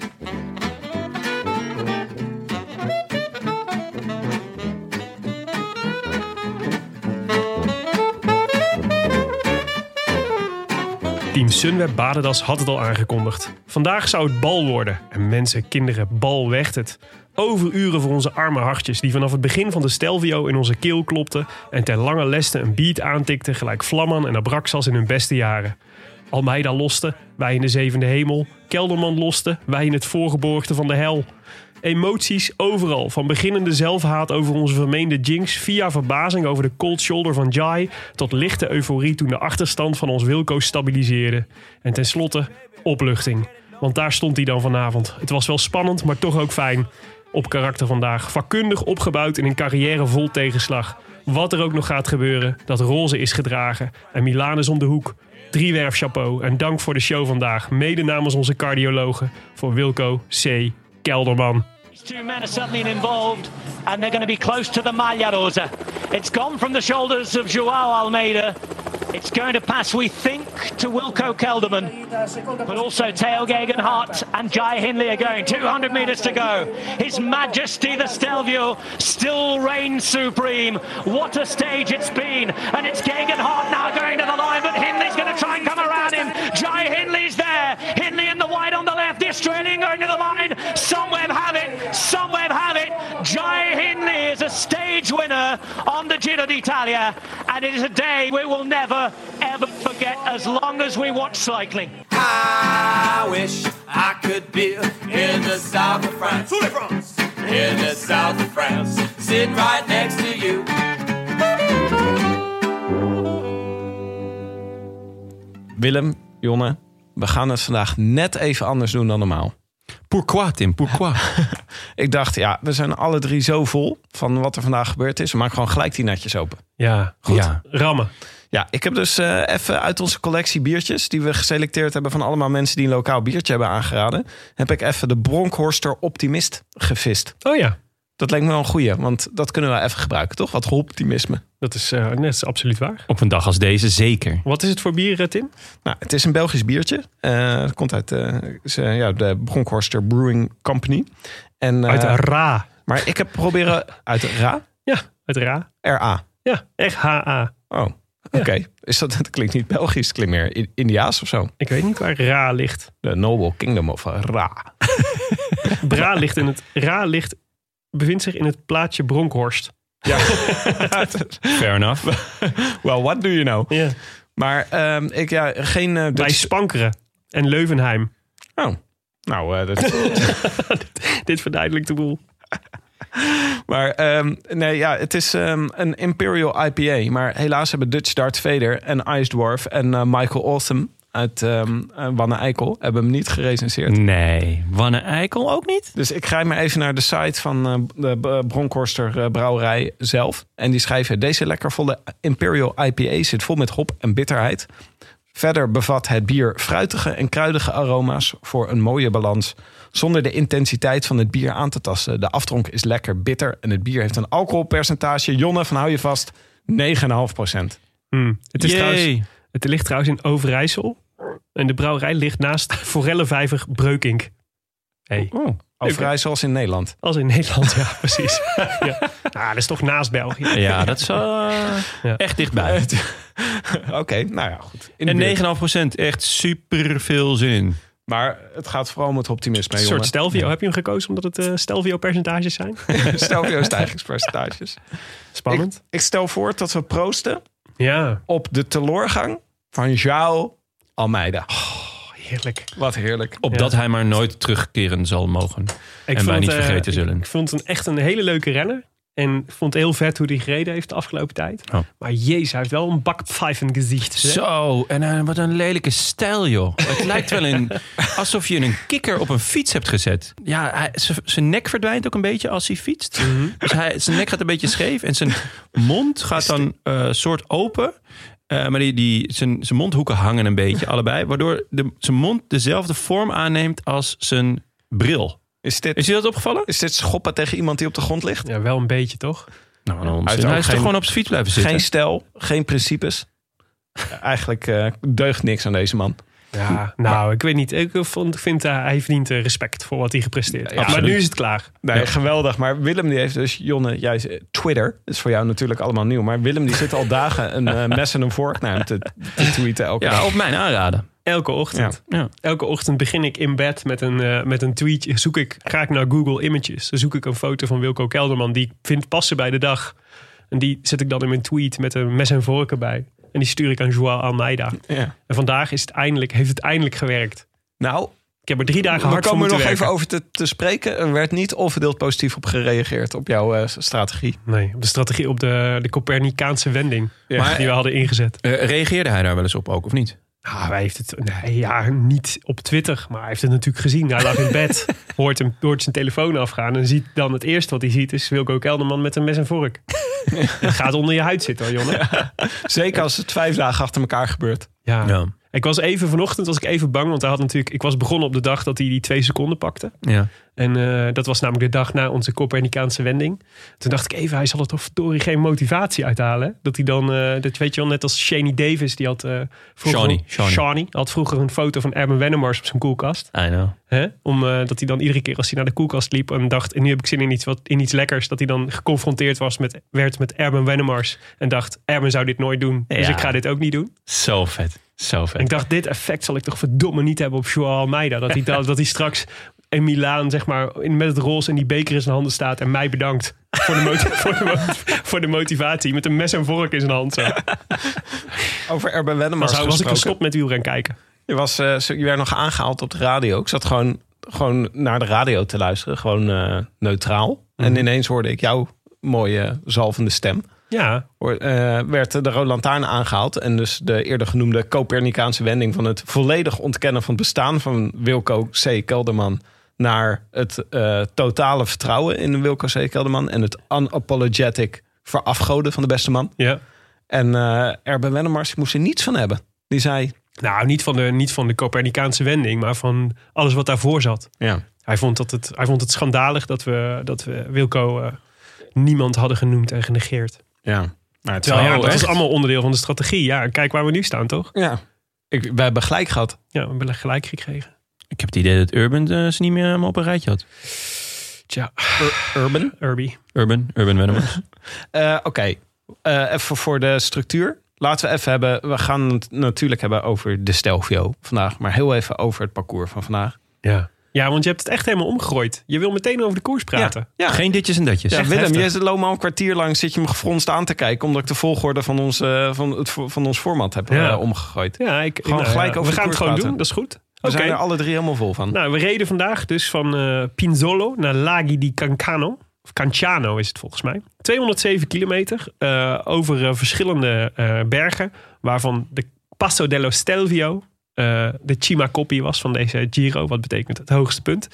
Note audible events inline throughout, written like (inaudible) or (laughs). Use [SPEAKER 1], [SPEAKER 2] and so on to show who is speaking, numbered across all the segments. [SPEAKER 1] Team Sunweb Badedas had het al aangekondigd. Vandaag zou het bal worden. En mensen, kinderen, bal weegt het. Overuren voor onze arme hartjes die vanaf het begin van de Stelvio in onze keel klopten en ter lange leste een beat aantikten gelijk Vlamman en Abraxas in hun beste jaren. Almeida loste, wij in de zevende hemel. Kelderman loste, wij in het voorgeborgte van de hel. Emoties overal, van beginnende zelfhaat over onze vermeende jinx... via verbazing over de cold shoulder van Jai... tot lichte euforie toen de achterstand van ons Wilco stabiliseerde. En tenslotte opluchting. Want daar stond hij dan vanavond. Het was wel spannend, maar toch ook fijn. Op karakter vandaag, vakkundig opgebouwd in een carrière vol tegenslag. Wat er ook nog gaat gebeuren, dat roze is gedragen. En Milaan is om de hoek. Driewerf chapeau en dank voor de show vandaag. Mede namens onze cardiologen voor Wilco C. Kelderman.
[SPEAKER 2] These two men are suddenly involved, and they're going to be close to the Maglia Rosa. It's gone from the shoulders of Joao Almeida. It's going to pass, we think, to Wilco Kelderman. But also Teo Gegenhardt and Jai Hindley are going. 200 metres to go. His Majesty the Stelvio still reigns supreme. What a stage it's been. And it's Gegenhardt now going to the line, but Hindley's going to try and come around him. Jai Hindley's there. Hindley in the wide on the left. The Australian going to the line. Somewhere have it. Somewhere have it. Jai Hindley is a stage winner on the Giro d'Italia. And it is a day we will never, ever forget as long as we watch cycling.
[SPEAKER 3] I wish I could be in the south of France. In the south of France, sitting right next to you.
[SPEAKER 4] Willem, Jonne, we gaan het vandaag net even anders doen dan normaal.
[SPEAKER 5] Pourquoi, Tim? Pourquoi? (laughs)
[SPEAKER 4] Ik dacht, ja, we zijn alle drie zo vol van wat er vandaag gebeurd is. Maak gewoon gelijk die netjes open.
[SPEAKER 1] Ja, goed.
[SPEAKER 5] Ja.
[SPEAKER 1] Rammen.
[SPEAKER 4] Ja, ik heb dus eh, even uit onze collectie biertjes... die we geselecteerd hebben van allemaal mensen die een lokaal biertje hebben aangeraden... heb ik even de Bronkhorster Optimist gevist.
[SPEAKER 1] Oh ja,
[SPEAKER 4] Dat lijkt me wel een goeie, want dat kunnen we even gebruiken, toch? Wat optimisme.
[SPEAKER 1] dat is, eh, net is absoluut waar.
[SPEAKER 5] Op een dag als deze zeker.
[SPEAKER 1] Wat is het voor bier, eh, Tim?
[SPEAKER 4] Nou, het is een Belgisch biertje. Eh, het komt uit eh, is, eh, ja, de Bronkhorster Brewing Company. En, eh,
[SPEAKER 1] Uit Ra.
[SPEAKER 4] maar ik heb proberen uit Ra.
[SPEAKER 1] Ja, uit Ra.
[SPEAKER 4] RA.
[SPEAKER 1] Ja, echt HA.
[SPEAKER 4] Oh, oké. Is dat, dat klinkt niet Belgisch, het klinkt meer I- Indiaas of zo.
[SPEAKER 1] Ik weet niet waar Ra ligt.
[SPEAKER 4] The Noble Kingdom of eh, Ra.
[SPEAKER 1] Bra ligt in het... Ra ligt... bevindt zich in het plaatsje Bronkhorst.
[SPEAKER 5] Fair enough.
[SPEAKER 4] (laughs) well, what do you know?
[SPEAKER 1] Ja.
[SPEAKER 4] Maar ehm, ik, ja, geen... eh,
[SPEAKER 1] Bij
[SPEAKER 4] dus-
[SPEAKER 1] Spankeren en Leuvenheim.
[SPEAKER 4] oh, nou, eh, dat, (laughs)
[SPEAKER 1] Dit verduidelijkt de boel.
[SPEAKER 4] maar ehm, nee, ja, het is ehm, een Imperial IPA. Maar helaas hebben Dutch Dart Vader en Ice Dwarf en eh, Michael Awesome... uit ehm eh, Wanne Eikel hebben hem niet gerecenseerd.
[SPEAKER 5] Nee. Wanne Eikel ook niet?
[SPEAKER 4] Dus ik ga maar even naar de site van eh, de B- Bronkhorster eh, Brouwerij zelf. En die schrijven: Deze lekkervolle Imperial IPA zit vol met hop en bitterheid. Verder bevat het bier fruitige en kruidige aroma's voor een mooie balans. Zonder de intensiteit van het bier aan te tasten. De aftronk is lekker bitter en het bier heeft een alcoholpercentage. Jonne, van hou je vast, 9,5%.
[SPEAKER 1] Hm. Het, is
[SPEAKER 5] Yay.
[SPEAKER 1] trouwens, het ligt trouwens in Overijssel. En de brouwerij ligt naast Forellenvijver Breukink. Hey.
[SPEAKER 4] Oh, zoals in Nederland.
[SPEAKER 1] Als in Nederland, ja, precies.
[SPEAKER 4] (laughs)
[SPEAKER 1] ja. Nou, dat is toch naast België.
[SPEAKER 5] Ja, dat is eh,
[SPEAKER 1] (laughs) Ja.
[SPEAKER 5] echt dichtbij.
[SPEAKER 4] Oké, nou ja, goed. In de buurt.
[SPEAKER 5] En 9,5% echt super veel zin in.
[SPEAKER 4] Maar het gaat vooral om het optimisme,
[SPEAKER 1] Een soort
[SPEAKER 4] jongen.
[SPEAKER 1] Stelvio. Heb je hem gekozen omdat het eh, Stelvio-percentages zijn?
[SPEAKER 4] (laughs) Stel voor jouw stijgingspercentages.
[SPEAKER 1] Spannend.
[SPEAKER 4] Ik, ik stel voor dat we proosten
[SPEAKER 1] Ja,
[SPEAKER 4] op de teleurgang van João Almeida. Oh,
[SPEAKER 1] heerlijk.
[SPEAKER 4] Wat heerlijk.
[SPEAKER 5] Opdat hij maar nooit terugkeren zal mogen.
[SPEAKER 1] Ik
[SPEAKER 5] en wij niet
[SPEAKER 1] eh,
[SPEAKER 5] vergeten zullen.
[SPEAKER 1] Ik vond het echt een hele leuke renner. En ik vond het heel vet hoe hij gereden heeft de afgelopen tijd.
[SPEAKER 5] Oh.
[SPEAKER 1] Maar jezus, hij heeft wel een bakpfeifengezicht. zeg.
[SPEAKER 5] Zo, en eh, wat een lelijke stijl, joh. (laughs) Het lijkt wel een, alsof je een kikker op een fiets hebt gezet. Ja, hij, z- zijn nek verdwijnt ook een beetje als hij fietst. Dus hij, zijn nek gaat een beetje scheef en zijn mond gaat dan eh soort open. Eh, maar die, die, zijn, zijn mondhoeken hangen een beetje, allebei. Waardoor de, zijn mond dezelfde vorm aanneemt als zijn bril.
[SPEAKER 4] Is dit,
[SPEAKER 5] Is je dat opgevallen?
[SPEAKER 4] is dit schoppen tegen iemand die op de grond ligt?
[SPEAKER 1] Ja, wel een beetje toch?
[SPEAKER 5] Nou, nou, hij
[SPEAKER 4] Hij heeft
[SPEAKER 5] is
[SPEAKER 4] ook
[SPEAKER 5] toch
[SPEAKER 4] geen-
[SPEAKER 5] gewoon op zijn fiets blijven zitten?
[SPEAKER 4] Geen stijl, geen principes. Eigenlijk eh, deugt niks aan deze man.
[SPEAKER 1] Ja, nou, ik weet niet. Ik vond, vind eh, hij verdient eh, respect voor wat hij gepresteerd heeft. maar
[SPEAKER 5] absoluut.
[SPEAKER 1] nu is het klaar.
[SPEAKER 4] Nee,
[SPEAKER 5] Ja.
[SPEAKER 4] geweldig. Maar Willem die heeft dus, Jonne, jij is- eh, Twitter is voor jou natuurlijk allemaal nieuw. Maar Willem die (laughs) zit al dagen een eh, mes en een vork naar hem te, te tweeten elke
[SPEAKER 5] Ja,
[SPEAKER 4] dag.
[SPEAKER 5] op mijn aanraden.
[SPEAKER 1] Elke ochtend.
[SPEAKER 5] Ja.
[SPEAKER 1] Elke ochtend begin ik in bed met een, eh, met een tweetje. Zoek ik, ga ik naar Google Images. Dan zoek ik een foto van Wilco Kelderman die ik vind passen bij de dag. En die zet ik dan in mijn tweet met een mes en vork erbij. En die stuur ik aan Joao Almeida.
[SPEAKER 4] Ja.
[SPEAKER 1] En vandaag is het eindelijk, heeft het eindelijk gewerkt.
[SPEAKER 4] Nou,
[SPEAKER 1] Ik heb er drie dagen
[SPEAKER 4] We
[SPEAKER 1] hard voor
[SPEAKER 4] komen er
[SPEAKER 1] moeten
[SPEAKER 4] nog even
[SPEAKER 1] werken.
[SPEAKER 4] over te, te spreken. Er werd niet onverdeeld positief op gereageerd op jouw eh, strategie.
[SPEAKER 1] Nee, op de strategie, op de, de Copernicaanse wending
[SPEAKER 5] Maar-
[SPEAKER 1] die we hadden ingezet.
[SPEAKER 5] Eh, reageerde hij daar wel eens op ook, of niet?
[SPEAKER 1] Nou, hij heeft het nee, ja, niet op Twitter, maar hij heeft het natuurlijk gezien. Hij lag in (laughs) bed, hoort, hem, hoort zijn telefoon afgaan en ziet dan het eerste wat hij ziet is Wilco Kelderman met een mes en (laughs) vork. Het gaat onder je huid zitten, hoor, jongen.
[SPEAKER 4] Zeker als het vijf dagen achter elkaar gebeurt.
[SPEAKER 1] Ja.
[SPEAKER 5] Ja.
[SPEAKER 1] Ik was even vanochtend was ik even bang, want hij had natuurlijk, ik was begonnen op de dag dat hij die twee seconden pakte.
[SPEAKER 5] ja.
[SPEAKER 1] En eh, dat was namelijk de dag na onze Copernicaanse wending. Toen dacht ik even, hij zal er toch verdorie geen motivatie uithalen. hè? Dat hij dan, eh, dat weet je wel, net als Shani Davis, die had eh, vroeger,
[SPEAKER 5] Shawnee, Shawnee.
[SPEAKER 1] Shawnee, had vroeger een foto van Erben Wennemars op zijn koelkast.
[SPEAKER 5] I know.
[SPEAKER 1] Hè? Om, eh, dat hij dan iedere keer als hij naar de koelkast liep en dacht, en nu heb ik zin in iets, wat, in iets lekkers, dat hij dan geconfronteerd was met, werd met Erben Wennemars. En dacht, Erben zou dit nooit doen, dus
[SPEAKER 5] Ja.
[SPEAKER 1] ik ga dit ook niet doen.
[SPEAKER 5] Zo vet. Zo
[SPEAKER 1] En ik
[SPEAKER 5] vet.
[SPEAKER 1] dacht, dit effect zal ik toch verdomme niet hebben op Joao Almeida. Dat hij, dat, dat hij straks in Milaan, zeg maar, in, met het roze en die beker in zijn handen staat en mij bedankt. Voor de, moti- (laughs) voor, de mo- voor de motivatie. Met een mes en vork in zijn hand. Zo.
[SPEAKER 4] Over Erben
[SPEAKER 1] Dan
[SPEAKER 4] Wennemars
[SPEAKER 1] zou- was ik
[SPEAKER 4] gesproken.
[SPEAKER 1] gestopt met uren kijken.
[SPEAKER 4] Je, was, eh, zo- je werd nog aangehaald op de radio. Ik zat gewoon, gewoon naar de radio te luisteren. Gewoon eh, neutraal. En
[SPEAKER 1] Mhm.
[SPEAKER 4] ineens hoorde ik jouw mooie zalvende stem.
[SPEAKER 1] Ja,
[SPEAKER 4] Hoor- eh, werd de Rode Lantaarn aangehaald. En dus de eerder genoemde Copernicaanse wending van het volledig ontkennen van het bestaan van Wilco C. Kelderman. Naar het eh, totale vertrouwen in Wilco C. Kelderman. En het unapologetic verafgoden van de beste man.
[SPEAKER 1] ja.
[SPEAKER 4] En eh Erben Wennemars moest er niets van hebben. Die zei...
[SPEAKER 1] Nou, niet van, de, niet van de Copernicaanse wending, maar van alles wat daarvoor zat.
[SPEAKER 4] Ja.
[SPEAKER 1] Hij vond, dat het, hij vond het schandalig dat we, dat we Wilco eh, niemand hadden genoemd en genegeerd.
[SPEAKER 4] ja. Maar het
[SPEAKER 1] Terwijl, ja, dat
[SPEAKER 4] Oh, echt-
[SPEAKER 1] is allemaal onderdeel van de strategie. Ja, en kijk waar we nu staan, toch?
[SPEAKER 4] Ja. Ik, we hebben gelijk gehad.
[SPEAKER 1] Ja, we hebben gelijk gekregen.
[SPEAKER 5] Ik heb het idee dat Urban eh, ze niet meer helemaal op een rijtje had.
[SPEAKER 1] Tja,
[SPEAKER 4] Urban.
[SPEAKER 1] Urby.
[SPEAKER 5] Urban, Urban Venomous.
[SPEAKER 4] Eh, Oké, Eh, even voor de structuur. Laten we even hebben. We gaan het natuurlijk hebben over de Stelvio vandaag. Maar heel even over het parcours van vandaag.
[SPEAKER 1] Ja. ja, want je hebt het echt helemaal omgegooid. Je wil meteen over de koers praten.
[SPEAKER 4] Ja.
[SPEAKER 5] Geen ditjes en datjes.
[SPEAKER 4] Ja,
[SPEAKER 1] echt
[SPEAKER 4] Willem,
[SPEAKER 1] heftig.
[SPEAKER 4] je zit lopen al een kwartier lang zit je me gefronst aan te kijken. Omdat ik de volgorde van ons, eh, van het, vo- van ons format heb
[SPEAKER 1] Ja.
[SPEAKER 4] eh, omgegooid.
[SPEAKER 1] Ja, ik,
[SPEAKER 4] Gewoon gelijk over
[SPEAKER 1] We gaan
[SPEAKER 4] de
[SPEAKER 1] het
[SPEAKER 4] koers
[SPEAKER 1] gewoon
[SPEAKER 4] praten.
[SPEAKER 1] doen, dat is goed.
[SPEAKER 4] We
[SPEAKER 1] Oké.
[SPEAKER 4] zijn er alle drie helemaal vol van.
[SPEAKER 1] Nou, we reden vandaag dus van eh, Pinzolo naar Laghi di Cancano. Of Canciano is het volgens mij. 207 kilometer eh, over eh, verschillende eh, bergen. Waarvan de Passo dello Stelvio, eh, eh, de Chima Copy was van deze Giro. Wat betekent het hoogste punt.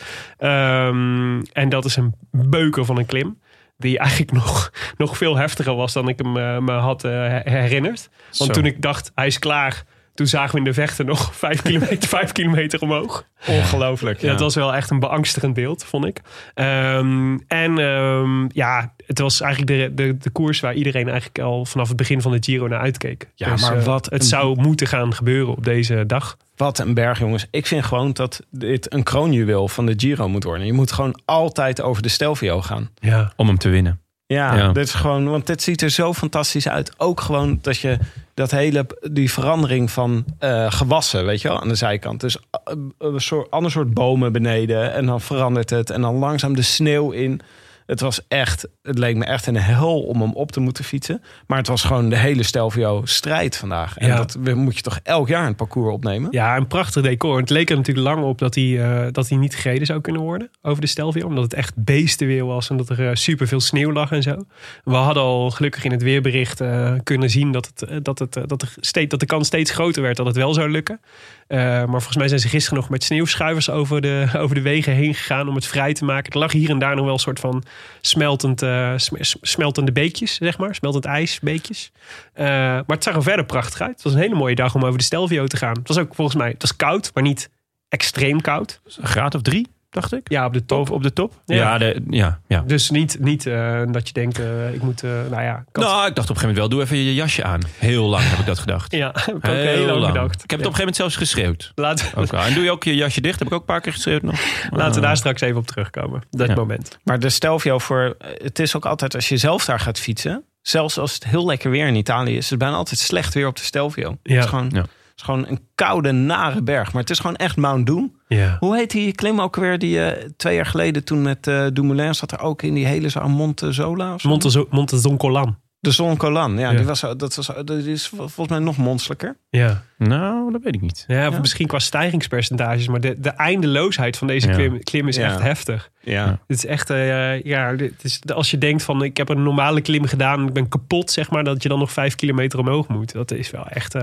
[SPEAKER 1] Ehm, en dat is een beuker van een klim. Die eigenlijk (laughs) nog, nog veel heftiger was dan ik hem eh, me had eh, her- herinnerd. Want
[SPEAKER 5] Zo.
[SPEAKER 1] toen ik dacht, hij is klaar. Toen zagen we in de vechten nog (laughs) vijf kilometer, vijf kilometer omhoog.
[SPEAKER 4] Ongelooflijk.
[SPEAKER 1] Ja, dat was wel echt een beangstigend beeld, vond ik. Ehm, en ehm, ja, het was eigenlijk de, de, de koers waar iedereen eigenlijk al vanaf het begin van de Giro naar uitkeek.
[SPEAKER 4] Ja, maar
[SPEAKER 1] eh,
[SPEAKER 4] wat
[SPEAKER 1] Het
[SPEAKER 4] een-
[SPEAKER 1] zou moeten gaan gebeuren op deze dag.
[SPEAKER 4] Wat een berg, jongens. Ik vind gewoon dat dit een kroonjuweel van de Giro moet worden. Je moet gewoon altijd over de Stelvio gaan.
[SPEAKER 1] Ja.
[SPEAKER 5] om hem te winnen.
[SPEAKER 4] Ja,
[SPEAKER 5] Ja.
[SPEAKER 4] dit is gewoon, want dit ziet er zo fantastisch uit. Ook gewoon dat je dat hele, die verandering van eh, gewassen, weet je wel, aan de zijkant. Dus eh, een soort, ander soort bomen beneden en dan verandert het en dan langzaam de sneeuw in. Het was echt, het leek me echt een hel om hem op te moeten fietsen. Maar het was gewoon de hele Stelvio strijd vandaag. En
[SPEAKER 1] Ja.
[SPEAKER 4] dat moet je toch elk jaar een parcours opnemen?
[SPEAKER 1] ja, een prachtig decor. Het leek er natuurlijk lang op dat hij, eh, dat hij niet gereden zou kunnen worden over de Stelvio. Omdat het echt beestenweer was en dat er super superveel sneeuw lag en zo. We hadden al gelukkig in het weerbericht eh, kunnen zien dat, het, eh, dat, het, eh, dat, er steeds, dat de kans steeds groter werd dat het wel zou lukken. Eh, maar volgens mij zijn ze gisteren nog met sneeuwschuivers over de, (laughs) over de wegen heen gegaan om het vrij te maken. Er lag hier en daar nog wel een soort van smeltend, eh, sm- sm- smeltende beekjes, zeg maar. Smeltend ijsbeekjes. Eh, maar het zag er verder prachtig uit. Het was een hele mooie dag om over de Stelvio te gaan. Het was ook volgens mij, het was koud, maar niet extreem koud.
[SPEAKER 5] Een graad of drie, dacht ik.
[SPEAKER 1] Ja, op de top.
[SPEAKER 5] Of op de top?
[SPEAKER 1] Ja.
[SPEAKER 5] Ja, de, ja, ja.
[SPEAKER 1] Dus niet, niet eh, dat je denkt, eh, ik moet, eh, nou ja. kat-
[SPEAKER 5] Nou, ik dacht op een gegeven moment wel, doe even je jasje aan. Heel lang heb ik dat gedacht.
[SPEAKER 1] ja, (laughs) heb ik ook heel lang gedacht.
[SPEAKER 5] Ik heb het op een gegeven moment zelfs geschreeuwd.
[SPEAKER 1] Ja, laten,
[SPEAKER 5] Ook al. En doe je ook je jasje dicht? Heb ik ook een paar keer geschreeuwd nog.
[SPEAKER 1] (laughs) laten we
[SPEAKER 5] Eh,
[SPEAKER 1] daar straks even op terugkomen. Dat
[SPEAKER 5] Ja.
[SPEAKER 1] moment.
[SPEAKER 4] Maar de Stelvio voor, eh, het is ook altijd als je zelf daar gaat fietsen. Zelfs als het heel lekker weer in Italië is, is het bijna altijd slecht weer op de Stelvio.
[SPEAKER 1] Ja.
[SPEAKER 4] Het, is gewoon,
[SPEAKER 5] Ja.
[SPEAKER 4] het is gewoon een koude, nare berg. Maar het is gewoon echt Mount Doom. Hoe heet die klim ook weer die eh, twee jaar geleden toen met eh Dumoulin zat er ook in die hele zaal Montezola? Of zo?
[SPEAKER 1] Montezo- Montezoncolan.
[SPEAKER 4] de Zon Colan. Ja,
[SPEAKER 1] Ja.
[SPEAKER 4] Die, was, zo- dat was, dat is vol- volgens mij nog monsterlijker.
[SPEAKER 1] Ja.
[SPEAKER 5] Nou, dat weet ik niet.
[SPEAKER 1] Ja, of
[SPEAKER 4] Ja.
[SPEAKER 1] misschien qua stijgingspercentages, maar de, de eindeloosheid van deze
[SPEAKER 5] Ja.
[SPEAKER 1] klim, klim is
[SPEAKER 4] Ja.
[SPEAKER 1] echt heftig.
[SPEAKER 4] Ja.
[SPEAKER 1] Het is echt, eh, ja, dit is, als je denkt van ik heb een normale klim gedaan, ik ben kapot, zeg maar, dat je dan nog vijf kilometer omhoog moet. Dat is wel echt eh,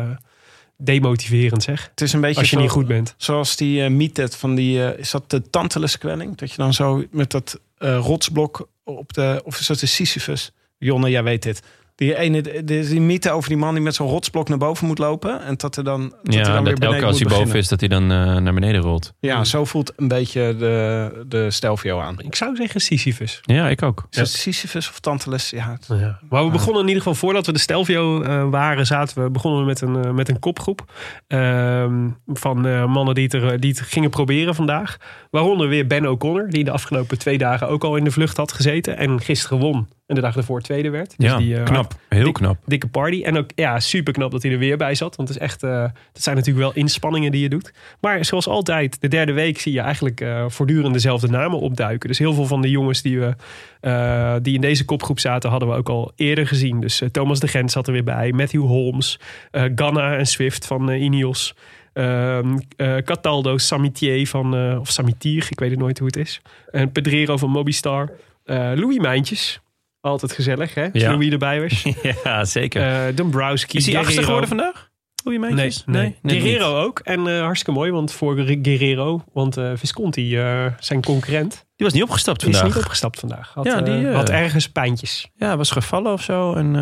[SPEAKER 1] demotiverend, zeg.
[SPEAKER 4] Het is een beetje
[SPEAKER 1] Als je
[SPEAKER 4] zo-
[SPEAKER 1] niet goed bent.
[SPEAKER 4] Zoals die eh, mythe van die, eh, is dat de Tantalus-kwelling? Dat je dan zo met dat eh, rotsblok op de, of is dat de Sisyphus? Jonne, jij weet dit. Die ene, de, de- die mythe over die man die met zo'n rotsblok naar boven moet lopen. En dat er dan, dat
[SPEAKER 5] Ja,
[SPEAKER 4] er dan
[SPEAKER 5] dat
[SPEAKER 4] weer
[SPEAKER 5] elke
[SPEAKER 4] beneden
[SPEAKER 5] keer als hij boven
[SPEAKER 4] moet beginnen.
[SPEAKER 5] is, dat hij dan eh, naar beneden rolt.
[SPEAKER 4] Ja, zo voelt een beetje de, de Stelvio aan.
[SPEAKER 1] Ik zou zeggen Sisyphus.
[SPEAKER 5] Ja, ik ook.
[SPEAKER 4] Is dat Sisyphus of Tantalus? Ja, het-
[SPEAKER 1] Maar we begonnen in ieder geval voordat we de Stelvio eh, waren, zaten we, begonnen we met een, eh, met een kopgroep. ehm, van eh, mannen die het, er, eh, die het gingen proberen vandaag. Waaronder weer Ben O'Connor, die de afgelopen twee dagen ook al in de vlucht had gezeten. En gisteren won. En de dag ervoor tweede werd. Dus
[SPEAKER 5] Ja,
[SPEAKER 1] die, eh,
[SPEAKER 5] knap. Heel
[SPEAKER 1] dik- (laughs)
[SPEAKER 5] knap.
[SPEAKER 1] Dikke party. En ook ja, super knap dat hij er weer bij zat. Want het is echt, eh dat zijn natuurlijk wel inspanningen die je doet. Maar zoals altijd, de derde week zie je eigenlijk eh, voortdurend dezelfde namen opduiken. Dus heel veel van de jongens die, we, eh, die in deze kopgroep zaten, hadden we ook al eerder gezien. Dus eh, Thomas de Gent zat er weer bij. Matthew Holmes, eh Ganna en Swift van eh, Ineos. Ehm, eh, Cataldo, Samitier van, eh, of Samitier, ik weet het nooit hoe het is. En Pedrero van Mobistar. Eh, Louis Mijntjes, altijd gezellig hè, als
[SPEAKER 5] Ja.
[SPEAKER 1] Louis erbij was.
[SPEAKER 5] Ja, zeker.
[SPEAKER 1] Eh, Dombrowski.
[SPEAKER 5] is hij achtste
[SPEAKER 1] Guerrero.
[SPEAKER 5] geworden vandaag? Hoe je meentjes?
[SPEAKER 1] Nee, nee.
[SPEAKER 5] nog niet.
[SPEAKER 1] Guerrero ook. En eh, hartstikke mooi, want voor Guer- Guerrero, want eh, Visconti, eh, zijn concurrent,
[SPEAKER 5] Die was niet opgestapt
[SPEAKER 1] die is
[SPEAKER 5] vandaag.
[SPEAKER 1] niet opgestapt vandaag. Had,
[SPEAKER 5] Ja, die,
[SPEAKER 1] eh,
[SPEAKER 5] eh,
[SPEAKER 1] had ergens pijntjes.
[SPEAKER 5] Ja, was gevallen of zo. En,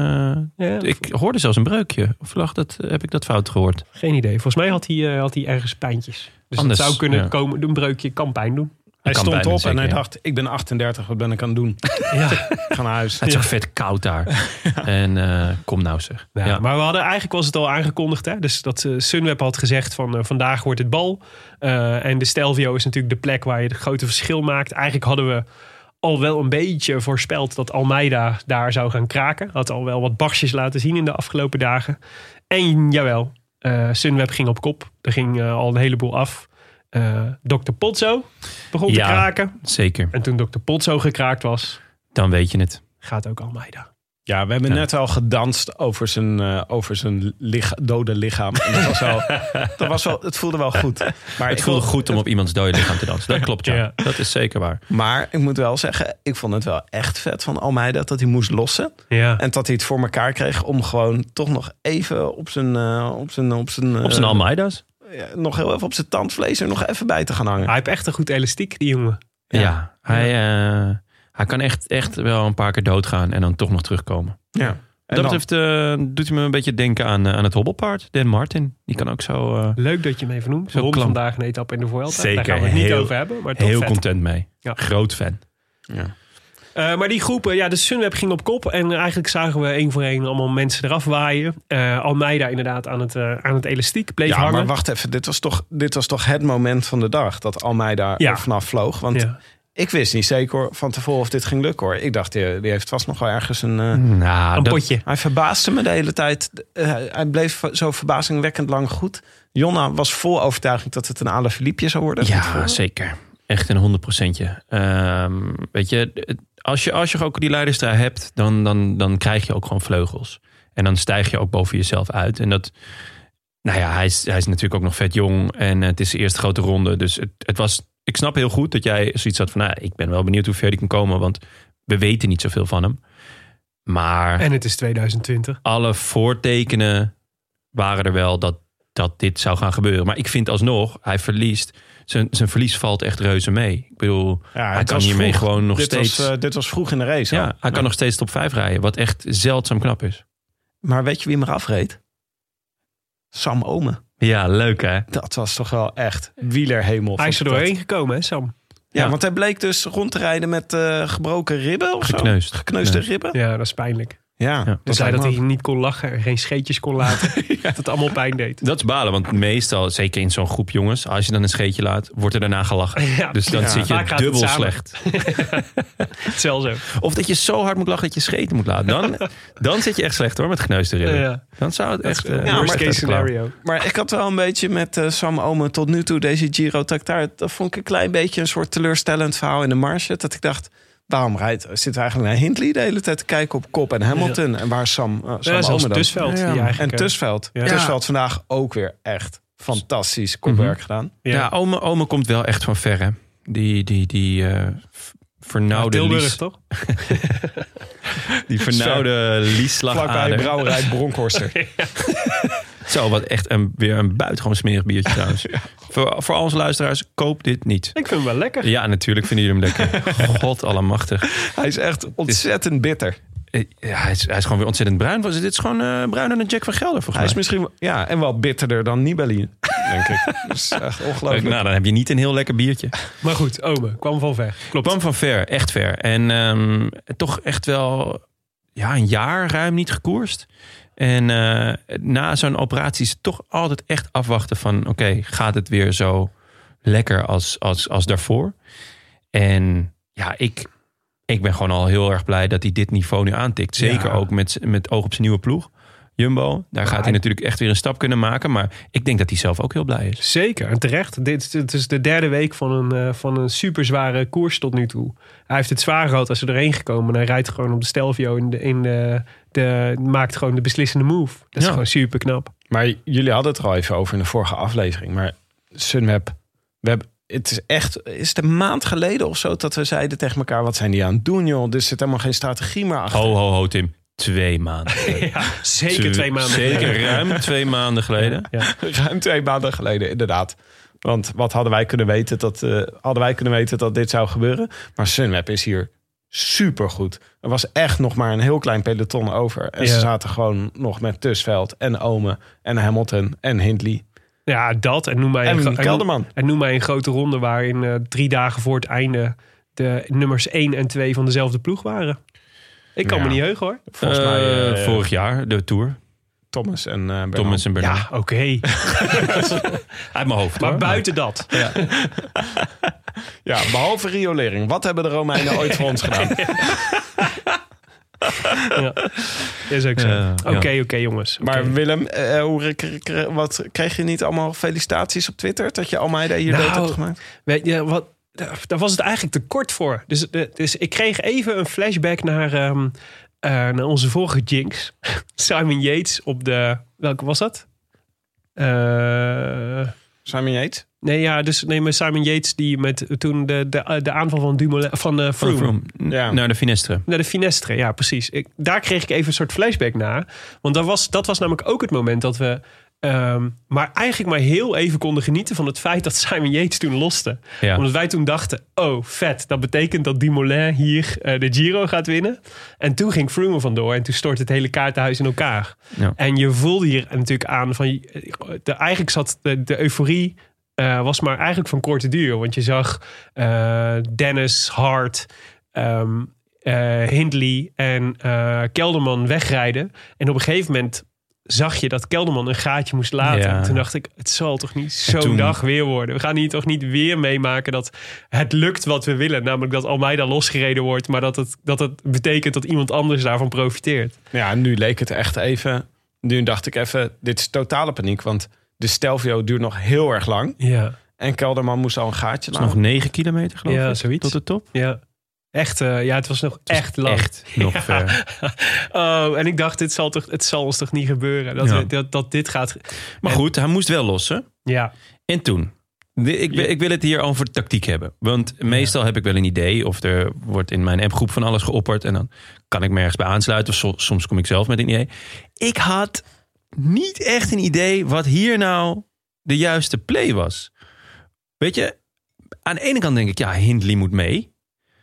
[SPEAKER 5] eh,
[SPEAKER 1] Ja,
[SPEAKER 5] ik hoorde zelfs een breukje. Of lag dat, heb ik dat fout gehoord?
[SPEAKER 1] Geen idee. Volgens mij had hij, eh, had hij ergens pijntjes. Dus
[SPEAKER 5] Anders,
[SPEAKER 1] het zou kunnen
[SPEAKER 5] ja.
[SPEAKER 1] komen, een breukje kan pijn doen.
[SPEAKER 4] hij
[SPEAKER 5] kan
[SPEAKER 4] stond
[SPEAKER 5] bijna
[SPEAKER 4] op en
[SPEAKER 5] zeker,
[SPEAKER 4] hij
[SPEAKER 5] ja.
[SPEAKER 4] dacht, ik ben 38, wat ben ik aan het doen?
[SPEAKER 1] (laughs) Ja.
[SPEAKER 4] Ik ga naar huis.
[SPEAKER 5] Het is ook vet koud
[SPEAKER 4] (laughs)
[SPEAKER 5] daar. En eh, kom nou zeg.
[SPEAKER 1] Ja,
[SPEAKER 5] Ja,
[SPEAKER 1] Maar we hadden, eigenlijk was het al aangekondigd. Hè? Dus dat eh, Sunweb had gezegd van eh, vandaag wordt het bal. Eh, en de Stelvio is natuurlijk de plek waar je het grote verschil maakt. Eigenlijk hadden we al wel een beetje voorspeld dat Almeida daar zou gaan kraken. Had al wel wat barstjes laten zien in de afgelopen dagen. En jawel, eh, Sunweb ging op kop. Er ging eh, al een heleboel af. Eh Dr. Potso begon
[SPEAKER 5] Ja.
[SPEAKER 1] te kraken.
[SPEAKER 5] zeker.
[SPEAKER 1] En toen Dr. Potso gekraakt was,
[SPEAKER 5] Dan weet je het.
[SPEAKER 1] gaat ook Almeida.
[SPEAKER 4] Ja, we hebben
[SPEAKER 5] Ja.
[SPEAKER 4] net al gedanst over zijn, eh, over zijn licha- dode lichaam. En dat was (laughs) wel, dat was wel, het voelde wel goed. Maar
[SPEAKER 5] Het voelde goed om op iemands dode lichaam te dansen.
[SPEAKER 4] (laughs)
[SPEAKER 5] Dat klopt, ja.
[SPEAKER 1] Ja.
[SPEAKER 5] Dat is zeker waar.
[SPEAKER 4] Maar ik moet wel zeggen, ik vond het wel echt vet van Almeida dat hij moest lossen.
[SPEAKER 1] Ja.
[SPEAKER 4] En dat hij het voor elkaar kreeg om gewoon toch nog even op zijn... eh, op zijn, op zijn, eh,
[SPEAKER 5] Op zijn Almeida's.
[SPEAKER 4] ja, nog heel even op zijn tandvlees er nog even bij te gaan hangen.
[SPEAKER 1] Hij heeft echt een goed elastiek, die jongen.
[SPEAKER 5] Ja, hij, eh, hij kan echt, echt wel een paar keer doodgaan en dan toch nog terugkomen.
[SPEAKER 4] Ja.
[SPEAKER 5] Wat dat
[SPEAKER 4] dan?
[SPEAKER 5] betreft eh, doet hij me een beetje denken aan, eh, aan het hobbelpaard. Dan Martin. Die kan ook zo eh,
[SPEAKER 1] Leuk dat je hem even noemt.
[SPEAKER 5] Zo
[SPEAKER 1] Waarom
[SPEAKER 5] klam.
[SPEAKER 1] vandaag een etappe in de Vuelta. Daar
[SPEAKER 5] Zeker,
[SPEAKER 1] gaan we het niet
[SPEAKER 5] heel-
[SPEAKER 1] over hebben. Maar toch
[SPEAKER 5] heel
[SPEAKER 1] vet.
[SPEAKER 5] content mee.
[SPEAKER 1] Ja.
[SPEAKER 5] Groot fan.
[SPEAKER 1] Eh, maar die groepen, ja, de Sunweb ging op kop. En eigenlijk zagen we één voor één allemaal mensen eraf waaien. Eh, Almeida inderdaad aan het, eh, aan het elastiek bleef
[SPEAKER 4] Ja,
[SPEAKER 1] hangen.
[SPEAKER 4] maar wacht even. Dit was, toch, dit was toch het moment van de dag dat Almeida
[SPEAKER 1] Ja.
[SPEAKER 4] er vanaf vloog. Want
[SPEAKER 1] Ja.
[SPEAKER 4] ik wist niet zeker hoor, van tevoren of dit ging lukken hoor. Ik dacht, eh, die, die heeft vast nog wel ergens een... eh,
[SPEAKER 5] Nou,
[SPEAKER 1] Een
[SPEAKER 5] dat-
[SPEAKER 1] potje.
[SPEAKER 4] Hij verbaasde me de hele tijd. Eh, hij bleef zo verbazingwekkend lang goed. Jonna was vol overtuiging dat het een Alain Philippe zou worden.
[SPEAKER 5] Ja, zeker. Echt een honderd procentje. Ehm, weet je, het- als je, als je ook die leidersdraai hebt, dan, dan, dan krijg je ook gewoon vleugels. En dan stijg je ook boven jezelf uit. En dat, nou ja, hij is, hij is natuurlijk ook nog vet jong. En het is de eerste grote ronde. Dus het, het was, ik snap heel goed dat jij zoiets had van, nou, ik ben wel benieuwd hoe ver die kan komen. Want we weten niet zoveel van hem. Maar
[SPEAKER 1] En het is 2020.
[SPEAKER 5] alle voortekenen waren er wel dat, dat dit zou gaan gebeuren. Maar ik vind alsnog, hij verliest. Zijn, zijn verlies valt echt reuze mee. Ik bedoel, hij
[SPEAKER 4] het
[SPEAKER 5] kan
[SPEAKER 4] was
[SPEAKER 5] hiermee
[SPEAKER 4] vroeg.
[SPEAKER 5] gewoon nog
[SPEAKER 4] dit,
[SPEAKER 5] steeds.
[SPEAKER 4] was, eh, dit was vroeg in de race.
[SPEAKER 5] ja,
[SPEAKER 4] al.
[SPEAKER 5] hij kan nog steeds top 5 rijden. Wat echt zeldzaam knap is.
[SPEAKER 4] Maar weet je wie hem eraf reed? Sam Omen.
[SPEAKER 5] Ja, leuk hè?
[SPEAKER 4] Dat was toch wel echt wielerhemel.
[SPEAKER 1] Hij is er
[SPEAKER 4] vond ik
[SPEAKER 1] doorheen
[SPEAKER 4] dat.
[SPEAKER 1] gekomen, hè Sam?
[SPEAKER 4] Ja,
[SPEAKER 5] Ja.
[SPEAKER 4] want hij bleek dus rond te rijden met eh, gebroken ribben of zo.
[SPEAKER 5] Gekneusd.
[SPEAKER 4] Gekneusde
[SPEAKER 5] Nee.
[SPEAKER 4] ribben.
[SPEAKER 1] Ja, dat is pijnlijk.
[SPEAKER 4] Ja,
[SPEAKER 1] Hij
[SPEAKER 4] dat
[SPEAKER 1] zei dat
[SPEAKER 4] lijkt me
[SPEAKER 1] hij niet kon lachen en geen scheetjes kon laten. Dat het allemaal
[SPEAKER 5] (laughs)
[SPEAKER 1] pijn deed.
[SPEAKER 5] Dat is balen, want meestal, zeker in zo'n groep jongens, als je dan een scheetje laat, wordt er daarna gelachen.
[SPEAKER 1] (laughs) Ja,
[SPEAKER 5] dus dan
[SPEAKER 1] ja.
[SPEAKER 5] zit
[SPEAKER 1] Vaak
[SPEAKER 5] je
[SPEAKER 1] gaat het
[SPEAKER 5] dubbel
[SPEAKER 1] samen.
[SPEAKER 5] slecht.
[SPEAKER 1] Zelfs ook.
[SPEAKER 5] Of dat je zo hard moet lachen dat je scheten moet laten.
[SPEAKER 1] (laughs)
[SPEAKER 5] Dan, dan zit je echt slecht hoor, met gekneusde ribben.
[SPEAKER 1] Ja.
[SPEAKER 5] Dan zou het echt... eh,
[SPEAKER 1] Ja,
[SPEAKER 5] worst
[SPEAKER 1] worst case
[SPEAKER 5] uit de klauw.
[SPEAKER 1] scenario.
[SPEAKER 4] Maar ik had wel een beetje met eh, Sam Omen tot nu toe deze Giro Tactaar. Dat vond ik een klein beetje een soort teleurstellend verhaal in de marge. Dat ik dacht, waarom rijdt, zitten we eigenlijk naar Hindley de hele tijd te kijken op Kop en Hamilton? En waar is Sam, eh, Sam
[SPEAKER 1] Ja, zelfs
[SPEAKER 4] Omen dan?
[SPEAKER 1] Tussveld. die eigenlijk,
[SPEAKER 4] En
[SPEAKER 1] eh,
[SPEAKER 4] Tusveld.
[SPEAKER 1] Ja.
[SPEAKER 4] Tusveld vandaag ook weer echt fantastisch kopwerk
[SPEAKER 5] Mhm.
[SPEAKER 4] gedaan.
[SPEAKER 1] Ja.
[SPEAKER 5] Ja, Ome, Ome komt wel echt van ver, hè. Die, die, die eh, v- vernauwde
[SPEAKER 1] Tilburg,
[SPEAKER 5] nou, lies-
[SPEAKER 1] toch? (laughs)
[SPEAKER 5] die vernauwde
[SPEAKER 4] Vlakbij
[SPEAKER 5] lieslagader.
[SPEAKER 4] Brouwerij
[SPEAKER 5] (laughs)
[SPEAKER 4] Bronkhorster.
[SPEAKER 5] Zo, wat echt een, weer een buitengewoon smerig biertje
[SPEAKER 1] (laughs)
[SPEAKER 5] trouwens. voor, voor onze luisteraars, koop dit niet.
[SPEAKER 1] Ik vind hem wel lekker.
[SPEAKER 5] Ja, natuurlijk vinden jullie hem
[SPEAKER 1] (laughs)
[SPEAKER 5] lekker. God allemachtig.
[SPEAKER 4] Hij is echt ontzettend bitter.
[SPEAKER 5] Eh, Ja, hij, is, hij is gewoon weer ontzettend bruin. Was- Dit is gewoon eh bruiner dan Jack van Gelder,
[SPEAKER 4] Hij is
[SPEAKER 5] volgens mij.
[SPEAKER 4] misschien, ja, en wel bitterder dan Nibali, denk ik. Dat is echt ongelooflijk.
[SPEAKER 5] nou, dan heb je niet een heel lekker biertje.
[SPEAKER 1] (laughs) Maar goed, Ome kwam van ver. Klopt.
[SPEAKER 5] Kwam van ver, echt ver. En ehm, toch echt wel ja, een jaar ruim niet gekoerst. En eh, na zo'n operatie is het toch altijd echt afwachten van... oké, gaat het weer zo lekker als, als, als daarvoor? En ja, ik, ik ben gewoon al heel erg blij dat hij dit niveau nu aantikt. Zeker
[SPEAKER 1] Ja.
[SPEAKER 5] ook met, z- met oog op zijn nieuwe ploeg. Jumbo, daar gaat hij natuurlijk echt weer een stap kunnen maken. Maar ik denk dat hij zelf ook heel blij is.
[SPEAKER 1] Zeker, en terecht. Dit, is- dit is de derde week van een, eh, van een super zware koers tot nu toe. Hij heeft het zwaar gehad als ze doorheen gekomen. En hij rijdt gewoon op de Stelvio in de, in de, de- maakt gewoon de beslissende move. Dat is
[SPEAKER 5] Ja.
[SPEAKER 1] gewoon super knap.
[SPEAKER 4] Maar jullie hadden het er al even over in de vorige aflevering. Maar Sunweb, we hebben, het is echt, is het een maand geleden of zo dat we zeiden tegen elkaar: wat zijn die aan het doen, joh? Dus er zit helemaal geen strategie meer achter.
[SPEAKER 5] Ho, ho, ho, Tim. Twee
[SPEAKER 1] (laughs)
[SPEAKER 5] maanden.
[SPEAKER 1] Zeker twee maanden.
[SPEAKER 5] Zeker ruim twee maanden geleden.
[SPEAKER 4] Ruim twee maanden geleden, inderdaad. Want wat hadden wij kunnen weten dat, eh, hadden wij kunnen weten dat dit zou gebeuren? Maar Sunweb is hier supergoed. Er was echt nog maar een heel klein peloton over. En
[SPEAKER 1] Ja.
[SPEAKER 4] ze zaten gewoon nog met Tusveld en Ome en Hamilton en Hindley.
[SPEAKER 1] Ja, dat. En noem mij
[SPEAKER 4] En
[SPEAKER 1] een, en,
[SPEAKER 4] Kelderman.
[SPEAKER 1] en noem mij een grote ronde waarin eh, drie dagen voor het einde de nummers 1 en 2 van dezelfde ploeg waren. Ik kan
[SPEAKER 4] Ja.
[SPEAKER 1] me niet heugen hoor.
[SPEAKER 4] Volgens mij
[SPEAKER 5] Eh,
[SPEAKER 4] eh,
[SPEAKER 5] vorig jaar, de Tour.
[SPEAKER 4] Thomas en eh Bernal.
[SPEAKER 5] Thomas en Bernal.
[SPEAKER 1] Ja, oké.
[SPEAKER 5] Uit mijn hoofd.
[SPEAKER 1] Maar
[SPEAKER 5] hoor.
[SPEAKER 1] buiten dat.
[SPEAKER 4] Ja, behalve riolering. Wat hebben de
[SPEAKER 1] (laughs)
[SPEAKER 4] Romeinen ooit voor ons gedaan?
[SPEAKER 1] Is ook zo.
[SPEAKER 5] Ja,
[SPEAKER 1] Oké,
[SPEAKER 5] ja.
[SPEAKER 1] oké jongens. Oké.
[SPEAKER 4] Maar Willem, eh, hoe, k- k- wat, kreeg je niet allemaal felicitaties op Twitter? Dat je Almeida hier
[SPEAKER 1] Nou,
[SPEAKER 4] dood hebt gemaakt?
[SPEAKER 1] Weet je, wat, daar- daar was het eigenlijk te kort voor. Dus, de- dus ik kreeg even een flashback naar, ehm, eh, naar onze vorige Jinx. (laughs) Simon Yates op de... Welke was dat? Eh,
[SPEAKER 4] Simon Yates?
[SPEAKER 1] nee, ja, dus nee, maar Simon Yates die met toen de, de, de aanval van Dumoulin... Van
[SPEAKER 5] Van
[SPEAKER 1] de Froome.
[SPEAKER 5] Froome.
[SPEAKER 4] Ja.
[SPEAKER 5] Naar de Finestre.
[SPEAKER 1] Naar de Finestre, ja, precies. Ik, daar kreeg ik even een soort flashback naar. Want dat was, dat was namelijk ook het moment dat we Ehm, maar eigenlijk maar heel even konden genieten van het feit dat Simon Yates toen loste.
[SPEAKER 5] Ja.
[SPEAKER 1] Omdat wij toen dachten, oh vet, dat betekent dat Dumoulin hier eh, de Giro gaat winnen. En toen ging Froome er vandoor en toen stortte het hele kaartenhuis in elkaar.
[SPEAKER 5] Ja.
[SPEAKER 1] En je voelde hier natuurlijk aan van, de, eigenlijk zat de, de euforie, eh, was maar eigenlijk van korte duur. Want je zag eh, Dennis, Hart, ehm, eh, Hindley en eh, Kelderman wegrijden. En op een gegeven moment zag je dat Kelderman een gaatje moest laten.
[SPEAKER 5] Ja.
[SPEAKER 1] En Toen dacht ik, het zal toch niet zo'n
[SPEAKER 5] toen-
[SPEAKER 1] dag weer worden. We gaan hier toch niet weer meemaken dat het lukt wat we willen. Namelijk dat Almeida losgereden wordt, maar dat het, dat het betekent dat iemand anders daarvan profiteert.
[SPEAKER 4] Nou Ja, nu leek het echt even. Nu dacht ik even, dit is totale paniek. Want de Stelvio duurt nog heel erg lang.
[SPEAKER 1] Ja,
[SPEAKER 4] En Kelderman moest al een gaatje
[SPEAKER 5] is nog
[SPEAKER 4] laten.
[SPEAKER 5] 9 kilometer geloof
[SPEAKER 1] Nou. Ja,
[SPEAKER 5] ik.
[SPEAKER 1] zoiets.
[SPEAKER 5] Tot de top.
[SPEAKER 1] ja. Echt, eh, ja, het was nog
[SPEAKER 5] was
[SPEAKER 1] echt lang.
[SPEAKER 5] Echt nog
[SPEAKER 1] (laughs) Ja.
[SPEAKER 5] ver.
[SPEAKER 1] Oh, en ik dacht, dit zal toch, het zal ons toch niet gebeuren. Dat,
[SPEAKER 5] Ja.
[SPEAKER 1] we- dat, dat dit gaat.
[SPEAKER 5] Maar
[SPEAKER 1] En-
[SPEAKER 5] goed, hij moest wel lossen.
[SPEAKER 1] Ja,
[SPEAKER 5] En toen? De- Ik, wil- ik wil het hier over tactiek hebben. Want meestal heb ik wel een idee. Of er wordt in mijn appgroep van alles geopperd. En dan kan ik me ergens bij aansluiten. Of so- soms kom ik zelf met een idee. Ik had niet echt een idee wat hier nou de juiste play was. Weet je, aan de ene kant denk ik, ja, Hindley moet mee.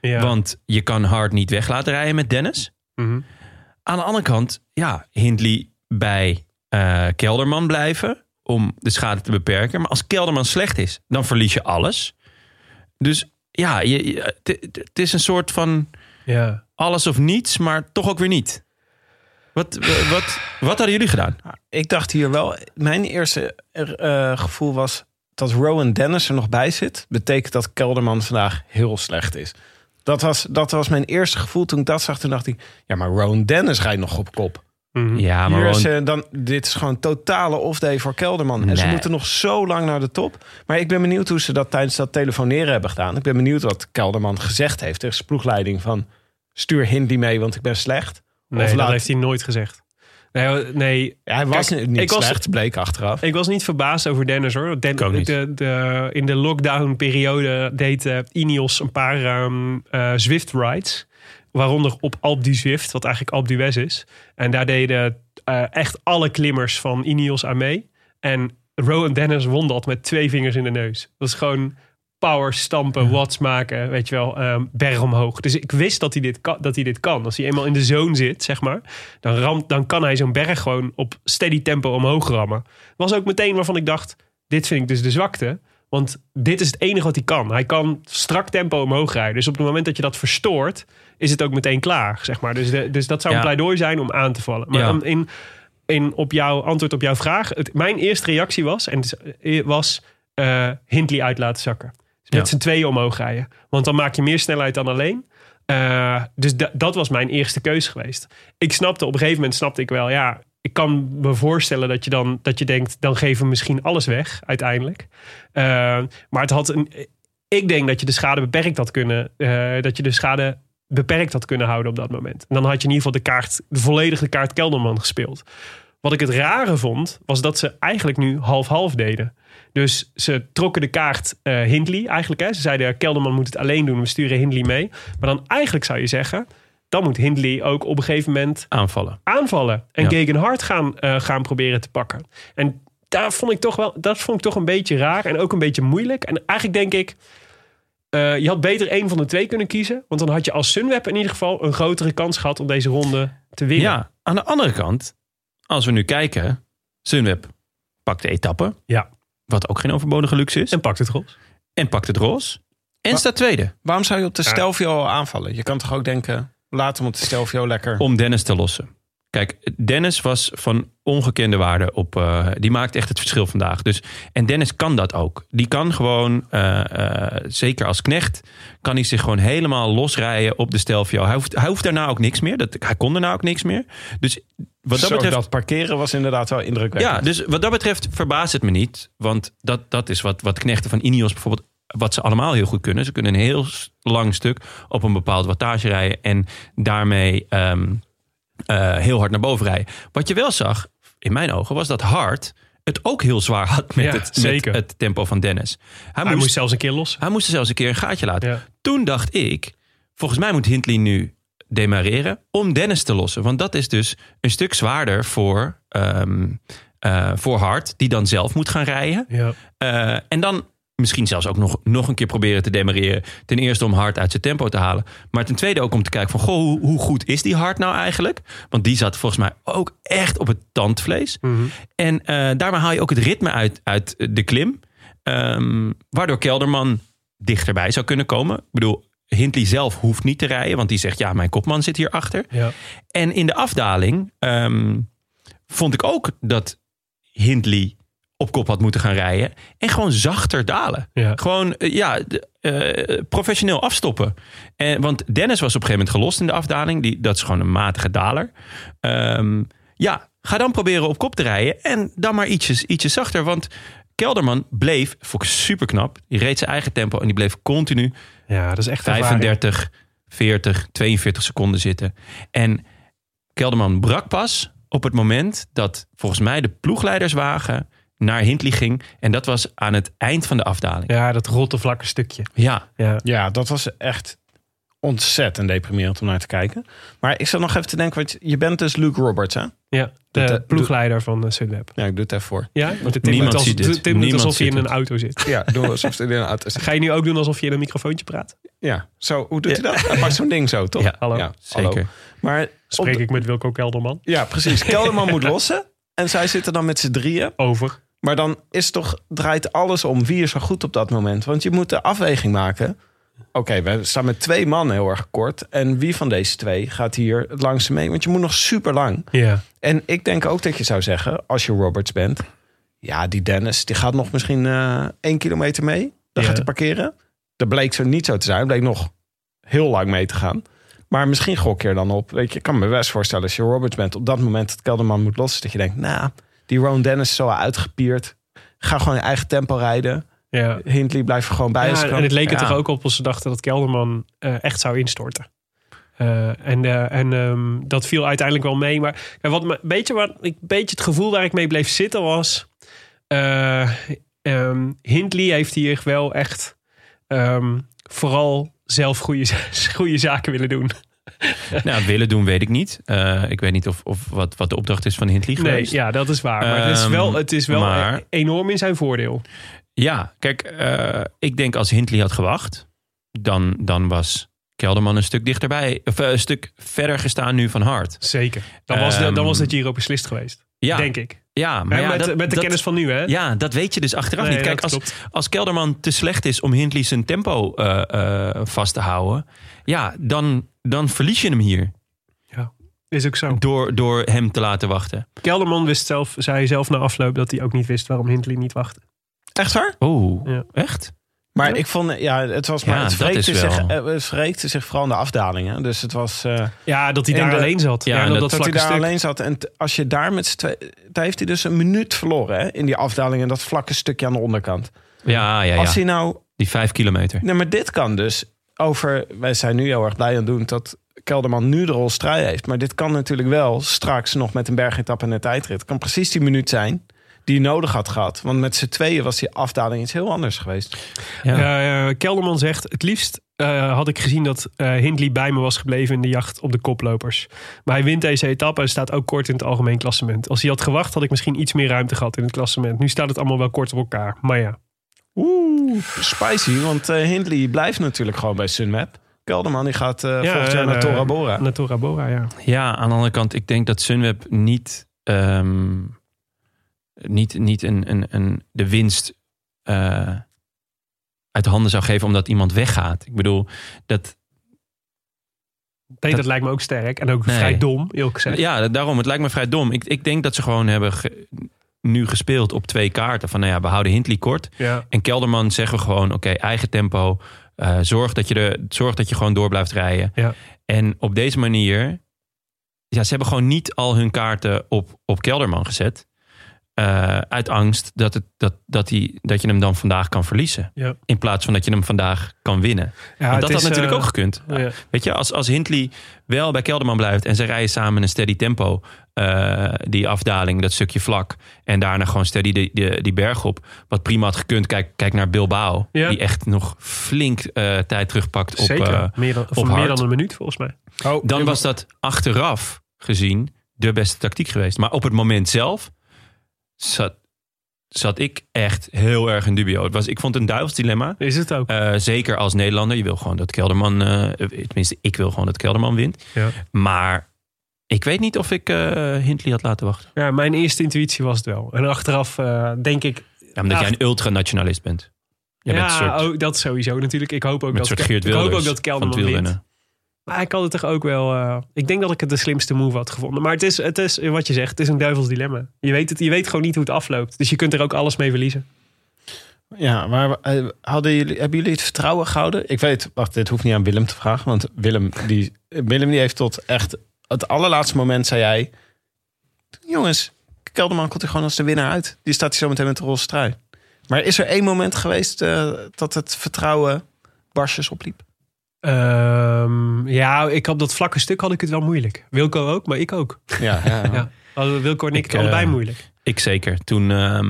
[SPEAKER 1] ja.
[SPEAKER 5] Want je kan Hart niet weg laten rijden met Dennis.
[SPEAKER 1] Mhm.
[SPEAKER 5] Aan de andere kant, ja, Hindley bij eh, Kelderman blijven om de schade te beperken. Maar als Kelderman slecht is, dan verlies je alles. Dus ja, je- je- het het is een soort van
[SPEAKER 1] ja.
[SPEAKER 5] alles of niets, maar toch ook weer niet. Wat, wa- wat, wat hadden jullie gedaan?
[SPEAKER 4] Nou, Ik dacht hier wel, mijn eerste eh, gevoel was dat Rowan Dennis er nog bij zit. Betekent dat Kelderman vandaag heel slecht is. Dat was, dat was mijn eerste gevoel toen ik dat zag. Toen dacht ik, ja, maar Rowan Dennis rijdt nog op kop.
[SPEAKER 1] Mhm.
[SPEAKER 5] Ja,
[SPEAKER 4] Hier is,
[SPEAKER 5] gewoon-
[SPEAKER 4] eh, dan, dit is gewoon totale off-day voor Kelderman. En ze
[SPEAKER 5] Nee.
[SPEAKER 4] moeten nog zo lang naar de top. Maar ik ben benieuwd hoe ze dat tijdens dat telefoneren hebben gedaan. Ik ben benieuwd wat Kelderman gezegd heeft tegen zijn ploegleiding. Van, stuur Hindley mee, want ik ben slecht.
[SPEAKER 1] Nee,
[SPEAKER 4] of
[SPEAKER 1] dat
[SPEAKER 4] laat-
[SPEAKER 1] heeft hij nooit gezegd. Nee, nee
[SPEAKER 4] Ja, hij was
[SPEAKER 1] Kijk,
[SPEAKER 4] niet
[SPEAKER 1] ik was-
[SPEAKER 4] slecht, bleek achteraf.
[SPEAKER 1] Ik was niet verbaasd over Dennis hoor. Den-
[SPEAKER 5] Ik ook niet.
[SPEAKER 1] de, de, in de lockdown periode deed eh, Ineos een paar ehm, eh, Zwift rides. Waaronder op Alp du Zwift, wat eigenlijk Alp d'Huez is. En daar deden eh, echt alle klimmers van Ineos aan mee. En Rowan Dennis won dat met twee vingers in de neus. Dat is gewoon power stampen, watts maken, weet je wel, ehm, berg omhoog. Dus ik wist dat hij, dit kan, dat hij dit kan. Als hij eenmaal in de zone zit, zeg maar, dan, ramt, dan kan hij zo'n berg gewoon op steady tempo omhoog rammen. Was ook meteen waarvan ik dacht, dit vind ik dus de zwakte. Want dit is het enige wat hij kan. Hij kan strak tempo omhoog rijden. Dus op het moment dat je dat verstoort, is het ook meteen klaar, zeg maar. Dus, de, dus dat zou een
[SPEAKER 5] Ja.
[SPEAKER 1] pleidooi zijn om aan te vallen. Maar
[SPEAKER 5] Ja.
[SPEAKER 1] om in, in, op jouw antwoord op jouw vraag, het, mijn eerste reactie was, en het is- was eh, Hindley uit laten zakken. Dus met
[SPEAKER 5] Ja.
[SPEAKER 1] z'n tweeën omhoog rijden. Want dan maak je meer snelheid dan alleen. Eh, dus da- dat was mijn eerste keuze geweest. Ik snapte, op een gegeven moment snapte ik wel, ja, ik kan me voorstellen dat je dan dat je denkt, dan geven we misschien alles weg uiteindelijk. Eh, maar het had een, ik denk dat je de schade beperkt had kunnen, eh, dat je de schade beperkt had kunnen houden op dat moment. En dan had je in ieder geval de kaart, de volledige kaart Kelderman gespeeld. Wat ik het rare vond, was dat ze eigenlijk nu half-half deden. Dus ze trokken de kaart eh, Hindley eigenlijk. Hè. Ze zeiden, Kelderman moet het alleen doen, we sturen Hindley mee. Maar dan eigenlijk zou je zeggen, dan moet Hindley ook op een gegeven moment
[SPEAKER 5] aanvallen.
[SPEAKER 1] aanvallen. En
[SPEAKER 5] Ja.
[SPEAKER 1] Gegenhard gaan, eh, gaan proberen te pakken. En daar vond ik toch wel, dat vond ik toch een beetje raar en ook een beetje moeilijk. En eigenlijk denk ik, eh, je had beter één van de twee kunnen kiezen. Want dan had je als Sunweb in ieder geval een grotere kans gehad om deze ronde te winnen.
[SPEAKER 5] Ja, aan de andere kant, als we nu kijken, Sunweb pakt de etappe.
[SPEAKER 1] Ja.
[SPEAKER 5] Wat ook geen overbodige luxe is.
[SPEAKER 1] En
[SPEAKER 5] En,
[SPEAKER 1] pakt het gros.
[SPEAKER 5] pakt het roze. En staat tweede.
[SPEAKER 4] Waarom zou je op de Stelvio al aanvallen? Je kan toch ook denken, laat hem op de Stelvio lekker.
[SPEAKER 5] om Dennis te lossen. Kijk, Dennis was van ongekende waarde op. eh, die maakt echt het verschil vandaag. Dus, en Dennis kan dat ook. Die kan gewoon, eh, eh, zeker als knecht, kan hij zich gewoon helemaal losrijden op de Stelvio. Hij hoeft, hij hoeft daarna ook niks meer. Dat, hij kon daarna ook niks meer. Dus wat dat
[SPEAKER 4] Zo,
[SPEAKER 5] betreft.
[SPEAKER 4] dat parkeren was inderdaad wel indrukwekkend.
[SPEAKER 5] Ja, dus wat dat betreft verbaast het me niet. Want dat, dat is wat, wat knechten van Ineos bijvoorbeeld... wat ze allemaal heel goed kunnen. Ze kunnen een heel s- lang stuk op een bepaald wattage rijden... en daarmee ehm, eh, heel hard naar boven rijden. Wat je wel zag, in mijn ogen, was dat Hart het ook heel zwaar had... met,
[SPEAKER 1] Ja,
[SPEAKER 5] het,
[SPEAKER 1] zeker.
[SPEAKER 5] met het tempo van Dennis. Hij,
[SPEAKER 1] Hij
[SPEAKER 5] moest,
[SPEAKER 1] moest zelfs een keer los.
[SPEAKER 5] hij moest er zelfs een keer een gaatje laten.
[SPEAKER 1] Ja.
[SPEAKER 5] Toen dacht ik, volgens mij moet Hindley nu demareren om Dennis te lossen. Want dat is dus een stuk zwaarder voor ehm, eh, voor hard, die dan zelf moet gaan rijden.
[SPEAKER 1] Ja.
[SPEAKER 5] Eh, en dan misschien zelfs ook nog, nog een keer proberen te demareren. Ten eerste om hard uit zijn tempo te halen. Maar ten tweede ook om te kijken van... Goh, hoe, hoe goed is die hard nou eigenlijk? Want die zat volgens mij ook echt op het tandvlees. En eh, daarmee haal je ook het ritme uit, uit de klim. Ehm, waardoor Kelderman dichterbij zou kunnen komen. Ik bedoel, Hindley zelf hoeft niet te rijden. Want die zegt, ja, mijn kopman zit hier achter.
[SPEAKER 1] Ja.
[SPEAKER 5] En in de afdaling ehm, vond ik ook dat Hindley op kop had moeten gaan rijden. En gewoon zachter dalen.
[SPEAKER 1] Ja.
[SPEAKER 5] Gewoon eh, ja, de- eh, professioneel afstoppen. En, want Dennis was op een gegeven moment gelost in de afdaling. Die, dat is gewoon een matige daler. Ehm, ja, ga dan proberen op kop te rijden. En dan maar ietsjes, ietsjes zachter. Want Kelderman bleef, vond ik super knap. Die reed zijn eigen tempo en die bleef continu
[SPEAKER 1] ja, dat is echt ervaring.
[SPEAKER 5] 35, 40, 42 seconden zitten. En Kelderman brak pas op het moment dat volgens mij de ploegleiderswagen naar Hindley ging. En dat was aan het eind van de afdaling.
[SPEAKER 1] Ja, dat rotte vlakke stukje.
[SPEAKER 5] Ja,
[SPEAKER 1] Ja.
[SPEAKER 4] Ja, dat was echt ontzettend deprimerend om naar te kijken. Maar ik zat nog even te denken, want je bent dus Luke Roberts, hè?
[SPEAKER 1] ja. De
[SPEAKER 4] Dat, eh,
[SPEAKER 1] ploegleider van uh, Sunweb.
[SPEAKER 4] Ja, ik doe het even voor.
[SPEAKER 1] Ja? Want Tim
[SPEAKER 5] Niemand
[SPEAKER 1] doet als-
[SPEAKER 5] ziet dit.
[SPEAKER 1] Tim doet
[SPEAKER 5] Niemand
[SPEAKER 1] alsof hij
[SPEAKER 5] ziet
[SPEAKER 1] in een
[SPEAKER 5] dit.
[SPEAKER 1] auto zit.
[SPEAKER 4] Ja, doe alsof ze in een auto zitten.
[SPEAKER 1] Ga je nu ook doen alsof je in een microfoontje praat?
[SPEAKER 4] Ja, zo, hoe doet hij dat? Hij pakt zo'n ding zo, toch?
[SPEAKER 5] Ja,
[SPEAKER 1] hallo.
[SPEAKER 5] zeker.
[SPEAKER 1] (laughs)
[SPEAKER 4] hallo. Maar op
[SPEAKER 1] Spreek
[SPEAKER 4] de-
[SPEAKER 1] ik met Wilco Kelderman?
[SPEAKER 4] Ja, precies. Kelderman moet lossen. En zij zitten dan met z'n drieën.
[SPEAKER 1] Over.
[SPEAKER 4] Maar dan is toch, draait alles om wie is er goed op dat moment. Want je moet de afweging maken. Oké, we staan met twee man heel erg kort. En wie van deze twee gaat hier het langste mee? Want je moet nog super lang.
[SPEAKER 1] Ja.
[SPEAKER 4] En ik denk ook dat je zou zeggen, als je Roberts bent... Ja, die Dennis, die gaat nog misschien eh, één kilometer mee.
[SPEAKER 1] Ja.
[SPEAKER 4] Dan gaat hij parkeren. Dat bleek zo niet zo te zijn. Bleek nog heel lang mee te gaan. Maar misschien gok je er dan op. Weet je, ik kan me best voorstellen als je Roberts bent... op dat moment dat Kelderman moet lossen... dat je denkt, nou, die Ron Dennis is al uitgepierd. Ga gewoon je eigen tempo rijden.
[SPEAKER 1] Ja.
[SPEAKER 4] Hindley blijft er gewoon bij. als
[SPEAKER 1] Ja,
[SPEAKER 4] kan.
[SPEAKER 1] en het leek het
[SPEAKER 4] Ja.
[SPEAKER 1] er ook op als ze dachten dat Kelderman eh, echt zou instorten. Eh, en eh, en ehm, dat viel uiteindelijk wel mee. Maar ja, wat me, beetje, wat, ik, beetje het gevoel waar ik mee bleef zitten was... eh, ehm, Hindley heeft hier wel echt ehm, vooral zelf goede, za- (laughs) goede zaken willen doen.
[SPEAKER 5] Nou, willen doen weet ik niet. Eh, ik weet niet of, of wat, wat de opdracht is van Hindley
[SPEAKER 1] Nee,
[SPEAKER 5] geweest.
[SPEAKER 1] ja, dat is waar. Maar het is
[SPEAKER 5] Ehm,
[SPEAKER 1] wel, het is wel
[SPEAKER 5] maar-
[SPEAKER 1] e- enorm in zijn voordeel.
[SPEAKER 5] Ja, kijk, eh, ik denk als Hindley had gewacht, dan, dan was Kelderman een stuk dichterbij, of eh, een stuk verder gestaan nu van Hart.
[SPEAKER 1] Zeker. Dan was, de, dan
[SPEAKER 5] Ehm,
[SPEAKER 1] was het Giro beslist geweest.
[SPEAKER 5] Ja,
[SPEAKER 1] Denk ik.
[SPEAKER 5] Ja, maar
[SPEAKER 1] Hè,
[SPEAKER 5] ja,
[SPEAKER 1] met,
[SPEAKER 5] dat-
[SPEAKER 1] met de
[SPEAKER 5] dat-
[SPEAKER 1] kennis van nu, hè?
[SPEAKER 5] Ja, dat weet je dus achteraf
[SPEAKER 1] Nee,
[SPEAKER 5] niet. Kijk,
[SPEAKER 1] dat
[SPEAKER 5] als, als Kelderman te slecht is om Hindley zijn tempo eh, eh, vast te houden, ja, dan, dan verlies je hem hier
[SPEAKER 1] Is ook zo.
[SPEAKER 5] door, door hem te laten wachten.
[SPEAKER 1] Kelderman wist zelf, zei zelf na afloop dat hij ook niet wist waarom Hindley niet wachtte.
[SPEAKER 4] Echt waar?
[SPEAKER 5] Oh,
[SPEAKER 1] Ja.
[SPEAKER 5] echt?
[SPEAKER 4] Maar ik vond, ja, het was maar,
[SPEAKER 5] Ja,
[SPEAKER 4] het,
[SPEAKER 5] dat
[SPEAKER 4] wreekte
[SPEAKER 5] is
[SPEAKER 4] zich,
[SPEAKER 5] wel-
[SPEAKER 4] eh, het wreekte zich vooral in de afdalingen. Dus het was... eh,
[SPEAKER 1] Ja, dat hij
[SPEAKER 4] En
[SPEAKER 1] daar
[SPEAKER 4] de-
[SPEAKER 1] alleen zat.
[SPEAKER 5] Ja,
[SPEAKER 1] Ja,
[SPEAKER 5] en
[SPEAKER 1] op
[SPEAKER 5] dat-
[SPEAKER 1] dat,
[SPEAKER 4] dat hij
[SPEAKER 1] vlakke
[SPEAKER 4] daar
[SPEAKER 1] stuk.
[SPEAKER 4] alleen zat. En t- als je daar met z'n twee... Daar heeft hij dus een minuut verloren hè, in die afdaling. En dat vlakke stukje aan de onderkant.
[SPEAKER 5] Ja, ja, ja.
[SPEAKER 4] Als hij nou...
[SPEAKER 5] Die vijf kilometer.
[SPEAKER 4] Nee, maar dit kan dus over... Wij zijn nu heel erg blij aan het doen dat Kelderman nu de rol straai heeft. Maar dit kan natuurlijk wel straks nog met een bergetap en een tijdrit. Het kan precies die minuut zijn die hij nodig had gehad. Want met z'n tweeën was die afdaling iets heel anders geweest.
[SPEAKER 5] Ja.
[SPEAKER 1] Eh, Kelderman zegt, het liefst eh, had ik gezien dat eh, Hindley bij me was gebleven in de jacht op de koplopers. Maar hij wint deze etappe en staat ook kort in het algemeen klassement. Als hij had gewacht, had ik misschien iets meer ruimte gehad in het klassement. Nu staat het allemaal wel kort op elkaar. Maar ja,
[SPEAKER 4] Oeh, spicy. Want eh, Hindley blijft natuurlijk gewoon bij Sunweb. Kelderman die gaat eh
[SPEAKER 1] Ja,
[SPEAKER 4] volgend jaar
[SPEAKER 1] en,
[SPEAKER 4] naar
[SPEAKER 1] eh,
[SPEAKER 4] Tora Bora.
[SPEAKER 1] Natura Bora, ja.
[SPEAKER 5] Ja, aan de andere kant, ik denk dat Sunweb niet, ehm, niet, niet een, een, een, de winst eh, uit handen zou geven omdat iemand weggaat. Ik bedoel, dat,
[SPEAKER 1] Nee, dat,
[SPEAKER 5] Dat-
[SPEAKER 1] lijkt me ook sterk. En ook
[SPEAKER 5] Nee.
[SPEAKER 1] vrij dom, eerlijk gezegd.
[SPEAKER 5] Ja, da- daarom. Het lijkt me vrij dom. Ik, ik denk dat ze gewoon hebben ge- nu gespeeld op twee kaarten. Van nou ja, we houden Hindley kort.
[SPEAKER 1] Ja.
[SPEAKER 5] En Kelderman zeggen we gewoon, oké, eigen tempo. Eh, zorg, dat je er, zorg dat je gewoon door blijft rijden.
[SPEAKER 1] Ja.
[SPEAKER 5] En op deze manier... Ja, ze hebben gewoon niet al hun kaarten op, op Kelderman gezet. Eh, uit angst dat, het, dat, dat, die, dat je hem dan vandaag kan verliezen.
[SPEAKER 1] Ja.
[SPEAKER 5] In plaats van dat je hem vandaag kan winnen.
[SPEAKER 1] Ja,
[SPEAKER 5] Want
[SPEAKER 1] het
[SPEAKER 5] dat
[SPEAKER 1] is,
[SPEAKER 5] had natuurlijk
[SPEAKER 1] eh,
[SPEAKER 5] ook gekund.
[SPEAKER 1] ja.
[SPEAKER 5] Weet je, als, als Hindley wel bij Kelderman blijft en ze rijden samen in een steady tempo, eh, die afdaling, dat stukje vlak, en daarna gewoon steady die, die, die berg op, wat prima had gekund. Kijk, kijk naar Bilbao,
[SPEAKER 1] Ja.
[SPEAKER 5] die echt nog flink eh, tijd terugpakt op.
[SPEAKER 1] Zeker.
[SPEAKER 5] eh,
[SPEAKER 1] meer dan, voor
[SPEAKER 5] op
[SPEAKER 1] meer
[SPEAKER 5] hard.
[SPEAKER 1] dan een minuut, volgens mij.
[SPEAKER 5] dan was dat achteraf gezien de beste tactiek geweest. Maar op het moment zelf zat, zat ik echt heel erg in dubio. Het was, ik vond het een duivels dilemma.
[SPEAKER 1] Is het ook?
[SPEAKER 5] Eh, zeker als Nederlander. Je wil gewoon dat Kelderman. eh, tenminste, ik wil gewoon dat Kelderman wint.
[SPEAKER 1] Ja.
[SPEAKER 5] Maar ik weet niet of ik eh Hindley had laten wachten.
[SPEAKER 1] Ja, mijn eerste intuïtie was het wel. En achteraf eh, denk ik...
[SPEAKER 5] Ja, omdat
[SPEAKER 1] Ja.
[SPEAKER 5] jij een ultranationalist bent. Jij bent een soort,
[SPEAKER 1] ja, ook, dat sowieso natuurlijk. Ik hoop ook,
[SPEAKER 5] met een
[SPEAKER 1] dat,
[SPEAKER 5] soort
[SPEAKER 1] Ke-
[SPEAKER 5] Geert
[SPEAKER 1] ik
[SPEAKER 5] Wilders
[SPEAKER 1] hoop ook dat
[SPEAKER 5] van het
[SPEAKER 1] Kelderman wint.
[SPEAKER 5] wielrennen.
[SPEAKER 1] Maar ik had het toch ook wel... eh, ik denk dat ik het de slimste move had gevonden. Maar het is, het is eh, wat je zegt, het is een duivels dilemma. Je weet, het, je weet gewoon niet hoe het afloopt. Dus je kunt er ook alles mee verliezen.
[SPEAKER 4] Ja, maar eh, hadden jullie, hebben jullie het vertrouwen gehouden? Ik weet, wacht, dit hoeft niet aan Willem te vragen. Want Willem, die, Willem die heeft tot echt het allerlaatste moment, zei hij... Jongens, Kelderman komt er gewoon als de winnaar uit. Die staat hier zo meteen met de roze trui. Maar is er één moment geweest eh, dat het vertrouwen barstjes opliep?
[SPEAKER 1] Ehm, ja, ik had dat vlakke stuk had ik het wel moeilijk. Wilco ook, maar ik ook.
[SPEAKER 4] Ja, ja.
[SPEAKER 1] Ja. Hadden Wilco en ik,
[SPEAKER 5] Ik,
[SPEAKER 1] het allebei
[SPEAKER 5] eh,
[SPEAKER 1] moeilijk.
[SPEAKER 5] Ik zeker. Toen, ehm,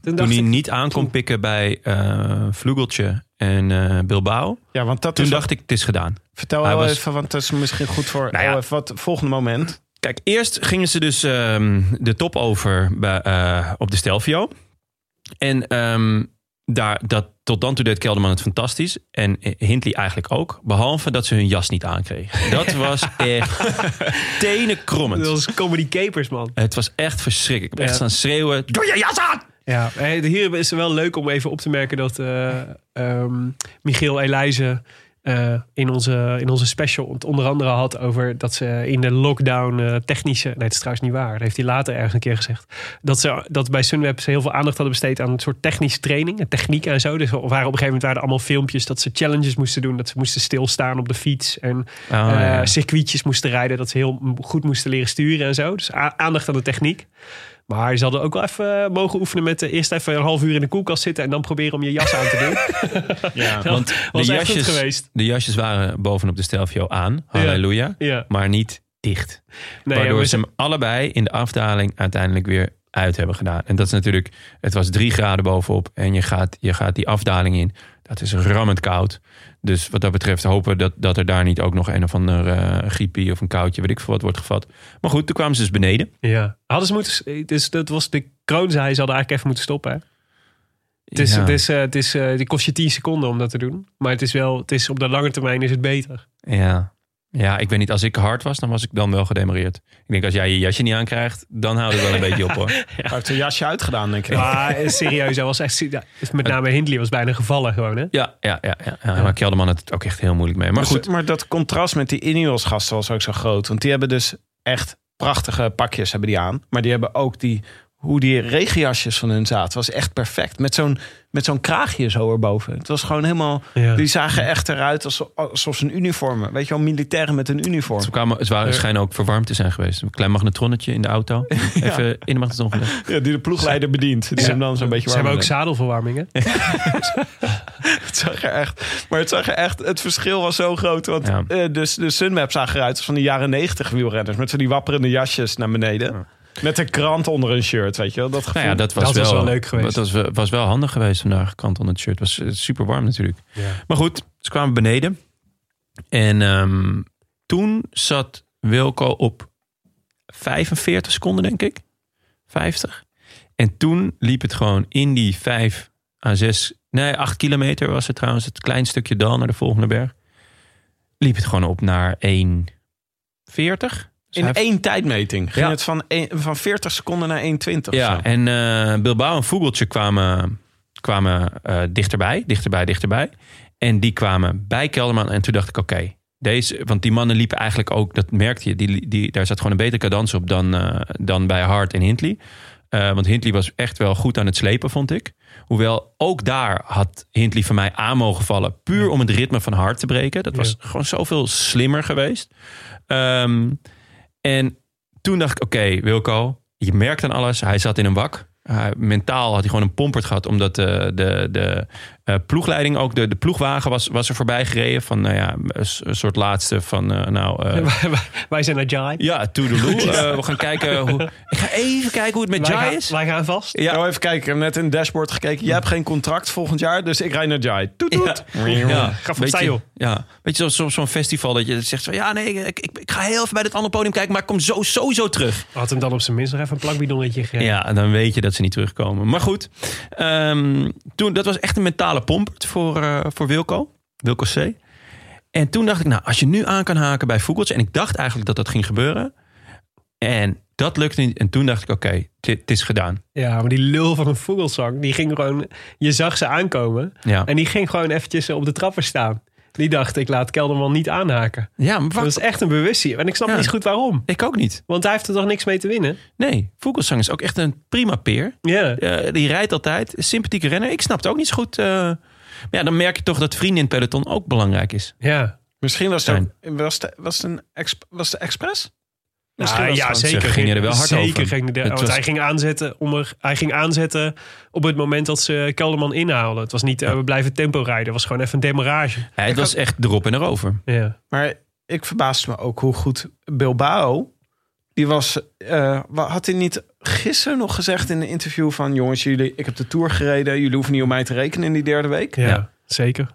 [SPEAKER 5] toen,
[SPEAKER 1] dacht
[SPEAKER 5] hij
[SPEAKER 1] ik-
[SPEAKER 5] niet aan kon pikken bij eh Vlugeltje en eh, Bilbao.
[SPEAKER 4] ja want dat
[SPEAKER 5] Toen
[SPEAKER 1] Dus-
[SPEAKER 4] is,
[SPEAKER 5] dacht ik, het is gedaan.
[SPEAKER 4] vertel
[SPEAKER 5] hij
[SPEAKER 4] wel
[SPEAKER 5] was-
[SPEAKER 4] even, want dat is misschien goed voor
[SPEAKER 5] Nou ja.
[SPEAKER 4] oh, even wat volgende moment.
[SPEAKER 5] Kijk, eerst gingen ze dus ehm, de top over bij, eh, op de Stelvio. En ehm, daar, dat, tot dan toe deed Kelderman het fantastisch. En eh, Hindley eigenlijk ook. Behalve dat ze hun jas niet aankregen.
[SPEAKER 1] (laughs)
[SPEAKER 5] Dat was echt tenenkrommend.
[SPEAKER 1] Dat was comedy capers, man.
[SPEAKER 5] Het was echt verschrikkelijk. Ik heb echt
[SPEAKER 1] Ja.
[SPEAKER 5] staan schreeuwen. Doe je jas aan!
[SPEAKER 1] Ja, eh, hier is het wel leuk om even op te merken dat eh, ehm, Michiel Elijzen eh, in, onze, in onze special het onder andere had over dat ze in de lockdown eh, technische. Nee, het is trouwens niet waar. Dat heeft hij later ergens een keer gezegd. Dat ze dat bij Sunweb ze heel veel aandacht hadden besteed aan een soort technische training, en techniek en zo. Dus er waren op een gegeven moment waren er allemaal filmpjes dat ze challenges moesten doen, dat ze moesten stilstaan op de fiets en
[SPEAKER 5] Oh,
[SPEAKER 1] eh,
[SPEAKER 5] ja.
[SPEAKER 1] circuitjes moesten rijden, dat ze heel m- goed moesten leren sturen en zo. Dus a- aandacht aan de techniek. Maar ze hadden ook wel even eh, mogen oefenen met eh, eerst even een half uur in de koelkast zitten en dan proberen om je jas aan te doen.
[SPEAKER 5] (laughs)
[SPEAKER 4] Ja.
[SPEAKER 5] Want
[SPEAKER 1] was
[SPEAKER 5] de,
[SPEAKER 1] echt goed
[SPEAKER 5] jasjes,
[SPEAKER 1] geweest.
[SPEAKER 5] de jasjes waren bovenop de Stelvio aan. Halleluja.
[SPEAKER 1] Ja,
[SPEAKER 5] Maar niet dicht.
[SPEAKER 1] nee, ja,
[SPEAKER 5] Waardoor
[SPEAKER 1] maar
[SPEAKER 5] ze
[SPEAKER 1] ze-
[SPEAKER 5] hem allebei in de afdaling uiteindelijk weer uit hebben gedaan. En dat is natuurlijk, het was drie graden bovenop en je gaat, je gaat die afdaling in. Dat is rammend koud. Dus wat dat betreft hopen we dat, dat er daar niet ook nog een of ander eh griepie of een koudje, weet ik veel wat, wordt gevat. Maar goed, toen kwamen ze dus beneden.
[SPEAKER 1] ja. Hadden ze moeten. Dus dat was de kroon, zei hij, ze hadden eigenlijk even moeten stoppen. Hè? Het is,
[SPEAKER 5] Ja.
[SPEAKER 1] het is, eh, het is, eh, die kost je 10 seconden om dat te doen. Maar het is wel, het is, op de lange termijn is het beter.
[SPEAKER 5] Ja. ja, ik weet niet, als ik hard was, dan was ik dan wel gedemareerd. Ik denk, als jij je jasje niet aankrijgt, dan houdt het
[SPEAKER 1] (laughs)
[SPEAKER 5] wel een beetje op hoor.
[SPEAKER 4] Hij heeft een jasje uitgedaan, denk ik.
[SPEAKER 1] Maar eh, serieus, hij was echt. ja, Met name Hindley was bijna gevallen gewoon. Hè?
[SPEAKER 5] Ja, ja, ja, ja, ja. maar Kelderman had het ook echt heel moeilijk mee. Maar
[SPEAKER 4] Dus-
[SPEAKER 5] goed,
[SPEAKER 4] maar dat contrast met die Ineos gasten was ook zo groot. Want die hebben dus echt prachtige pakjes hebben die aan. Maar die hebben ook die, hoe die regenjasjes van hun zaten. was echt perfect. Met zo'n, met zo'n kraagje zo erboven. Het was gewoon helemaal...
[SPEAKER 1] Ja.
[SPEAKER 4] Die zagen echt eruit als, alsof ze een uniform... Weet je wel, militairen met een uniform.
[SPEAKER 5] Ze, kwamen, ze waren schijnen ook verwarmd te zijn geweest. Een klein magnetronnetje in de auto. Even in de magnetron gelegd.
[SPEAKER 4] Ja, die de ploegleider bedient. Die hem dan zo'n beetje
[SPEAKER 1] Ze hebben
[SPEAKER 4] warm
[SPEAKER 1] ook zadelverwarming, hè?
[SPEAKER 4] Het zag er echt, maar het zag er echt, het verschil was zo groot. Want
[SPEAKER 5] Ja.
[SPEAKER 4] eh, de, de Sunweb zag eruit als van de jaren negentig wielrenners. Met van die wapperende jasjes naar beneden. Met een krant onder een shirt, weet je wel. Dat gevoel.
[SPEAKER 5] Nou ja, dat was,
[SPEAKER 1] Dat
[SPEAKER 5] wel,
[SPEAKER 1] was wel leuk geweest.
[SPEAKER 5] Dat was, wel- was wel handig geweest vandaag, kant onder het shirt. Het was eh, super warm natuurlijk. Maar goed, ze kwamen beneden. En ehm, toen zat Wilco op 45 seconden, denk ik. 50. En toen liep het gewoon in die 5 à 6, nee, 8 kilometer was het trouwens. Het klein stukje dal naar de volgende berg. Liep het gewoon op naar 1,40. Dus
[SPEAKER 4] In
[SPEAKER 5] hij-
[SPEAKER 4] één tijdmeting ging
[SPEAKER 5] Ja.
[SPEAKER 4] het van, een- van 40 seconden naar 1,20.
[SPEAKER 5] Ja, en eh, Bilbao en Vogeltje kwamen, kwamen eh, dichterbij, dichterbij, dichterbij. En die kwamen bij Kelderman. En toen dacht ik, oké, deze... Want die mannen liepen eigenlijk ook, dat merkte je... Die, die, daar zat gewoon een betere cadans op dan, eh, dan bij Hart en Hindley. Eh, want Hindley was echt wel goed aan het slepen, vond ik. Hoewel, ook daar had Hindley van mij aan mogen vallen. Puur om het ritme van Hart te breken. Dat was gewoon zoveel slimmer geweest. Ehm, en toen dacht ik, oké, Wilco, je merkt aan alles. Hij zat in een wak. Hij- mentaal had hij gewoon een pompert gehad, omdat de, de, de eh, ploegleiding ook, de, de ploegwagen was, was er voorbij gereden. Van, nou ja, een s- een soort laatste van, eh, nou...
[SPEAKER 1] (laughs)
[SPEAKER 5] eh,
[SPEAKER 1] Wij- wij- Wij zijn naar Jai.
[SPEAKER 5] ja,
[SPEAKER 1] (laughs)
[SPEAKER 5] toedeloe. Eh, we gaan kijken hoe... Ik ga even kijken hoe het met
[SPEAKER 1] Wij,
[SPEAKER 5] Jai
[SPEAKER 1] gaan-
[SPEAKER 5] is.
[SPEAKER 1] wij gaan vast.
[SPEAKER 4] Ja. Nou, even kijken. Ik heb net in het dashboard gekeken. Jij hebt geen contract volgend jaar, dus ik rijd naar Jai. Toet, toet.
[SPEAKER 5] Ja,
[SPEAKER 1] Ga
[SPEAKER 5] beetje-
[SPEAKER 1] opzij, joh.
[SPEAKER 5] Ja, weet je, zo- zo- zo'n festival dat je zegt van... Ja, nee, ik, ik, ik ga heel even bij dat andere podium kijken, maar ik kom zo, sowieso terug.
[SPEAKER 1] Had hem dan op zijn minst nog even een plakbidonnetje gegeven.
[SPEAKER 5] Ja, dan weet je dat dat ze niet terugkomen. Maar goed, ehm, toen, dat was echt een mentale pompert voor, eh, voor Wilco. Wilco C. En toen dacht ik, nou, als je nu aan kan haken bij Vogeltje... en ik dacht eigenlijk dat dat ging gebeuren. En dat lukte niet. En toen dacht ik, oké, dit het is gedaan.
[SPEAKER 1] Ja, maar die lul van een vogelsang, die ging gewoon... Je zag ze aankomen
[SPEAKER 5] Ja,
[SPEAKER 1] en die ging gewoon eventjes op de trappen staan. Die dacht, ik laat Kelderman niet aanhaken.
[SPEAKER 5] ja maar
[SPEAKER 1] Dat
[SPEAKER 5] wacht,
[SPEAKER 1] is echt een bewustzijn. En ik snap
[SPEAKER 5] Ja.
[SPEAKER 1] niet goed waarom.
[SPEAKER 5] ik ook niet.
[SPEAKER 1] Want hij heeft er toch niks mee te winnen?
[SPEAKER 5] Nee, Vogelsang is ook echt een prima peer.
[SPEAKER 1] Ja.
[SPEAKER 5] Eh, die rijdt altijd. Een Sympathieke renner. Ik snap het ook niet zo goed. eh. maar ja, dan merk je toch dat vrienden in het peloton ook belangrijk is.
[SPEAKER 1] Ja,
[SPEAKER 4] Misschien was het,
[SPEAKER 5] Zijn.
[SPEAKER 4] ook- was het, was het, een exp- was het expres?
[SPEAKER 1] Ah,
[SPEAKER 4] was het
[SPEAKER 1] ja
[SPEAKER 4] gewoon-
[SPEAKER 1] zeker.
[SPEAKER 5] Ze gingen er wel hard
[SPEAKER 1] zeker
[SPEAKER 5] over.
[SPEAKER 1] Ging de,
[SPEAKER 5] Het
[SPEAKER 1] want
[SPEAKER 5] was-
[SPEAKER 1] hij, ging aanzetten om er, hij ging aanzetten op het moment dat ze Kelderman inhalen. Het was niet, eh, we blijven tempo rijden. Het was gewoon even een demarrage.
[SPEAKER 5] Hij het was echt erop en erover.
[SPEAKER 1] Ja.
[SPEAKER 4] Maar ik verbaasde me ook hoe goed Bilbao. Die was. eh, wa- had hij niet gisteren nog gezegd in een interview van. Jongens, jullie, ik heb de tour gereden. Jullie hoeven niet op mij te rekenen in die derde week.
[SPEAKER 1] Ja,
[SPEAKER 5] Ja.
[SPEAKER 1] zeker.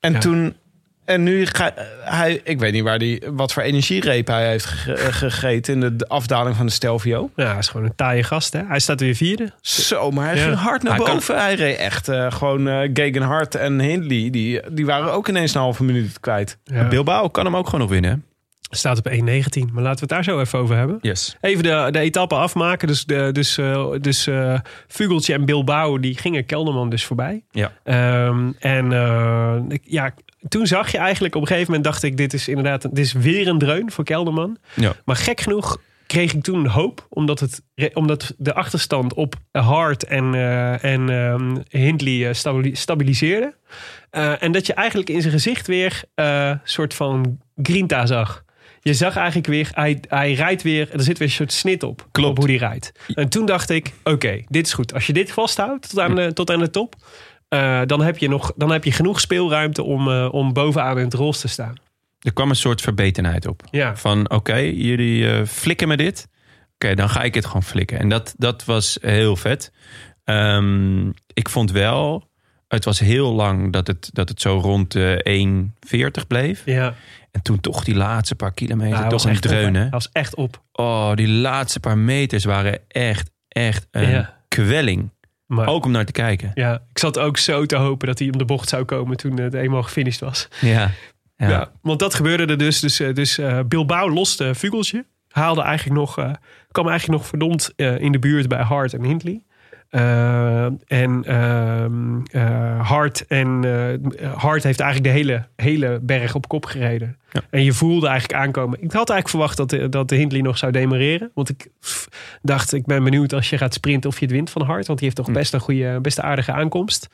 [SPEAKER 4] En
[SPEAKER 1] Ja.
[SPEAKER 4] toen. En nu ga eh, hij. Ik weet niet waar die, wat voor energiereep hij heeft ge- eh, gegeten. in de d- afdaling van de Stelvio.
[SPEAKER 1] Ja, hij is gewoon een taaie gast. Hè? Hij staat weer vierde.
[SPEAKER 4] Zo, maar hij
[SPEAKER 1] Ja.
[SPEAKER 4] ging hard naar
[SPEAKER 5] Hij kan-
[SPEAKER 4] boven. Hij reed echt eh, gewoon. eh Gegenhard en Hindley. Die, die waren ook ineens een halve minuut kwijt.
[SPEAKER 1] Ja.
[SPEAKER 5] Bilbao kan hem ook gewoon nog winnen.
[SPEAKER 1] Staat op 1.19. Maar laten we het daar zo even over hebben.
[SPEAKER 5] Yes.
[SPEAKER 1] Even de, de etappe afmaken. Dus, de, dus, eh, dus eh, Vugeltje en Bilbao die gingen Kelderman dus voorbij.
[SPEAKER 5] Ja.
[SPEAKER 1] Ehm, en eh, ik- ja, toen zag je eigenlijk op een gegeven moment dacht ik... dit is inderdaad dit is weer een dreun voor Kelderman.
[SPEAKER 5] Ja.
[SPEAKER 1] Maar gek genoeg kreeg ik toen hoop. Omdat, het, re- omdat de achterstand op Hart en, eh, en ehm, Hindley eh, stabili- stabiliseerde. Eh, en dat je eigenlijk in zijn gezicht weer eh soort van grinta zag. Je zag eigenlijk weer, hij, hij rijdt weer, er zit weer een soort snit op.
[SPEAKER 5] Klopt.
[SPEAKER 1] Op hoe die rijdt. En toen dacht ik, oké, dit is goed. Als je dit vasthoudt tot aan de, tot aan de top, eh, dan, heb je nog, dan heb je genoeg speelruimte om, eh, om bovenaan in het rols te staan.
[SPEAKER 5] Er kwam een soort verbetenheid op.
[SPEAKER 1] Ja,
[SPEAKER 5] Van oké, jullie eh, flikken me dit. Oké, dan ga ik het gewoon flikken. En dat, dat was heel vet. Ehm, ik vond wel, het was heel lang dat het, dat het zo rond eh 1,40 bleef.
[SPEAKER 1] ja.
[SPEAKER 5] En toen toch die laatste paar kilometer,
[SPEAKER 1] Nou, hij
[SPEAKER 5] toch
[SPEAKER 1] was
[SPEAKER 5] een
[SPEAKER 1] echt op, hè.
[SPEAKER 5] dreun hè?
[SPEAKER 1] Hij was echt op.
[SPEAKER 5] Oh, die laatste paar meters waren echt, echt een
[SPEAKER 1] Ja.
[SPEAKER 5] kwelling.
[SPEAKER 1] Maar,
[SPEAKER 5] Ook om naar te kijken.
[SPEAKER 1] Ja, ik zat ook zo te hopen dat hij om de bocht zou komen toen het eenmaal gefinished was.
[SPEAKER 5] Ja. Ja.
[SPEAKER 1] Ja. want dat gebeurde er dus. Dus, eh, dus eh, Bilbao loste Vugeltje. Haalde eigenlijk nog, eh, kwam eigenlijk nog verdomd eh, in de buurt bij Hart en Hindley. Eh, en ehm, eh, Hart, en, eh, Hart heeft eigenlijk de hele, hele berg op kop gereden.
[SPEAKER 5] Ja.
[SPEAKER 1] En je voelde eigenlijk aankomen. Ik had eigenlijk verwacht dat de, dat de Hindley nog zou demareren. Want ik pff, dacht, ik ben benieuwd als je gaat sprinten of je het wint van Hart. Want die heeft toch best een goede, best een aardige aankomst.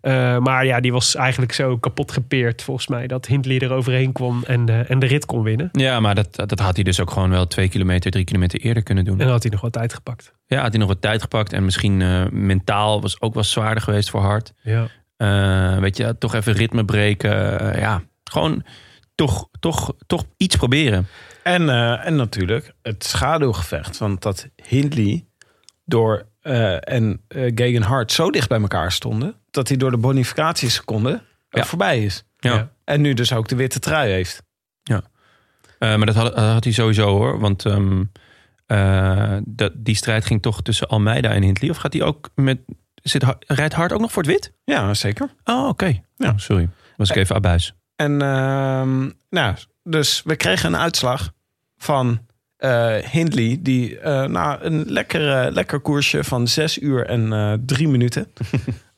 [SPEAKER 1] Eh, maar ja, die was eigenlijk zo kapot gepeerd volgens mij. Dat Hindley er overheen kwam en, eh, en de rit kon winnen.
[SPEAKER 5] Ja, maar dat, dat had hij dus ook gewoon wel twee kilometer, drie kilometer eerder kunnen doen.
[SPEAKER 1] En dan had hij nog wat tijd gepakt.
[SPEAKER 5] Ja, had hij nog wat tijd gepakt. En misschien eh, mentaal was ook wel zwaarder geweest voor Hart.
[SPEAKER 1] Ja.
[SPEAKER 5] Eh, weet je, toch even ritme breken. Eh, ja, gewoon toch, toch, toch iets proberen.
[SPEAKER 4] En, eh, en natuurlijk het schaduwgevecht. Want dat Hindley door, eh, en eh Gegenhardt zo dicht bij elkaar stonden... dat hij door de bonificatieseconden
[SPEAKER 5] Ja.
[SPEAKER 4] voorbij is.
[SPEAKER 5] Ja.
[SPEAKER 1] Ja.
[SPEAKER 4] En nu dus ook de witte trui heeft.
[SPEAKER 5] Eh, maar dat had, dat had hij sowieso hoor. Want ehm, eh, dat, die strijd ging toch tussen Almeida en Hindley. Of gaat hij ook met. Zit, Har- rijdt Hart ook nog voor het wit?
[SPEAKER 4] Ja, zeker.
[SPEAKER 5] Oh, oké. Ja, sorry. Was ik even abuis.
[SPEAKER 4] En ehm, nou, dus we kregen een uitslag van eh, Hindley... die eh, na een lekker, lekker koersje van zes uur en eh drie minuten...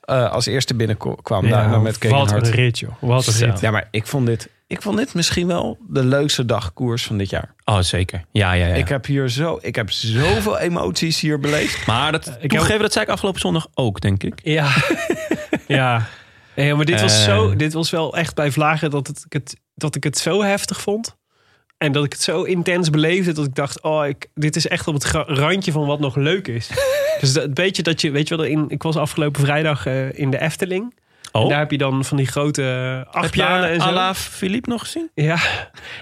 [SPEAKER 4] eh, als eerste binnenkwam. daarna Nou, met
[SPEAKER 1] wat
[SPEAKER 4] Gegenhardt.
[SPEAKER 1] een rit, joh. Wat een rit.
[SPEAKER 4] Ja, maar ik vond dit, ik vond dit misschien wel de leukste dagkoers van dit jaar.
[SPEAKER 5] Oh, zeker. Ja, ja, ja.
[SPEAKER 4] Ik eh, heb hier zo, ik heb (laughs) zoveel emoties hier beleefd.
[SPEAKER 5] maar dat, ik toegeven, dat zei ik afgelopen zondag ook, denk ik.
[SPEAKER 1] (laughs) Ja. ja. Nee, maar dit was,
[SPEAKER 5] Eh.
[SPEAKER 1] zo, dit was wel echt bij Vlagen dat, het, ik het, dat ik het zo heftig vond. En dat ik het zo intens beleefde dat ik dacht: oh, ik, dit is echt op het gra- randje van wat nog leuk (laughs) is. dus dat, het beetje dat je, weet je wel, in, ik was afgelopen vrijdag eh, in de Efteling. En
[SPEAKER 5] Oh.
[SPEAKER 1] daar heb je dan van die grote
[SPEAKER 5] heb je
[SPEAKER 1] achtbanen en zo.
[SPEAKER 5] Alaaf Philippe nog gezien?
[SPEAKER 1] Ja,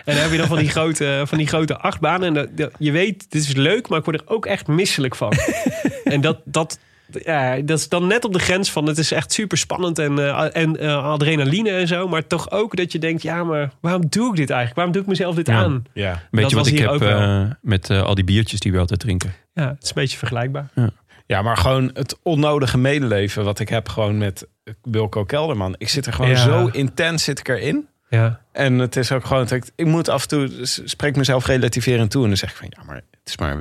[SPEAKER 1] en dan heb je dan van die grote, van die grote achtbanen. En dat- dat- je weet, dit is leuk, maar ik word er ook echt misselijk
[SPEAKER 5] (laughs)
[SPEAKER 1] van. en dat, dat, ja, dat is dan net op de grens van het is echt super spannend en, eh, en eh, adrenaline en zo. Maar toch ook dat je denkt, ja, maar waarom doe ik dit eigenlijk? Waarom doe ik mezelf dit
[SPEAKER 5] Ja.
[SPEAKER 1] aan?
[SPEAKER 4] Ja.
[SPEAKER 5] Weet
[SPEAKER 1] Dat
[SPEAKER 5] je wat
[SPEAKER 1] was
[SPEAKER 5] ik
[SPEAKER 1] hier
[SPEAKER 5] heb
[SPEAKER 1] ook wel.
[SPEAKER 5] eh, met eh, al die biertjes die we altijd drinken?
[SPEAKER 1] Ja, het is een beetje vergelijkbaar.
[SPEAKER 4] Ja, maar gewoon het onnodige medeleven wat ik heb gewoon met Wilco Kelderman. Ik zit er gewoon
[SPEAKER 1] Ja.
[SPEAKER 4] zo intens zit ik erin.
[SPEAKER 1] Ja.
[SPEAKER 4] En het is ook gewoon, dat ik, ik moet af en toe, s- spreek mezelf relativerend toe. En dan zeg ik van, ja, maar het is maar,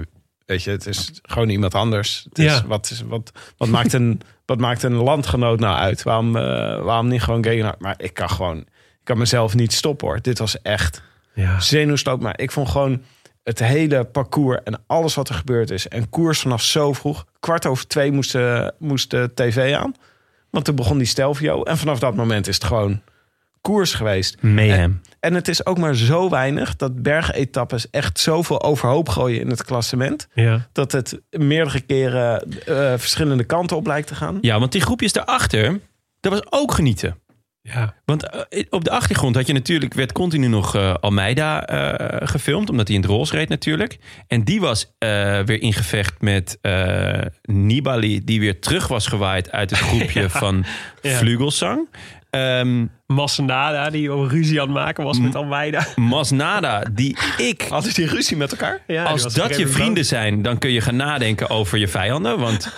[SPEAKER 4] weet je, het is gewoon iemand anders. Het is,
[SPEAKER 1] Ja.
[SPEAKER 4] wat, is, wat, wat, maakt een, (laughs) wat maakt een landgenoot nou uit? Waarom, eh, waarom niet gewoon gay? Nou, Maar ik kan gewoon, ik kan mezelf niet stoppen hoor. Dit was echt
[SPEAKER 1] Ja.
[SPEAKER 4] zenuwsloop. Maar ik vond gewoon het hele parcours en alles wat er gebeurd is. En koers vanaf zo vroeg. Kwart over twee moest, de- moest de tv aan. Want toen begon die Stelvio. En vanaf dat moment is het gewoon koers geweest.
[SPEAKER 5] Mayhem.
[SPEAKER 4] En het is ook maar zo weinig dat bergetappes echt zoveel overhoop gooien in het klassement.
[SPEAKER 1] Ja.
[SPEAKER 4] Dat het meerdere keren eh, verschillende kanten op lijkt te gaan.
[SPEAKER 5] Ja, want die groepjes daarachter, dat was ook genieten.
[SPEAKER 1] Ja.
[SPEAKER 5] Want eh, op de achtergrond had je natuurlijk, werd continu nog eh, Almeida eh, gefilmd, omdat hij in het roze reed natuurlijk. En die was eh, weer in gevecht met eh, Nibali, die weer terug was gewaaid
[SPEAKER 1] (laughs)
[SPEAKER 5] uit het groepje van
[SPEAKER 1] Ja.
[SPEAKER 5] Vlugelsang. Ehm,
[SPEAKER 1] Massenada die al ruzie aan het maken was
[SPEAKER 5] Mm.
[SPEAKER 1] met Almeida.
[SPEAKER 5] Masnada, die ik
[SPEAKER 4] Hadden die ruzie met elkaar?
[SPEAKER 1] Ja, die
[SPEAKER 5] Als
[SPEAKER 1] was
[SPEAKER 5] dat
[SPEAKER 1] vergeten
[SPEAKER 5] je
[SPEAKER 1] te
[SPEAKER 5] vrienden zijn, dan kun je gaan nadenken over je vijanden.
[SPEAKER 1] (laughs)
[SPEAKER 5] Want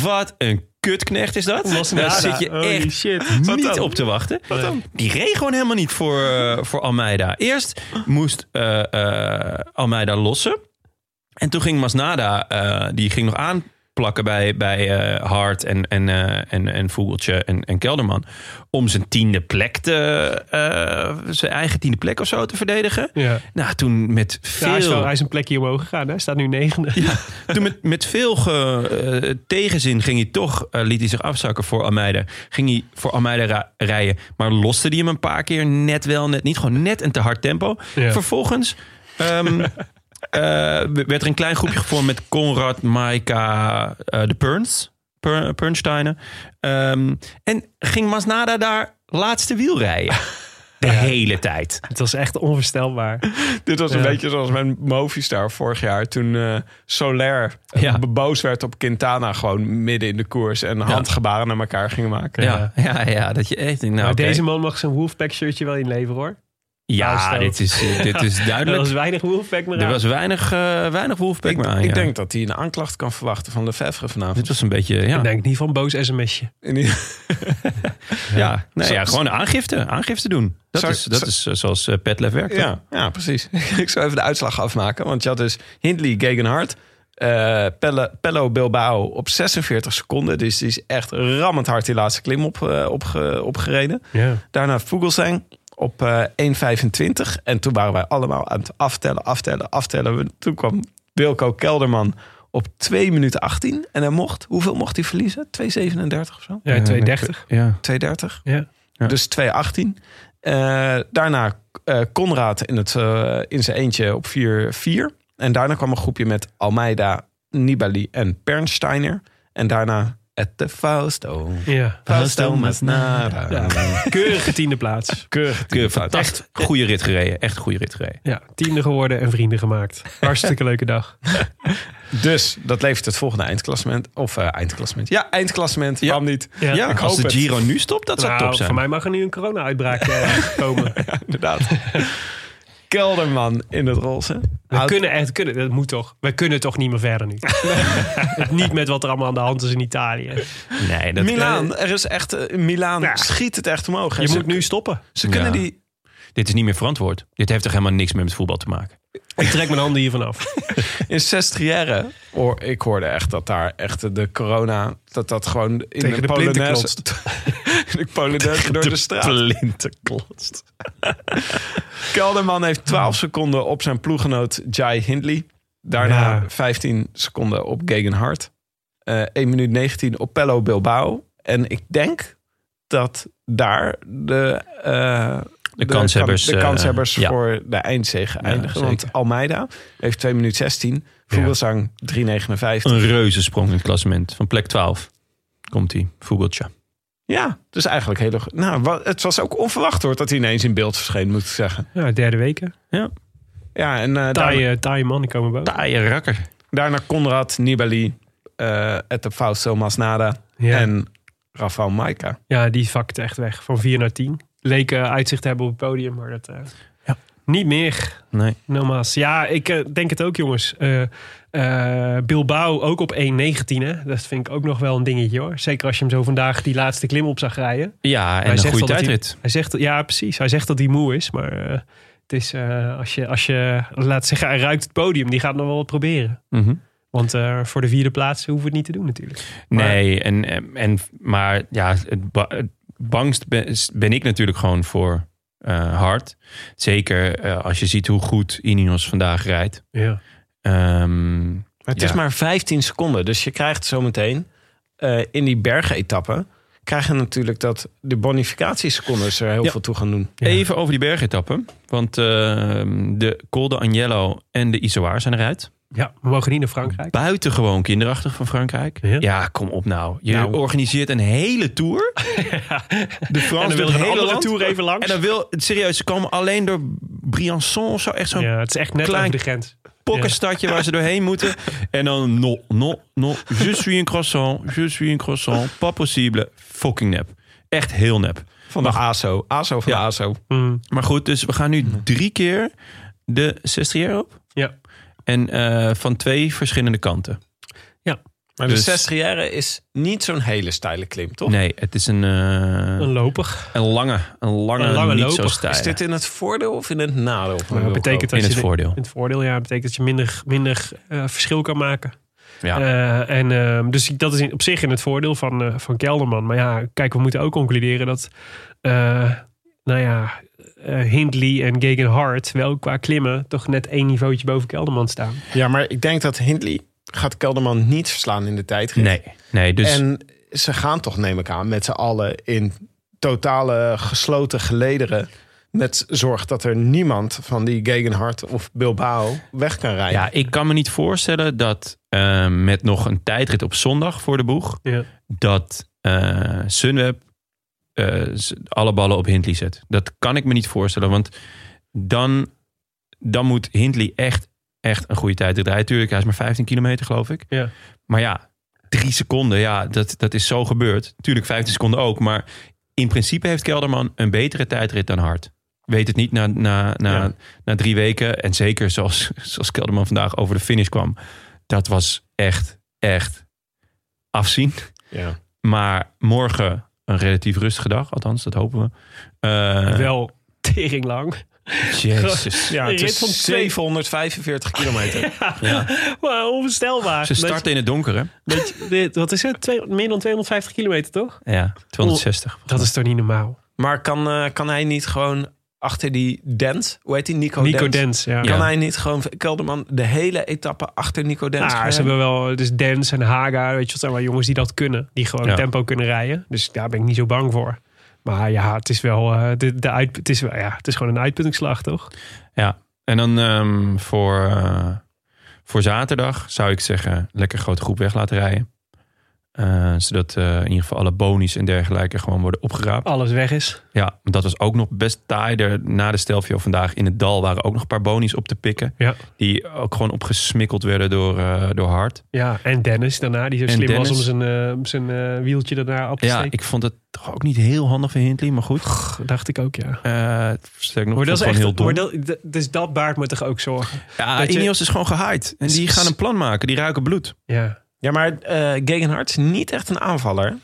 [SPEAKER 5] wat een kutknecht is dat. Daar
[SPEAKER 1] nada.
[SPEAKER 5] zit je
[SPEAKER 1] Holy
[SPEAKER 5] echt
[SPEAKER 1] shit. Wat
[SPEAKER 5] niet
[SPEAKER 1] dan?
[SPEAKER 5] op te wachten.
[SPEAKER 1] Wat dan?
[SPEAKER 5] Die reed gewoon helemaal niet voor, eh, voor Almeida. Eerst moest eh, eh, Almeida lossen. En toen ging Masnada, eh, die ging nog aanplakken bij, bij eh, Hart en, en, eh, en, en Vogeltje en, en Kelderman. Om zijn tiende plek te, eh, zijn eigen tiende plek of zo te verdedigen.
[SPEAKER 1] Ja.
[SPEAKER 5] Nou, toen met
[SPEAKER 1] Ja, hij, is wel,
[SPEAKER 5] veel
[SPEAKER 1] hij is een plekje omhoog gegaan. hè. Hij staat nu negende.
[SPEAKER 5] ja, toen met, met veel ge- eh, tegenzin ging hij toch, eh, liet hij zich afzakken voor Almeida. Ging hij voor Almeida ra- rijden, maar loste hij hem een paar keer net wel, net niet. Gewoon net een te hard tempo.
[SPEAKER 1] Ja.
[SPEAKER 5] Vervolgens
[SPEAKER 1] (laughs)
[SPEAKER 5] ehm, eh, werd er een klein groepje gevormd met Conrad, Maika, eh, de Perns, per, Pernsteinen. Ehm, en ging Masnada daar laatste wiel
[SPEAKER 1] (laughs)
[SPEAKER 5] rijden. De hele tijd.
[SPEAKER 1] Het was echt onvoorstelbaar.
[SPEAKER 4] Dit was een
[SPEAKER 1] Ja.
[SPEAKER 4] beetje zoals mijn Movistar vorig jaar. Toen eh, Soler eh,
[SPEAKER 5] Ja.
[SPEAKER 4] boos werd op Quintana gewoon midden in de koers. En handgebaren naar elkaar gingen maken.
[SPEAKER 5] Ja, ja, ja, dat je echt... denkt, Nou,
[SPEAKER 1] maar
[SPEAKER 5] oké.
[SPEAKER 1] deze man mag zijn Wolfpack shirtje wel inleveren hoor.
[SPEAKER 5] ja,
[SPEAKER 1] aanstoot.
[SPEAKER 5] dit is, eh, dit
[SPEAKER 1] (laughs)
[SPEAKER 5] is
[SPEAKER 1] Er
[SPEAKER 5] duidelijk.
[SPEAKER 1] was weinig Wolfpack meer
[SPEAKER 5] Er
[SPEAKER 1] aan.
[SPEAKER 5] was weinig, eh weinig Wolfpack
[SPEAKER 4] Ik,
[SPEAKER 5] meer aan,
[SPEAKER 4] ik
[SPEAKER 5] ja.
[SPEAKER 4] denk dat hij een aanklacht kan verwachten van Lefevre vanavond.
[SPEAKER 5] Dit was een beetje, ja.
[SPEAKER 1] Ik denk niet van boos sms'je.
[SPEAKER 4] In die-
[SPEAKER 5] ja. Nou ja,
[SPEAKER 4] Zo-
[SPEAKER 5] gewoon aangifte. Aangifte doen. Dat
[SPEAKER 4] Zou-
[SPEAKER 5] is, dat
[SPEAKER 4] zou-
[SPEAKER 5] is eh, zoals eh, Petlef werkt. hè?
[SPEAKER 4] Ja, ja precies. (laughs) ik zou even de uitslag afmaken. Want je had dus Hindley Gegenhardt. eh Pelle, Pello Bilbao op 46 seconden. Dus die is echt rammend hard die laatste klim op, eh, opge- opgereden.
[SPEAKER 1] Ja.
[SPEAKER 4] Daarna Vogelsang op eh 1,25. En toen waren wij allemaal aan het aftellen, aftellen, aftellen. We- Toen kwam Wilco Kelderman op 2 minuten 18. En hij mocht, hoeveel mocht hij verliezen? 2,37 of zo?
[SPEAKER 1] Ja, 230.
[SPEAKER 5] Ja.
[SPEAKER 4] 2,30.
[SPEAKER 1] Ja.
[SPEAKER 5] Ja.
[SPEAKER 4] Dus 2,18. Eh, daarna eh Conrad in, het, eh, in zijn eentje op 4,4. En daarna kwam een groepje met Almeida, Nibali en Pernsteiner. En daarna het de Fausto.
[SPEAKER 1] Ja.
[SPEAKER 4] Fausto Masnada.
[SPEAKER 1] Keurige tiende plaats.
[SPEAKER 4] Keurig.
[SPEAKER 5] Keur- Echt goede rit gereden. Echt goede rit gereden.
[SPEAKER 1] Ja, tiende geworden en vrienden gemaakt. Hartstikke leuke dag.
[SPEAKER 4] Dus dat levert het volgende eindklassement. Of eh, eindklassement. Ja, eindklassement. Waarom niet?
[SPEAKER 1] Ja.
[SPEAKER 5] Ja,
[SPEAKER 4] ik
[SPEAKER 5] als
[SPEAKER 4] hoop
[SPEAKER 5] de
[SPEAKER 4] het.
[SPEAKER 5] Giro nu stopt, dat zou
[SPEAKER 1] Nou,
[SPEAKER 5] top zijn.
[SPEAKER 1] Voor mij mag er nu een corona-uitbraak eh, komen.
[SPEAKER 4] Inderdaad. Kelderman in het roze.
[SPEAKER 1] We
[SPEAKER 4] Oud-
[SPEAKER 1] kunnen echt, kunnen, dat moet toch. We kunnen toch niet meer verder nu. Het niet met wat er allemaal aan de hand is in Italië.
[SPEAKER 5] Nee, dat,
[SPEAKER 4] Milaan, er is echt. eh, Milaan
[SPEAKER 1] Ja.
[SPEAKER 4] schiet het echt omhoog. hè.
[SPEAKER 1] Je
[SPEAKER 4] Ze-
[SPEAKER 1] moet nu stoppen.
[SPEAKER 4] Ze kunnen
[SPEAKER 5] Ja.
[SPEAKER 4] die.
[SPEAKER 5] dit is niet meer verantwoord. Dit heeft toch helemaal niks meer met voetbal te maken.
[SPEAKER 1] Ik trek mijn handen hiervan af.
[SPEAKER 4] In Sestriere. Hoor, ik hoorde echt dat daar echt de corona. Dat dat gewoon in
[SPEAKER 1] Tegen de plinten
[SPEAKER 4] Polonaise. in (laughs) de Polonaise door de, straat.
[SPEAKER 5] Plinten klotst.
[SPEAKER 4] (laughs)
[SPEAKER 5] Ah.
[SPEAKER 4] Kelderman heeft 12 seconden op zijn ploeggenoot Jai Hindley. Daarna
[SPEAKER 1] Ja.
[SPEAKER 4] 15 seconden op Gegenhardt. Eh 1 minuut 19 op Pello Bilbao. En ik denk dat daar de, eh,
[SPEAKER 5] De kanshebbers,
[SPEAKER 4] kan- de
[SPEAKER 5] eh,
[SPEAKER 4] kanshebbers
[SPEAKER 5] ja.
[SPEAKER 4] voor de eindzege
[SPEAKER 5] Ja,
[SPEAKER 4] eindigen. Want
[SPEAKER 5] zeker.
[SPEAKER 4] Almeida heeft 2 minuten 16. Vogelsang 3,59.
[SPEAKER 5] Een reuzensprong in het klassement. Van plek 12 komt hij. Vogeltje.
[SPEAKER 4] Ja, dus eigenlijk heel erg... Nou, wa- het was ook onverwacht hoor dat hij ineens in beeld verscheen, moet ik zeggen.
[SPEAKER 1] Ja, Nou, derde weken.
[SPEAKER 4] Ja, en eh, daarna-
[SPEAKER 1] Taaie, taaie mannen komen boven.
[SPEAKER 5] Taaie rakker.
[SPEAKER 4] Daarna Conrad, Nibali, eh Ette Fausto Masnada
[SPEAKER 1] Ja.
[SPEAKER 4] en Rafael Maika.
[SPEAKER 1] ja, die vakt echt weg. Van 4 naar 10. Leek eh, uitzicht te hebben op het podium, maar dat... eh, Niet meer,
[SPEAKER 5] Nee.
[SPEAKER 1] nogmaals. Ja, ik eh, denk het ook, jongens. Eh, eh, Bilbao ook op 1.19, hè. Dat vind ik ook nog wel een dingetje, hoor. Zeker als je hem zo vandaag die laatste klim op zag rijden.
[SPEAKER 5] Ja, en
[SPEAKER 1] Hij
[SPEAKER 5] een
[SPEAKER 1] zegt
[SPEAKER 5] goede
[SPEAKER 1] al dat hij-
[SPEAKER 5] tijdrit.
[SPEAKER 1] Hij zegt, ja, precies. Hij zegt dat hij moe is, maar eh, het is, eh, als, je, als je, laat zeggen, hij ruikt het podium, die gaat nog wel wat proberen.
[SPEAKER 5] Mhm.
[SPEAKER 1] Want eh, voor de vierde plaats hoeven we het niet te doen natuurlijk.
[SPEAKER 5] Nee, en, en, en- maar ja, het, ba- het bangst ben, is- ben ik natuurlijk gewoon voor eh hard. Zeker eh, als je ziet hoe goed Ineos vandaag rijdt.
[SPEAKER 1] Ja.
[SPEAKER 5] Ehm,
[SPEAKER 4] Maar het
[SPEAKER 5] Ja.
[SPEAKER 4] is maar 15 seconden. Dus je krijgt zometeen eh, in die bergetappen... krijg je natuurlijk dat de bonificatiesecondes er heel
[SPEAKER 5] Ja.
[SPEAKER 4] veel toe gaan doen.
[SPEAKER 1] Ja.
[SPEAKER 5] Even over die bergetappen. Want ehm, de Col de Agnello en de Isoar zijn eruit.
[SPEAKER 1] ja, we mogen niet naar Frankrijk.
[SPEAKER 5] Buitengewoon kinderachtig van Frankrijk.
[SPEAKER 1] Ja.
[SPEAKER 5] Ja, kom op nou. Je
[SPEAKER 1] Nou.
[SPEAKER 5] organiseert een hele
[SPEAKER 1] (laughs)
[SPEAKER 5] tour. De
[SPEAKER 1] En
[SPEAKER 5] Frans
[SPEAKER 1] dan
[SPEAKER 5] wil
[SPEAKER 1] willen
[SPEAKER 5] het
[SPEAKER 1] we een
[SPEAKER 5] hele
[SPEAKER 1] andere
[SPEAKER 5] land.
[SPEAKER 1] tour even langs.
[SPEAKER 5] En dan wil, serieus, ze komen alleen door Briançon of zo. Echt zo'n
[SPEAKER 1] ja, het is echt net
[SPEAKER 5] Klein-
[SPEAKER 1] over de grens.
[SPEAKER 5] pokkenstadje waar ze doorheen moeten. En dan, no, no, no. Je suis un croissant, je suis un croissant. Pas possible. Fucking nep. Echt heel nep.
[SPEAKER 4] Van de ASO. ASO van
[SPEAKER 5] Ja.
[SPEAKER 4] de ASO.
[SPEAKER 1] Mm,
[SPEAKER 5] Maar goed, dus we gaan nu drie keer de sestrière op.
[SPEAKER 1] ja.
[SPEAKER 5] En eh, van twee verschillende kanten.
[SPEAKER 4] Maar de
[SPEAKER 5] Dus-
[SPEAKER 4] 60 is niet zo'n hele steile klim, toch?
[SPEAKER 5] Nee, het is een, eh,
[SPEAKER 1] Een loper.
[SPEAKER 5] een lange, een lange,
[SPEAKER 1] Een lange
[SPEAKER 5] niet zo
[SPEAKER 1] loper.
[SPEAKER 5] stijl.
[SPEAKER 4] Is dit in het voordeel of in het nadeel? van
[SPEAKER 1] Maar dat
[SPEAKER 4] Wilco?
[SPEAKER 1] betekent dat
[SPEAKER 5] in het
[SPEAKER 1] je
[SPEAKER 5] voordeel.
[SPEAKER 1] In het voordeel, ja. Dat betekent dat je minder, minder eh, verschil kan maken.
[SPEAKER 5] Ja.
[SPEAKER 1] Eh, en, ehm, dus ik- dat is in- op zich in het voordeel van, eh, van Kelderman. Maar ja, kijk, we moeten ook concluderen dat... eh, nou ja, eh, Hindley en Gegenhardt wel qua klimmen... toch net één niveautje boven Kelderman staan.
[SPEAKER 4] Ja, maar ik denk dat Hindley gaat Kelderman niet verslaan in de tijd.
[SPEAKER 5] Nee, nee, dus
[SPEAKER 4] En ze gaan toch, neem ik aan, met z'n allen in totale gesloten gelederen. Met zorg dat er niemand van die Gegenhard of Bilbao weg kan rijden.
[SPEAKER 5] ja, ik kan me niet voorstellen dat eh, met nog een tijdrit op zondag voor de boeg,
[SPEAKER 1] Ja.
[SPEAKER 5] dat eh, Sunweb eh, z- alle ballen op Hindley zet. Dat kan ik me niet voorstellen, want dan, dan moet Hindley echt, echt een goede tijd rijden. Tuurlijk, hij is maar 15 kilometer, geloof ik.
[SPEAKER 1] Ja.
[SPEAKER 5] Maar ja, drie seconden, ja, dat, dat is zo gebeurd. Tuurlijk, 15 seconden ook, maar in principe heeft Kelderman een betere tijdrit dan Hart. Weet het niet na, na, na,
[SPEAKER 1] Ja.
[SPEAKER 5] na drie weken. En zeker zoals, zoals Kelderman vandaag over de finish kwam. Dat was echt, echt afzien.
[SPEAKER 4] Ja.
[SPEAKER 5] Maar morgen een relatief rustige dag, althans, dat hopen we. Eh,
[SPEAKER 1] Wel tering lang.
[SPEAKER 5] (laughs) Jezus.
[SPEAKER 4] Ja, het
[SPEAKER 1] Een
[SPEAKER 4] is
[SPEAKER 1] rit van twee-
[SPEAKER 4] 745
[SPEAKER 1] (laughs)
[SPEAKER 4] kilometer.
[SPEAKER 1] Maar onvoorstelbaar.
[SPEAKER 5] Ze starten in het donker, hè?
[SPEAKER 1] Dat je- dit, wat is het? Twee- meer dan 250 kilometer, toch?
[SPEAKER 5] Ja, 260.
[SPEAKER 1] Dat is toch niet normaal?
[SPEAKER 4] maar kan, eh, kan hij niet gewoon achter die Dent, hoe heet die, Nico,
[SPEAKER 1] Nico
[SPEAKER 4] Dent?
[SPEAKER 1] Dens, Oh, ja. Ah,
[SPEAKER 4] Kan
[SPEAKER 5] Ja.
[SPEAKER 4] hij niet gewoon, Kelderman, de hele etappe achter Nico Dent?
[SPEAKER 1] Ah,
[SPEAKER 4] gaan
[SPEAKER 1] ze
[SPEAKER 4] rijden?
[SPEAKER 1] hebben wel, dus Dens en Haga, weet je wat, zijn wel jongens die dat kunnen. Die gewoon
[SPEAKER 5] Ja.
[SPEAKER 1] tempo kunnen rijden. Dus daar ben ik niet zo bang voor. Maar ja, het is wel, eh, de, de uit, het is, wel- ja, het is gewoon een uitputtingsslag, toch?
[SPEAKER 5] Ja, en dan ehm, voor, eh, voor zaterdag zou ik zeggen... lekker grote groep weg laten rijden. Eh, zodat eh, in ieder geval alle bonies en dergelijke gewoon worden opgeraapt.
[SPEAKER 1] Alles weg is.
[SPEAKER 5] Ja, want dat was ook nog best taai. Er- Na de Stelvio vandaag in het dal waren ook nog een paar bonies op te pikken.
[SPEAKER 1] Ja.
[SPEAKER 5] Die ook gewoon opgesmikkeld werden door, eh, door Hart.
[SPEAKER 1] Ja, en Dennis daarna, die zo
[SPEAKER 5] En
[SPEAKER 1] slim
[SPEAKER 5] Dennis.
[SPEAKER 1] was om zijn, eh, om zijn eh, wieltje daarna op te
[SPEAKER 5] Ja,
[SPEAKER 1] steken.
[SPEAKER 5] ik vond het toch ook niet heel handig van Hindley, maar goed.
[SPEAKER 1] Dacht ik ook, ja.
[SPEAKER 5] Eh, sterk nog,
[SPEAKER 1] Maar
[SPEAKER 5] ik vond
[SPEAKER 1] dat is
[SPEAKER 5] het
[SPEAKER 1] echt,
[SPEAKER 5] gewoon heel dom.
[SPEAKER 1] maar dat, d- dus dat baart me toch ook zorgen.
[SPEAKER 5] ja,
[SPEAKER 1] dat je-
[SPEAKER 5] Ineos is gewoon gehaaid. En die gaan een plan maken. Die ruiken bloed.
[SPEAKER 1] Ja.
[SPEAKER 4] Ja, maar eh Gegenhard is niet echt een aanvaller.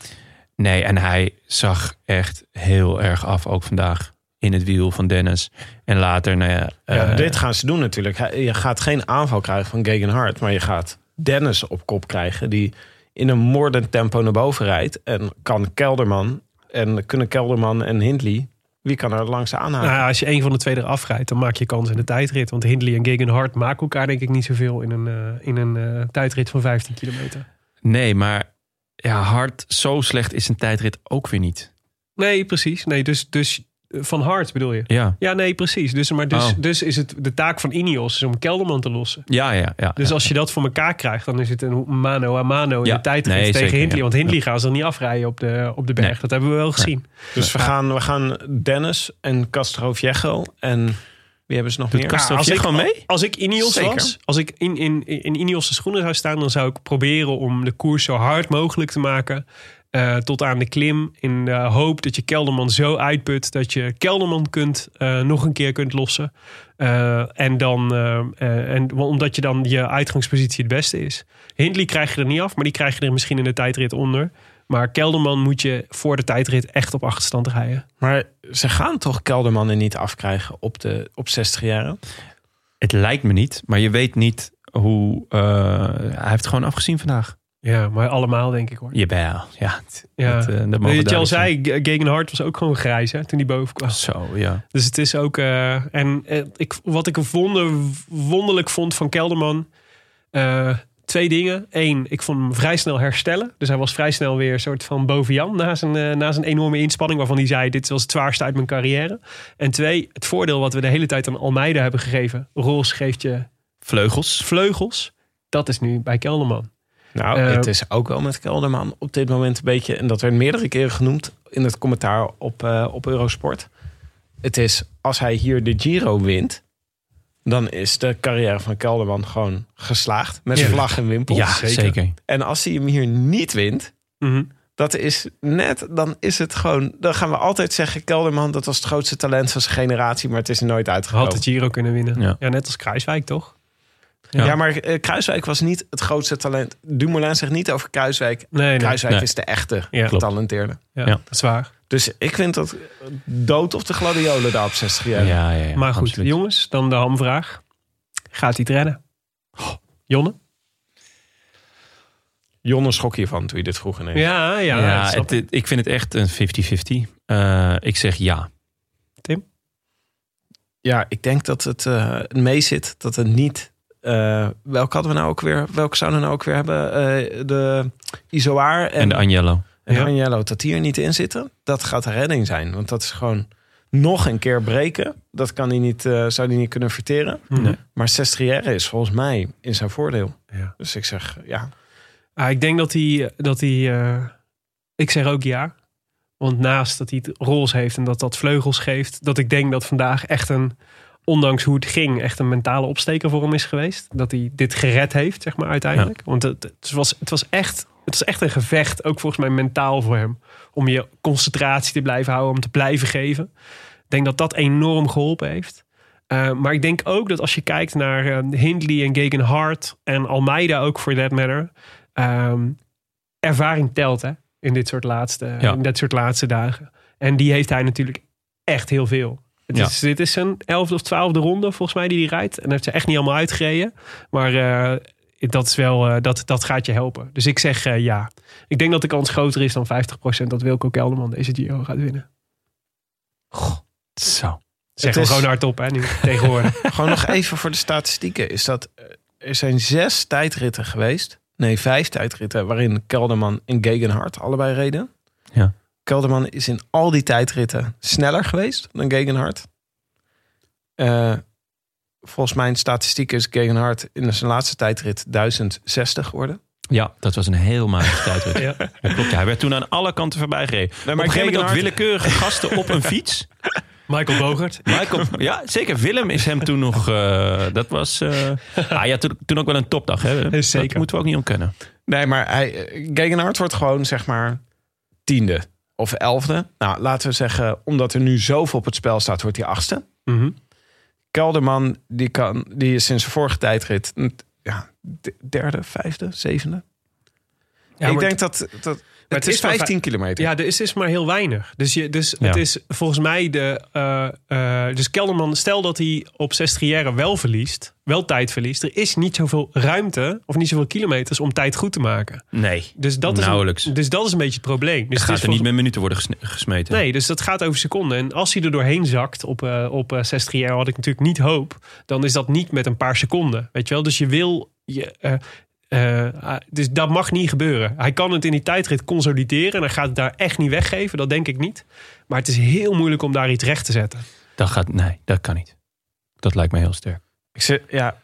[SPEAKER 5] Nee, en hij zag echt heel erg af, ook vandaag. In het wiel van Dennis. En later, nou ja...
[SPEAKER 4] Ja,
[SPEAKER 5] eh,
[SPEAKER 4] dit gaan ze doen natuurlijk. Hij- Je gaat geen aanval krijgen van Gegenhard, maar je gaat Dennis op kop krijgen die in een moordend tempo naar boven rijdt en kan Kelderman en kunnen Kelderman en Hindley wie kan er langs
[SPEAKER 5] Ah.
[SPEAKER 4] aanhaken?
[SPEAKER 1] Nou, ja, als je een van de twee eraf rijdt, dan maak je kans in de tijdrit. Want Hindley en Gegenhardt maken elkaar denk ik niet zoveel in een, eh, in een eh, tijdrit van 15 kilometer.
[SPEAKER 5] Nee, maar ja, hard, zo slecht is een tijdrit ook weer niet.
[SPEAKER 1] Nee, precies. Nee, dus, dus eh, van hart bedoel je?
[SPEAKER 5] Ja,
[SPEAKER 1] Ja, nee, precies. Dus, maar dus,
[SPEAKER 5] Oh.
[SPEAKER 1] dus is het de taak van Ineos is om Kelderman te lossen.
[SPEAKER 5] ja, ja. ja
[SPEAKER 1] Dus
[SPEAKER 5] ja.
[SPEAKER 1] als je dat voor elkaar krijgt, dan is het een mano a mano in
[SPEAKER 5] Ja.
[SPEAKER 1] de tijdrit
[SPEAKER 5] Nee,
[SPEAKER 1] tegen
[SPEAKER 5] zeker,
[SPEAKER 1] Hindley.
[SPEAKER 5] ja.
[SPEAKER 1] Want Hindley gaan ze dan niet afrijden op de, op de berg.
[SPEAKER 5] Nee.
[SPEAKER 1] Dat hebben we wel gezien.
[SPEAKER 4] dus we gaan, we gaan Dennis en Castro Viejo en wie hebben ze nog meer?
[SPEAKER 5] Castro
[SPEAKER 1] Nou, als ik-
[SPEAKER 5] gewoon mee?
[SPEAKER 1] Als ik Ineos
[SPEAKER 4] Zeker.
[SPEAKER 1] was, als ik in, in, in Ineos' schoenen zou staan, dan zou ik proberen om de koers zo hard mogelijk te maken. eh, tot aan de klim. In de hoop dat je Kelderman zo uitput dat je Kelderman kunt, eh, nog een keer kunt lossen. Eh, en dan, eh, eh, en, omdat je dan je uitgangspositie het beste is. Hindley krijg je er niet af, maar die krijg je er misschien in de tijdrit onder. Maar Kelderman moet je voor de tijdrit echt op achterstand rijden.
[SPEAKER 4] Maar ze gaan toch Kelderman er niet afkrijgen op, de, op 60 jaren?
[SPEAKER 5] Het lijkt me niet, maar je weet niet hoe... eh, hij heeft gewoon afgezien vandaag.
[SPEAKER 1] Ja, maar allemaal denk ik hoor.
[SPEAKER 5] Jawel, ja. het-
[SPEAKER 1] Ja.
[SPEAKER 5] het, eh, dat mogen
[SPEAKER 1] Weet je
[SPEAKER 5] duidelijk
[SPEAKER 1] al
[SPEAKER 5] zijn.
[SPEAKER 1] zei, Gegenhard was ook gewoon grijs hè, toen hij boven kwam.
[SPEAKER 5] Zo, ja.
[SPEAKER 1] Dus het is ook. eh, en eh, ik, wat ik wonder, wonderlijk vond van Kelderman. eh, twee dingen. Eén, ik vond hem vrij snel herstellen. Dus hij was vrij snel weer een soort van boven Jan. Na zijn, eh, na zijn enorme inspanning. Waarvan hij zei: Dit was het zwaarste uit mijn carrière. En twee, het voordeel wat we de hele tijd aan Almeida hebben gegeven. Roos geeft je
[SPEAKER 5] Vleugels.
[SPEAKER 1] vleugels. Dat is nu bij Kelderman.
[SPEAKER 4] Nou,
[SPEAKER 1] Eh,
[SPEAKER 4] het is ook wel met Kelderman op dit moment een beetje... en dat werd meerdere keren genoemd in het commentaar op, eh, op Eurosport. Het is, als hij hier de Giro wint... dan is de carrière van Kelderman gewoon geslaagd. Met
[SPEAKER 1] Ja.
[SPEAKER 4] vlag en wimpel.
[SPEAKER 5] Ja, zeker.
[SPEAKER 4] En als hij hem hier niet wint...
[SPEAKER 1] Mhm.
[SPEAKER 4] Dat is net, dan is het gewoon... Dan gaan we altijd zeggen, Kelderman, dat was het grootste talent van zijn generatie... maar het is er nooit uitgekomen.
[SPEAKER 1] Had het Giro kunnen winnen. Ja.
[SPEAKER 5] Oh. Ja.
[SPEAKER 1] net als Kruiswijk toch?
[SPEAKER 4] Ja, maar eh, Kruiswijk was niet het grootste talent. Dumoulin zegt niet over Kruiswijk.
[SPEAKER 1] Nee, nee.
[SPEAKER 4] Kruiswijk
[SPEAKER 5] Nee.
[SPEAKER 4] is de echte
[SPEAKER 1] Ja.
[SPEAKER 4] getalenteerde.
[SPEAKER 1] Ja,
[SPEAKER 5] Ja.
[SPEAKER 1] dat is waar.
[SPEAKER 4] Dus ik vind dat dood op de gladiolen daar op 60
[SPEAKER 5] Ja,
[SPEAKER 4] jaar.
[SPEAKER 5] ja, ja,
[SPEAKER 1] maar goed,
[SPEAKER 5] absoluut.
[SPEAKER 1] jongens, dan de hamvraag. Gaat hij het redden? Jonne?
[SPEAKER 4] Jonne schrok hiervan toen je dit vroeg. ineens.
[SPEAKER 1] Ja, ja.
[SPEAKER 5] Ja,
[SPEAKER 1] dat snap
[SPEAKER 5] het- het- ik vind het echt een 50-50. Eh, ik zeg ja.
[SPEAKER 4] ja, ik denk dat het eh, mee zit. Dat het niet... eh welke hadden we nou ook weer? Welke zouden we nou ook weer hebben? Eh, de Isoar en,
[SPEAKER 5] En de Agnello.
[SPEAKER 4] en
[SPEAKER 1] Ja.
[SPEAKER 4] Agnello, Dat die er niet in zitten. Dat gaat de redding zijn. Want dat is gewoon nog een keer breken. Dat kan hij niet, eh, zou hij niet kunnen verteren.
[SPEAKER 1] ik. Mhm.
[SPEAKER 5] Nee.
[SPEAKER 4] Maar 60 jaar is volgens mij in zijn voordeel.
[SPEAKER 1] Ja.
[SPEAKER 4] Dus ik zeg ja.
[SPEAKER 1] Ah, ik denk dat hij... Dat hij eh, ik zeg ook ja. Want naast dat hij het roze heeft en dat dat vleugels geeft... dat ik denk dat vandaag echt een... ondanks hoe het ging, echt een mentale opsteker voor hem is geweest. Dat hij dit gered heeft, zeg maar, uiteindelijk. Want het, het, was, het, was echt, het was echt een gevecht, ook volgens mij mentaal voor hem. Om je concentratie te blijven houden, om te blijven geven. Ik denk dat dat enorm geholpen heeft. Eh, maar ik denk ook dat als je kijkt naar eh, Hindley en Gegenhardt en Almeida ook voor that matter. ehm, ervaring telt hè, in, dit soort laatste,
[SPEAKER 5] Ja.
[SPEAKER 1] in dit soort laatste dagen. En die heeft hij natuurlijk echt heel veel. Het
[SPEAKER 5] Ja.
[SPEAKER 1] is, dit is zijn elfde of twaalfde ronde volgens mij die hij rijdt. En daar heeft ze echt niet allemaal uitgereden. Maar eh, dat, is wel, eh, dat, dat gaat je helpen. Dus ik zeg eh, ja. Ik denk dat de kans groter is dan 50% dat Wilco Kelderman deze Giro gaat winnen.
[SPEAKER 5] Zo.
[SPEAKER 1] Zeg
[SPEAKER 4] Het
[SPEAKER 1] hem
[SPEAKER 4] is-
[SPEAKER 1] gewoon hardop hè, nu
[SPEAKER 4] (laughs)
[SPEAKER 1] tegenwoordig.
[SPEAKER 4] Gewoon nog even voor de statistieken. Is dat, eh, er zijn zes tijdritten geweest. Nee, vijf tijdritten waarin Kelderman en Gegenhardt allebei reden.
[SPEAKER 5] Ja.
[SPEAKER 4] Kelderman is in al die tijdritten sneller geweest dan Gegenhardt. Eh, volgens mijn statistiek is Gegenhardt in zijn laatste tijdrit 1060 geworden.
[SPEAKER 5] Ja, dat was een heel matige tijdrit.
[SPEAKER 1] (laughs) Ja.
[SPEAKER 5] Dat klopt, ja. hij werd toen aan alle kanten voorbij gereden.
[SPEAKER 4] maar
[SPEAKER 5] maar op een gegeven moment ook
[SPEAKER 4] Gegenhard-
[SPEAKER 5] willekeurige gasten op een fiets.
[SPEAKER 1] Michael Bogert.
[SPEAKER 5] (laughs) Michael, ja, zeker. Willem is hem toen nog... eh, dat was... eh ah, ja, toen, toen ook wel een topdag, hè? Willem?
[SPEAKER 1] Zeker.
[SPEAKER 5] Dat moeten we ook niet ontkennen.
[SPEAKER 4] Nee, maar hij, eh, Gegenhard wordt gewoon zeg maar tiende of elfde. Nou, laten we zeggen, omdat er nu zoveel op het spel staat, wordt hij achtste.
[SPEAKER 1] Mhm.
[SPEAKER 4] Kelderman, die, kan, die is sinds de vorige tijdrit mm, ja, de- derde, vijfde, zevende.
[SPEAKER 1] Ja,
[SPEAKER 4] ik
[SPEAKER 1] maar-
[SPEAKER 4] denk dat, dat het,
[SPEAKER 1] het
[SPEAKER 4] is
[SPEAKER 1] is maar
[SPEAKER 4] 15 kilometer.
[SPEAKER 1] Ja, er is, is maar heel weinig. Dus, je, dus
[SPEAKER 5] Ja.
[SPEAKER 1] het is volgens mij de. eh, eh, dus Kelderman, stel dat hij op 60 jaar wel verliest, wel tijd verliest. Er is niet zoveel ruimte of niet zoveel kilometers om tijd goed te maken.
[SPEAKER 5] Nee.
[SPEAKER 1] Dus dat is,
[SPEAKER 5] Nauwelijks.
[SPEAKER 1] Een, dus dat is een beetje het probleem. Dus
[SPEAKER 5] Het
[SPEAKER 1] het
[SPEAKER 5] gaat
[SPEAKER 1] is
[SPEAKER 5] er niet
[SPEAKER 1] volgens-
[SPEAKER 5] met minuten worden gesne- gesmeten.
[SPEAKER 1] Nee, dus dat gaat over seconden. En als hij er doorheen zakt op, eh, op eh, 60 jaar, had ik natuurlijk niet hoop. Dan is dat niet met een paar seconden. Weet je wel? Dus je wil. Je, eh, eh, ah, dus dat mag niet gebeuren. Hij kan het in die tijdrit consolideren. En hij gaat het daar echt niet weggeven. Dat denk ik niet. Maar het is heel moeilijk om daar iets recht te zetten.
[SPEAKER 5] Dat gaat... Nee, dat kan niet. Dat lijkt me heel sterk.
[SPEAKER 4] Ik zeg, ja.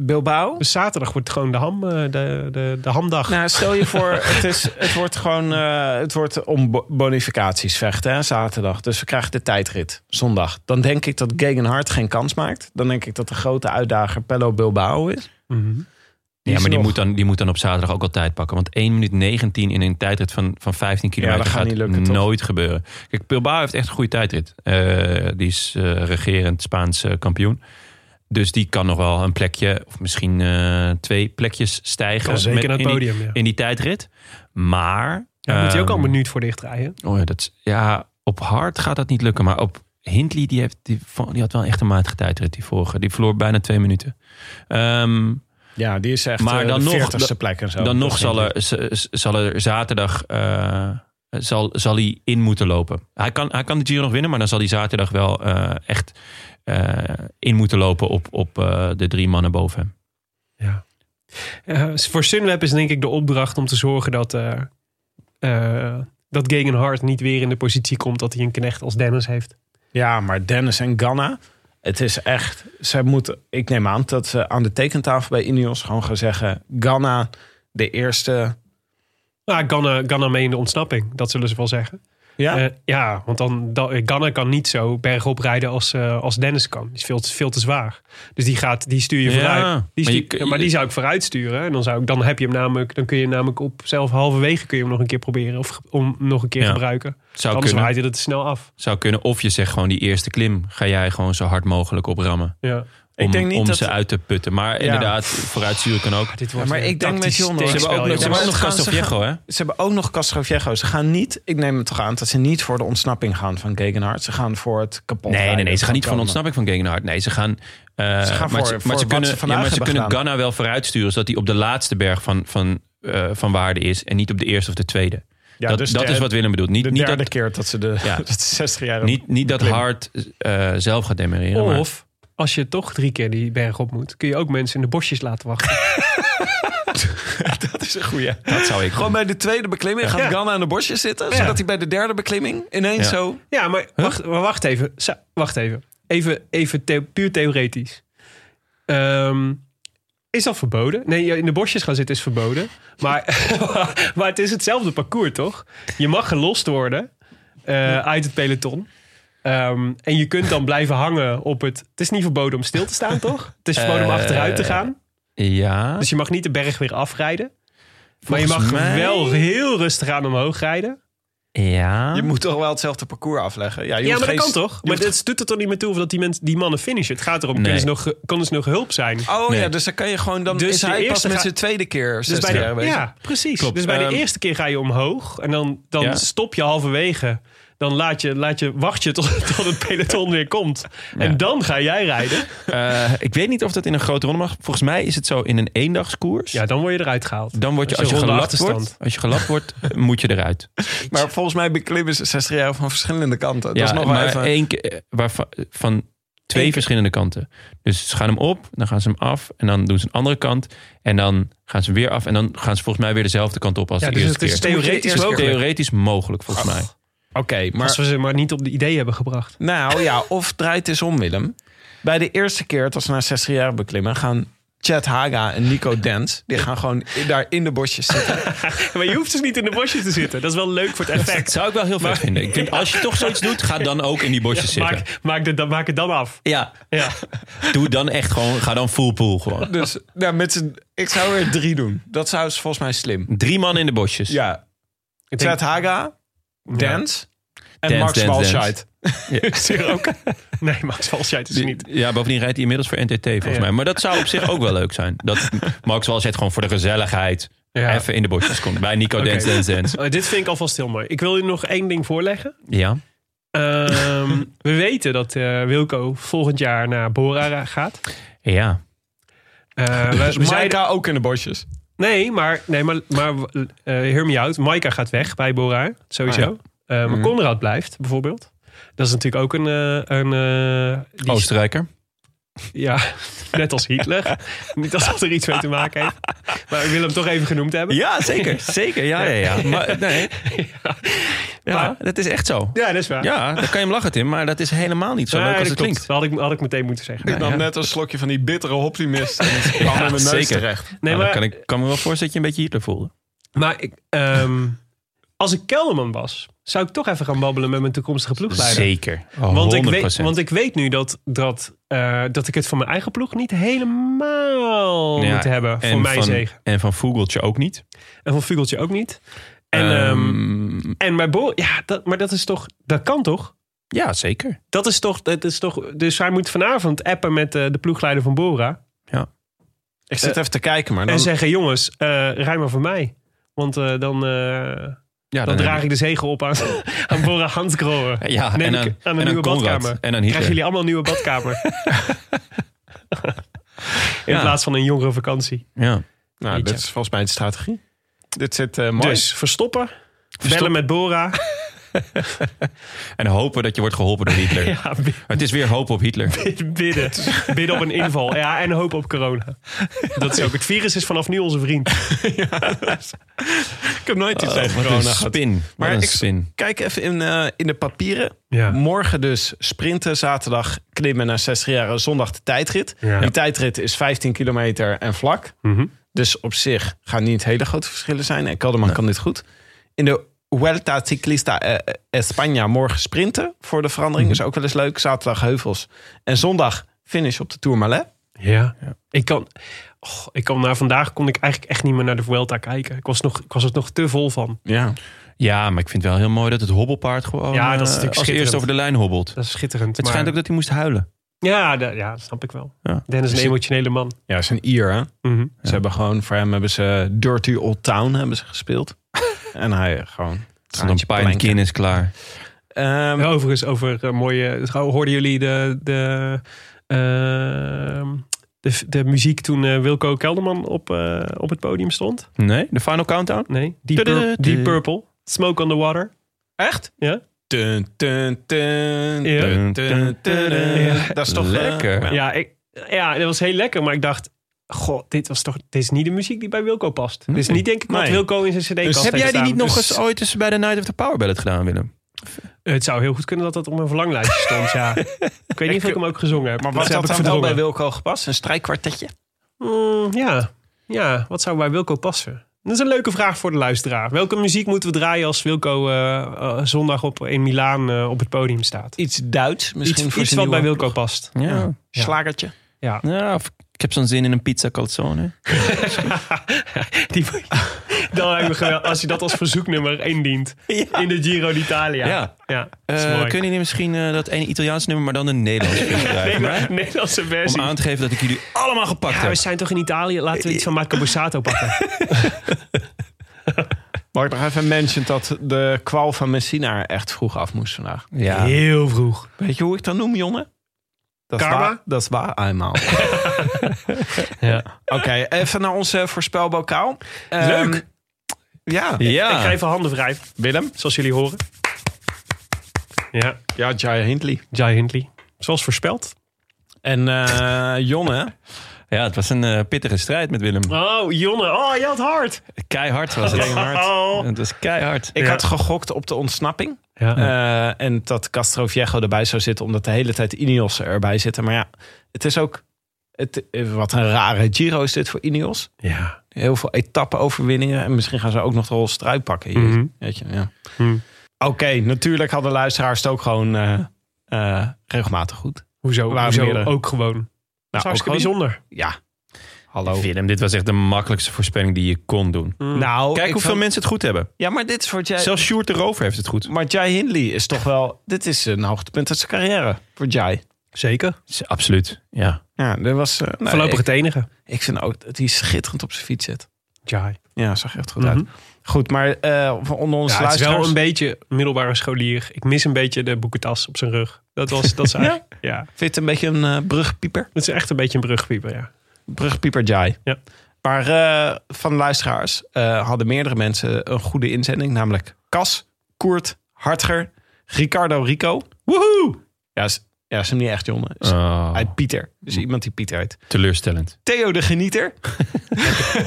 [SPEAKER 4] Bilbao?
[SPEAKER 1] Dus zaterdag wordt gewoon de, ham, eh, de, de, de hamdag.
[SPEAKER 4] (laughs) Nou, stel je voor, het, is, het wordt gewoon eh, het wordt om bo- bonificaties vechten, hè, zaterdag. Dus we krijgen de tijdrit, zondag. Dan denk ik dat Gegenhard geen kans maakt. Dan denk ik dat de grote uitdager Pello Bilbao is.
[SPEAKER 1] Mhm.
[SPEAKER 5] ja,
[SPEAKER 4] is
[SPEAKER 5] maar die
[SPEAKER 4] nog-
[SPEAKER 5] moet, dan, die moet dan op zaterdag ook al tijd pakken. Want 1 minuut 19 in een tijdrit van, van 15 kilometer
[SPEAKER 4] dat gaat
[SPEAKER 5] gaat
[SPEAKER 4] niet lukken, toch?
[SPEAKER 5] nooit gebeuren. Kijk, Bilbao heeft echt een goede tijdrit. Eh, die is eh, regerend Spaans eh, kampioen. Dus die kan nog wel een plekje, of misschien eh, twee plekjes stijgen.
[SPEAKER 1] Kan
[SPEAKER 5] met-
[SPEAKER 1] zeker naar het
[SPEAKER 5] in, die,
[SPEAKER 1] podium. Ja.
[SPEAKER 5] in die tijdrit. Maar...
[SPEAKER 1] Ja, moet hij ook al
[SPEAKER 5] ehm,
[SPEAKER 1] een minuut voor dichtrijden.
[SPEAKER 5] Oh ja, dat, is- ja, op hard gaat dat niet lukken. Maar op Hindley, die, heeft, die, van- die had wel echt een matige tijdrit, die vorige. Die verloor bijna twee minuten. Ehm,
[SPEAKER 4] Ja, die is echt
[SPEAKER 5] Maar
[SPEAKER 4] maar
[SPEAKER 5] dan
[SPEAKER 4] de
[SPEAKER 5] nog-
[SPEAKER 4] 40ste plek en zo.
[SPEAKER 5] dan
[SPEAKER 4] Dat
[SPEAKER 5] nog
[SPEAKER 4] is
[SPEAKER 5] zal
[SPEAKER 4] niet-
[SPEAKER 5] er, z- z- zal er zaterdag... eh, zal, zal hij in moeten lopen. Hij kan, hij kan de Giro nog winnen, maar dan zal hij zaterdag wel eh, echt eh, in moeten lopen op, op eh, de drie mannen boven hem.
[SPEAKER 1] Eh, voor Sunweb is denk ik de opdracht om te zorgen dat, eh eh dat Gegenhard niet weer in de positie komt dat hij een knecht als Dennis heeft.
[SPEAKER 4] Ja, maar Dennis en Ganna. Het is echt. Zij moeten. Ik neem aan dat ze aan de tekentafel bij Ineos gewoon gaan zeggen. Ganna, de eerste.
[SPEAKER 1] Maar Ah, Ganna, Ganna mee in de ontsnapping, dat zullen ze wel zeggen.
[SPEAKER 4] Ja.
[SPEAKER 1] Eh, ja, want dan, dan, Ganna kan niet zo bergop rijden als, eh, als Dennis kan. Die is veel te, veel te zwaar. Dus die, gaat, die stuur je
[SPEAKER 5] Ja,
[SPEAKER 1] vooruit.
[SPEAKER 5] maar
[SPEAKER 1] Die maar,
[SPEAKER 5] je kun-
[SPEAKER 1] ja, maar die zou ik vooruit sturen. En dan, zou ik, dan, heb je hem namelijk, dan kun je hem namelijk op zelf halverwege kun je hem nog een keer proberen. Of ge- om hem nog een keer
[SPEAKER 5] Ja.
[SPEAKER 1] gebruiken.
[SPEAKER 5] Zou
[SPEAKER 1] Anders
[SPEAKER 5] kunnen,
[SPEAKER 1] waait hij dat te snel af.
[SPEAKER 5] zou kunnen. Of je zegt gewoon die eerste klim, ga jij gewoon zo hard mogelijk oprammen.
[SPEAKER 1] Ja.
[SPEAKER 5] Om,
[SPEAKER 4] Ik denk niet
[SPEAKER 5] om
[SPEAKER 4] dat-
[SPEAKER 5] ze
[SPEAKER 4] Ah,
[SPEAKER 5] uit te putten. Maar inderdaad, vooruitsturen kan ook.
[SPEAKER 1] Dit
[SPEAKER 4] maar ik denk met John, hoor.
[SPEAKER 5] Ze hebben ook, nog- ze
[SPEAKER 4] Ja,
[SPEAKER 5] hebben
[SPEAKER 4] maar
[SPEAKER 5] ook nog
[SPEAKER 4] dat gaan ze
[SPEAKER 5] Castelviejo, hè?
[SPEAKER 4] Ze hebben ook nog Castroviejo. Ze gaan niet. Ik neem het toch aan dat ze niet voor de ontsnapping gaan van Gegenhard. Ze gaan voor het kapot.
[SPEAKER 5] Nee, nee, nee. Ze gaan niet van
[SPEAKER 4] Ganna.
[SPEAKER 5] ontsnapping van Gegenhard. Nee, ze gaan... eh,
[SPEAKER 4] gaan
[SPEAKER 5] maar
[SPEAKER 4] voor-
[SPEAKER 5] ze, maar
[SPEAKER 4] voor
[SPEAKER 5] ze
[SPEAKER 4] wat
[SPEAKER 5] kunnen,
[SPEAKER 4] ze vandaag
[SPEAKER 5] ja, maar ze
[SPEAKER 4] hebben
[SPEAKER 5] kunnen
[SPEAKER 4] gedaan.
[SPEAKER 5] Ghana wel vooruitsturen... zodat hij op de laatste berg van, van, eh, van waarde is... en niet op de eerste of de tweede.
[SPEAKER 4] Ja,
[SPEAKER 5] dat
[SPEAKER 4] dus
[SPEAKER 5] dat
[SPEAKER 4] de-
[SPEAKER 5] is wat Willem bedoelt. Niet,
[SPEAKER 4] De
[SPEAKER 5] niet,
[SPEAKER 4] derde
[SPEAKER 5] dat,
[SPEAKER 4] keer dat ze de,
[SPEAKER 5] Ja.
[SPEAKER 4] (laughs) dat ze 60 jaar.
[SPEAKER 5] niet, niet dat Hart eh, zelf gaat demereren. maar-
[SPEAKER 1] Of als je toch drie keer die berg op moet, kun je ook mensen in de bosjes laten wachten.
[SPEAKER 4] dat is een goeie.
[SPEAKER 5] dat zou ik
[SPEAKER 4] Gewoon
[SPEAKER 5] doen.
[SPEAKER 4] bij de tweede beklimming gaat
[SPEAKER 1] Ja.
[SPEAKER 4] Ganna aan de bosje zitten. Zodat hij bij de derde beklimming ineens
[SPEAKER 5] Ja.
[SPEAKER 4] zo.
[SPEAKER 1] (laughs) ja, maar wacht, maar wacht even. Sa- Wacht even. Even, even the- puur theoretisch. Ehm, is dat verboden? Nee, ja, in de bosjes gaan zitten is verboden. Maar, (laughs) maar het is hetzelfde parcours, toch? Je mag gelost worden eh, uit het peloton. Ehm, en je kunt dan blijven hangen op het... Het is niet verboden om stil te staan, toch? Het is verboden om
[SPEAKER 5] Eh,
[SPEAKER 1] achteruit te gaan.
[SPEAKER 5] Ja.
[SPEAKER 1] Dus je mag niet de berg weer afrijden. maar je
[SPEAKER 5] Volgens
[SPEAKER 1] mag
[SPEAKER 5] mij-
[SPEAKER 1] wel heel rustig aan omhoog rijden.
[SPEAKER 5] ja.
[SPEAKER 4] Je moet toch wel hetzelfde parcours afleggen. Ja, je
[SPEAKER 1] ja,
[SPEAKER 4] hoeft
[SPEAKER 1] maar dat
[SPEAKER 4] geen-
[SPEAKER 1] kan toch?
[SPEAKER 4] je
[SPEAKER 1] Maar
[SPEAKER 4] hoeft-
[SPEAKER 1] dat doet er toch niet meer toe of dat die, mensen, die mannen finishen. Het gaat erom,
[SPEAKER 5] Nee.
[SPEAKER 1] kunnen, ze nog, kunnen ze nog hulp zijn?
[SPEAKER 4] Oh
[SPEAKER 5] Nee.
[SPEAKER 4] ja, dus dan kan je gewoon dan
[SPEAKER 1] Dus
[SPEAKER 4] is
[SPEAKER 1] de
[SPEAKER 4] hij pas
[SPEAKER 1] eerste
[SPEAKER 4] met
[SPEAKER 1] ga-
[SPEAKER 4] zijn tweede keer 60
[SPEAKER 1] Dus bij
[SPEAKER 4] jaar
[SPEAKER 1] de,
[SPEAKER 4] bezig.
[SPEAKER 1] ja, precies.
[SPEAKER 5] Klopt.
[SPEAKER 1] Dus bij de
[SPEAKER 5] Ehm,
[SPEAKER 1] eerste keer ga je omhoog en dan, dan
[SPEAKER 5] Ja.
[SPEAKER 1] stop je halverwege. Dan laat je, laat je, wacht je tot, (laughs) tot het peloton weer komt. En dan ga jij rijden.
[SPEAKER 5] Eh, ik weet niet of dat in een grote ronde mag. Volgens mij is het zo in een eendagskoers.
[SPEAKER 1] Ja, dan word je eruit gehaald.
[SPEAKER 5] Dan word je,
[SPEAKER 1] Als
[SPEAKER 5] als
[SPEAKER 1] je
[SPEAKER 5] je
[SPEAKER 1] ronde
[SPEAKER 5] gelapt wordt,
[SPEAKER 1] achterstand.
[SPEAKER 5] als je gelapt wordt, eh, moet je eruit.
[SPEAKER 4] Maar volgens mij beklimmen ze 60 jaar van verschillende kanten.
[SPEAKER 5] Ja,
[SPEAKER 4] dat is nog wel
[SPEAKER 5] maar
[SPEAKER 4] even.
[SPEAKER 5] één keer, eh, waarvan, eh, van twee verschillende kanten. Dus ze gaan hem op, dan gaan ze hem af en dan doen ze een andere kant. En dan gaan ze hem weer af en dan gaan ze volgens mij weer dezelfde kant op als
[SPEAKER 1] Ja,
[SPEAKER 5] de
[SPEAKER 1] dus
[SPEAKER 5] eerste
[SPEAKER 1] het is
[SPEAKER 5] keer.
[SPEAKER 1] theoretisch
[SPEAKER 5] Het is
[SPEAKER 1] mogelijk.
[SPEAKER 5] theoretisch mogelijk volgens mij.
[SPEAKER 4] Oké,
[SPEAKER 1] Als
[SPEAKER 4] maar
[SPEAKER 1] we ze maar niet op de idee hebben
[SPEAKER 4] (laughs)
[SPEAKER 1] gebracht.
[SPEAKER 4] nou ja, of draait eens om Willem. Bij de eerste keer dat ze na 60 jaar beklimmen gaan Chad Haga en Nico Dens, die gaan gewoon in- daar in de bosjes zitten.
[SPEAKER 1] Maar je hoeft dus niet in de bosjes te zitten. Dat is wel leuk voor het effect.
[SPEAKER 5] Zou ik wel heel vet vinden. Ik vind, als je toch zoiets doet, ga dan ook in die bosjes zitten.
[SPEAKER 1] Maak, maak, het, dan, maak het dan af.
[SPEAKER 5] Ja,
[SPEAKER 1] Ja.
[SPEAKER 5] doe dan echt gewoon, ga dan full pool gewoon.
[SPEAKER 4] Dus nou, met z'n- ik zou er drie doen. Dat zou is volgens mij slim.
[SPEAKER 5] Drie man in de bosjes.
[SPEAKER 4] Ja,
[SPEAKER 1] Ik denk,
[SPEAKER 4] Chad Haga, Dens en
[SPEAKER 5] Dance,
[SPEAKER 4] Max
[SPEAKER 5] Dance, Dance.
[SPEAKER 4] Walscheid.
[SPEAKER 1] is
[SPEAKER 5] (laughs)
[SPEAKER 1] er ook. Nee, Max Walscheid is er dus niet.
[SPEAKER 5] Ja, bovendien rijdt hij inmiddels voor NTT volgens
[SPEAKER 1] Ja.
[SPEAKER 5] mij. Maar dat zou op zich ook wel leuk zijn. (laughs) Dat Max Walshett gewoon voor de gezelligheid
[SPEAKER 1] Ja.
[SPEAKER 5] even in de bosjes komt. Bij Nico Dance Dance Dance.
[SPEAKER 1] Oh, dit vind ik alvast heel mooi. Ik wil u nog één ding voorleggen.
[SPEAKER 5] Ja. (laughs)
[SPEAKER 1] Ehm, we weten dat eh, Wilco volgend jaar naar Bora gaat.
[SPEAKER 5] Ja. (laughs)
[SPEAKER 1] Eh,
[SPEAKER 5] Dus
[SPEAKER 1] we, we zeiden-
[SPEAKER 4] Maika Dus ook in de bosjes.
[SPEAKER 1] nee, maar, nee, maar, maar eh hear me out. Maika gaat weg bij Bora, sowieso.
[SPEAKER 5] Ah,
[SPEAKER 1] Eh,
[SPEAKER 5] Mhm.
[SPEAKER 1] maar Conrad blijft, bijvoorbeeld. Dat is natuurlijk ook een... eh, een eh, die-
[SPEAKER 5] Oostenrijker.
[SPEAKER 1] Ja, (laughs) net als
[SPEAKER 5] (laughs)
[SPEAKER 1] Hitler. Niet dat dat er iets mee te maken heeft. Maar ik wil hem toch even genoemd hebben.
[SPEAKER 5] Ja, zeker. Zeker. Ja, ja, ja. Maar, nee. ja.
[SPEAKER 1] Maar-
[SPEAKER 5] dat is echt zo.
[SPEAKER 1] Ja, dat is waar.
[SPEAKER 5] Ja, dan kan je hem lachen, Tim. Maar dat is helemaal niet zo
[SPEAKER 1] Nee,
[SPEAKER 5] leuk als
[SPEAKER 1] dat
[SPEAKER 5] het
[SPEAKER 1] klopt.
[SPEAKER 5] klinkt.
[SPEAKER 1] Dat had ik, had ik meteen moeten zeggen.
[SPEAKER 4] Ik nam net een slokje van die bittere optimist. (laughs) En het kwam in mijn neus
[SPEAKER 5] zeker.
[SPEAKER 4] terecht.
[SPEAKER 1] Nee,
[SPEAKER 5] Nou,
[SPEAKER 1] maar,
[SPEAKER 5] dan kan ik kan me wel voorstellen dat je een beetje Hitler voelde.
[SPEAKER 1] maar ik, ehm, Als ik Kelderman was, zou ik toch even gaan babbelen met mijn toekomstige ploegleider.
[SPEAKER 5] Zeker. Oh,
[SPEAKER 1] Want
[SPEAKER 5] 100%.
[SPEAKER 1] ik, weet, want ik weet nu dat, dat, eh, dat ik het van mijn eigen ploeg niet helemaal
[SPEAKER 5] Ja,
[SPEAKER 1] moet hebben. Voor
[SPEAKER 5] en
[SPEAKER 1] mijn
[SPEAKER 5] van,
[SPEAKER 1] zegen.
[SPEAKER 5] En van Vogeltje ook niet.
[SPEAKER 1] En van Vugeltje ook niet. En, ehm,
[SPEAKER 5] Ehm,
[SPEAKER 1] en maar, Bo- ja, dat, maar dat is toch, dat kan toch?
[SPEAKER 5] ja, zeker.
[SPEAKER 1] Dat is toch, dat is toch, dus hij moet vanavond appen met eh, de ploegleider van Bora.
[SPEAKER 4] Ik zit even te kijken, maar
[SPEAKER 1] En
[SPEAKER 4] dan,
[SPEAKER 1] zeggen, jongens, eh rij maar voor mij. Want eh, dan, eh,
[SPEAKER 5] Ja,
[SPEAKER 1] dan draag
[SPEAKER 5] heb
[SPEAKER 1] ik de zegel op aan, (laughs) aan Bora Hansgrohe.
[SPEAKER 5] je- Ja, eh.
[SPEAKER 1] Neem
[SPEAKER 5] en
[SPEAKER 1] ik
[SPEAKER 5] aan,
[SPEAKER 1] aan een
[SPEAKER 5] en
[SPEAKER 1] nieuwe
[SPEAKER 5] Konrad.
[SPEAKER 1] badkamer.
[SPEAKER 5] En aan Hitler.
[SPEAKER 1] Krijgen jullie allemaal een nieuwe badkamer.
[SPEAKER 5] (laughs)
[SPEAKER 1] In
[SPEAKER 5] Ja.
[SPEAKER 1] plaats van een jongere vakantie.
[SPEAKER 5] Ja.
[SPEAKER 4] nou, dit is volgens mij de strategie. Dit zit eh mooi.
[SPEAKER 1] Dus verstoppen,
[SPEAKER 5] Verstop-
[SPEAKER 1] bellen met
[SPEAKER 5] (laughs)
[SPEAKER 1] Bora.
[SPEAKER 5] En hopen dat je wordt geholpen door Hitler.
[SPEAKER 1] (laughs) ja, bi-
[SPEAKER 5] Het is weer hoop op Hitler.
[SPEAKER 1] bidden. Bidden op een inval. Ja, en hoop op corona. Dat is ook. Het virus is vanaf nu onze vriend.
[SPEAKER 4] Ik heb nooit iets
[SPEAKER 5] Oh, Wat een spin. Wat
[SPEAKER 4] Maar
[SPEAKER 5] een
[SPEAKER 4] ik-
[SPEAKER 5] spin.
[SPEAKER 4] Kijk even in, eh, in de papieren.
[SPEAKER 1] Ja.
[SPEAKER 4] Morgen dus sprinten, zaterdag klimmen naar 60 jaar, eh, zondag de tijdrit.
[SPEAKER 1] Ja. Mhm.
[SPEAKER 4] Die tijdrit is 15 kilometer en vlak. Dus op zich gaan niet hele grote verschillen zijn. En Kelderman kan dit goed. In de Vuelta Ciclista eh, España morgen sprinten voor de verandering. Is ook wel eens leuk. Zaterdag heuvels. En zondag finish op de Tourmalet.
[SPEAKER 1] Ja. Ik kan... och, ik kan na vandaag kon ik eigenlijk echt niet meer naar de Vuelta kijken. Ik was, nog, ik was er nog te vol van.
[SPEAKER 4] Ja.
[SPEAKER 5] Ja, maar ik vind het wel heel mooi dat het hobbelpaard gewoon
[SPEAKER 1] Ja, dat is
[SPEAKER 5] eh,
[SPEAKER 1] natuurlijk
[SPEAKER 5] als
[SPEAKER 1] schitterend.
[SPEAKER 5] eerst over de lijn hobbelt. Het
[SPEAKER 1] Dat is schitterend. maar-
[SPEAKER 5] schijnt ook dat hij moest huilen.
[SPEAKER 1] Ja, da- ja, dat snap ik wel.
[SPEAKER 5] Ja.
[SPEAKER 1] Dennis is
[SPEAKER 4] Dus-
[SPEAKER 1] een emotionele man.
[SPEAKER 4] Ja, is een Ier hè.
[SPEAKER 1] Mhm.
[SPEAKER 4] Ze hebben gewoon, voor hem hebben ze Dirty Old Town hebben ze gespeeld. en hij eh, gewoon...
[SPEAKER 5] Want een pint
[SPEAKER 4] planken.
[SPEAKER 5] kin is klaar.
[SPEAKER 4] Ehm,
[SPEAKER 1] Ja, Overigens, over eh, mooie. trouw- Hoorden jullie de, de, ehm, de, de muziek toen eh, Wilco Kelderman op, eh, op het podium stond?
[SPEAKER 5] Nee? De final countdown?
[SPEAKER 1] Nee. Deep, Pur-
[SPEAKER 5] Tudu,
[SPEAKER 1] Deep
[SPEAKER 5] tudu.
[SPEAKER 1] Purple. Smoke on the Water.
[SPEAKER 4] Echt?
[SPEAKER 1] Ja?
[SPEAKER 4] Dun, dun, dun,
[SPEAKER 1] Ja.
[SPEAKER 4] dun, dun, dun, dun.
[SPEAKER 1] Ja.
[SPEAKER 4] Dat is toch eh,
[SPEAKER 5] Lekker.
[SPEAKER 4] ja.
[SPEAKER 1] Ja, ik, ja, dat was heel lekker, maar ik dacht. Goh, dit, was toch, dit is niet de muziek die bij Wilco past. Dit is niet denk ik wat
[SPEAKER 4] Nee.
[SPEAKER 1] Wilco in zijn cd-kast
[SPEAKER 4] Dus
[SPEAKER 5] Heb jij die niet nog
[SPEAKER 1] eens
[SPEAKER 5] eens ooit eens bij de Night of the Power Ballad gedaan, Willem?
[SPEAKER 1] Het zou heel goed kunnen dat dat op mijn verlanglijstje stond,
[SPEAKER 4] (laughs)
[SPEAKER 1] ja. Ik weet niet of ik hem ook gezongen heb.
[SPEAKER 4] Maar was
[SPEAKER 1] heb
[SPEAKER 4] dat
[SPEAKER 1] ik
[SPEAKER 4] dan wel
[SPEAKER 1] verdrongen.
[SPEAKER 4] bij Wilco gepast? Een strijkkwartetje?
[SPEAKER 1] Mm, ja. ja, wat zou bij Wilco passen? Dat is een leuke vraag voor de luisteraar. Welke muziek moeten we draaien als Wilco eh, eh, zondag op, in Milaan eh, op het podium staat?
[SPEAKER 4] Iets Duits misschien
[SPEAKER 1] Iets,
[SPEAKER 4] voor
[SPEAKER 1] iets
[SPEAKER 4] zijn
[SPEAKER 1] wat bij
[SPEAKER 4] nieuwe
[SPEAKER 1] Wilco past.
[SPEAKER 5] Ja.
[SPEAKER 1] Ja.
[SPEAKER 4] Slagertje.
[SPEAKER 1] Ja.
[SPEAKER 5] ja of ik heb zo'n zin in een pizza calzone.
[SPEAKER 1] Die, dan hebben we gewel- als je dat als verzoeknummer
[SPEAKER 4] (laughs)
[SPEAKER 1] indient in de Giro d'Italia.
[SPEAKER 5] Ja.
[SPEAKER 1] ja. Dat is
[SPEAKER 5] Eh,
[SPEAKER 1] mooi.
[SPEAKER 5] kunnen jullie misschien eh, dat ene Italiaans nummer, maar dan een (laughs) Nederlands nummer
[SPEAKER 1] Nee,
[SPEAKER 5] krijgen?
[SPEAKER 1] maar- (laughs) Nederlandse
[SPEAKER 5] Om
[SPEAKER 1] versie.
[SPEAKER 5] aan te geven dat ik jullie allemaal gepakt
[SPEAKER 1] Ja,
[SPEAKER 5] heb.
[SPEAKER 1] we zijn toch in Italië? Laten we iets van Marco Borsato
[SPEAKER 4] (laughs)
[SPEAKER 1] pakken.
[SPEAKER 4] Mag ik nog even mention dat de kwal van Messina er echt vroeg af moest vandaag.
[SPEAKER 5] Ja.
[SPEAKER 1] Heel vroeg.
[SPEAKER 4] Weet je hoe ik dat noem, jongen? Dat
[SPEAKER 1] Karma?
[SPEAKER 4] Is waar, dat is waar, eenmaal. ja. Oké, even naar onze voorspelbokaal.
[SPEAKER 1] Leuk.
[SPEAKER 4] Ehm, ja.
[SPEAKER 1] Ik ga
[SPEAKER 5] Ja.
[SPEAKER 1] even handen vrij,
[SPEAKER 4] Willem?
[SPEAKER 1] zoals jullie horen. Ja,
[SPEAKER 4] Ja, Jai Hindley.
[SPEAKER 1] Jai Hindley. Zoals voorspeld.
[SPEAKER 4] En eh, (laughs) Jonne?
[SPEAKER 5] ja, het was een eh, pittige strijd met Willem.
[SPEAKER 1] Oh, Jonne. Oh, je had hard.
[SPEAKER 5] Keihard was het.
[SPEAKER 1] Oh.
[SPEAKER 5] Het was keihard.
[SPEAKER 4] Ik
[SPEAKER 1] Ja.
[SPEAKER 4] had gegokt op de ontsnapping.
[SPEAKER 1] Ja.
[SPEAKER 4] Eh, en dat Castro Viejo erbij zou zitten, omdat de hele tijd Ineos erbij zitten. Maar ja, het is ook. Het, eh, wat een rare Giro is dit voor Ineos.
[SPEAKER 1] ja.
[SPEAKER 4] Heel veel etappe-overwinningen. En misschien gaan ze ook nog de rol struik pakken hier.
[SPEAKER 1] Mhm.
[SPEAKER 4] Weet je, ja.
[SPEAKER 1] Mhm.
[SPEAKER 4] Oké, natuurlijk hadden luisteraars het ook gewoon eh, eh, regelmatig goed.
[SPEAKER 1] Hoezo?
[SPEAKER 4] Waren
[SPEAKER 1] Hoezo
[SPEAKER 4] meerdere.
[SPEAKER 1] ook gewoon? Dat is
[SPEAKER 4] Nou, ook
[SPEAKER 1] hartstikke
[SPEAKER 4] gewoon-
[SPEAKER 1] bijzonder.
[SPEAKER 4] Ja. Hallo.
[SPEAKER 5] Willem, dit was echt de makkelijkste voorspelling die je kon doen.
[SPEAKER 4] Nou,
[SPEAKER 5] Kijk
[SPEAKER 4] ik
[SPEAKER 5] hoeveel
[SPEAKER 4] vond-
[SPEAKER 5] mensen het goed hebben.
[SPEAKER 4] Ja, maar dit is voor Jai.
[SPEAKER 5] Zelfs Sjoerd de Rover heeft het goed.
[SPEAKER 4] Maar Jai Hindley is toch wel. Dit is een hoogtepunt uit zijn carrière voor Jai.
[SPEAKER 1] Zeker.
[SPEAKER 5] Absoluut, ja.
[SPEAKER 4] Ja, dat was. eh, nou,
[SPEAKER 1] Voorlopig
[SPEAKER 4] ik,
[SPEAKER 1] het enige.
[SPEAKER 4] ik vind ook dat hij schitterend op zijn fiets zit.
[SPEAKER 1] Jai.
[SPEAKER 4] Ja, zag er echt goed
[SPEAKER 1] Mhm.
[SPEAKER 4] uit. Goed, maar eh, van onder onze
[SPEAKER 1] Ja, het is
[SPEAKER 4] luisteraars.
[SPEAKER 1] wel een beetje middelbare scholier. Ik mis een beetje de boekentas op zijn rug. Dat was (laughs) dat is eigenlijk- ja.
[SPEAKER 4] Vind je het een beetje een eh, brugpieper?
[SPEAKER 1] Het is echt een beetje een brugpieper, ja.
[SPEAKER 4] Brugpieper Jai.
[SPEAKER 1] Ja.
[SPEAKER 4] Maar eh, van luisteraars eh, hadden meerdere mensen een goede inzending. Namelijk Cas, Koert, Hartger, Ricardo Rico. Woehoe! Ja, is, ja, is hem niet echt, jongen. Is
[SPEAKER 5] Oh,
[SPEAKER 4] Uit Pieter. Dus iemand die Pieter heet.
[SPEAKER 5] teleurstellend.
[SPEAKER 4] Theo de Genieter.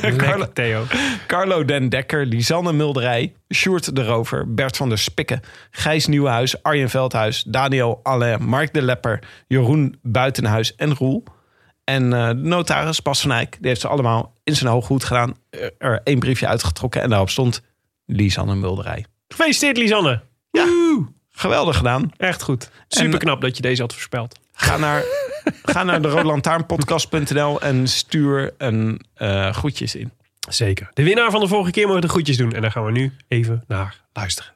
[SPEAKER 4] Carlo,
[SPEAKER 1] Lekker, Theo.
[SPEAKER 4] Carlo Den Dekker, Lisanne Mulderij, Sjoerd de Rover, Bert van der Spikken, Gijs Nieuwenhuis, Arjen Veldhuis, Daniel Alain, Mark de Lepper, Jeroen Buitenhuis en Roel. En eh, de notaris Bas van Eyck, die heeft ze allemaal in zijn hooggoed gedaan. Er- Er één briefje uitgetrokken en daarop stond Lisanne Mulderij.
[SPEAKER 1] Gefeliciteerd, Lisanne.
[SPEAKER 2] Geweldig gedaan.
[SPEAKER 1] Echt goed. Super knap dat je deze had voorspeld.
[SPEAKER 2] Ga naar, ga naar de
[SPEAKER 1] (laughs)
[SPEAKER 2] roodlantaarnpodcast.nl en stuur een eh, groetjes in.
[SPEAKER 1] Zeker. De winnaar van de vorige keer mag de groetjes doen. En daar gaan we nu even naar luisteren.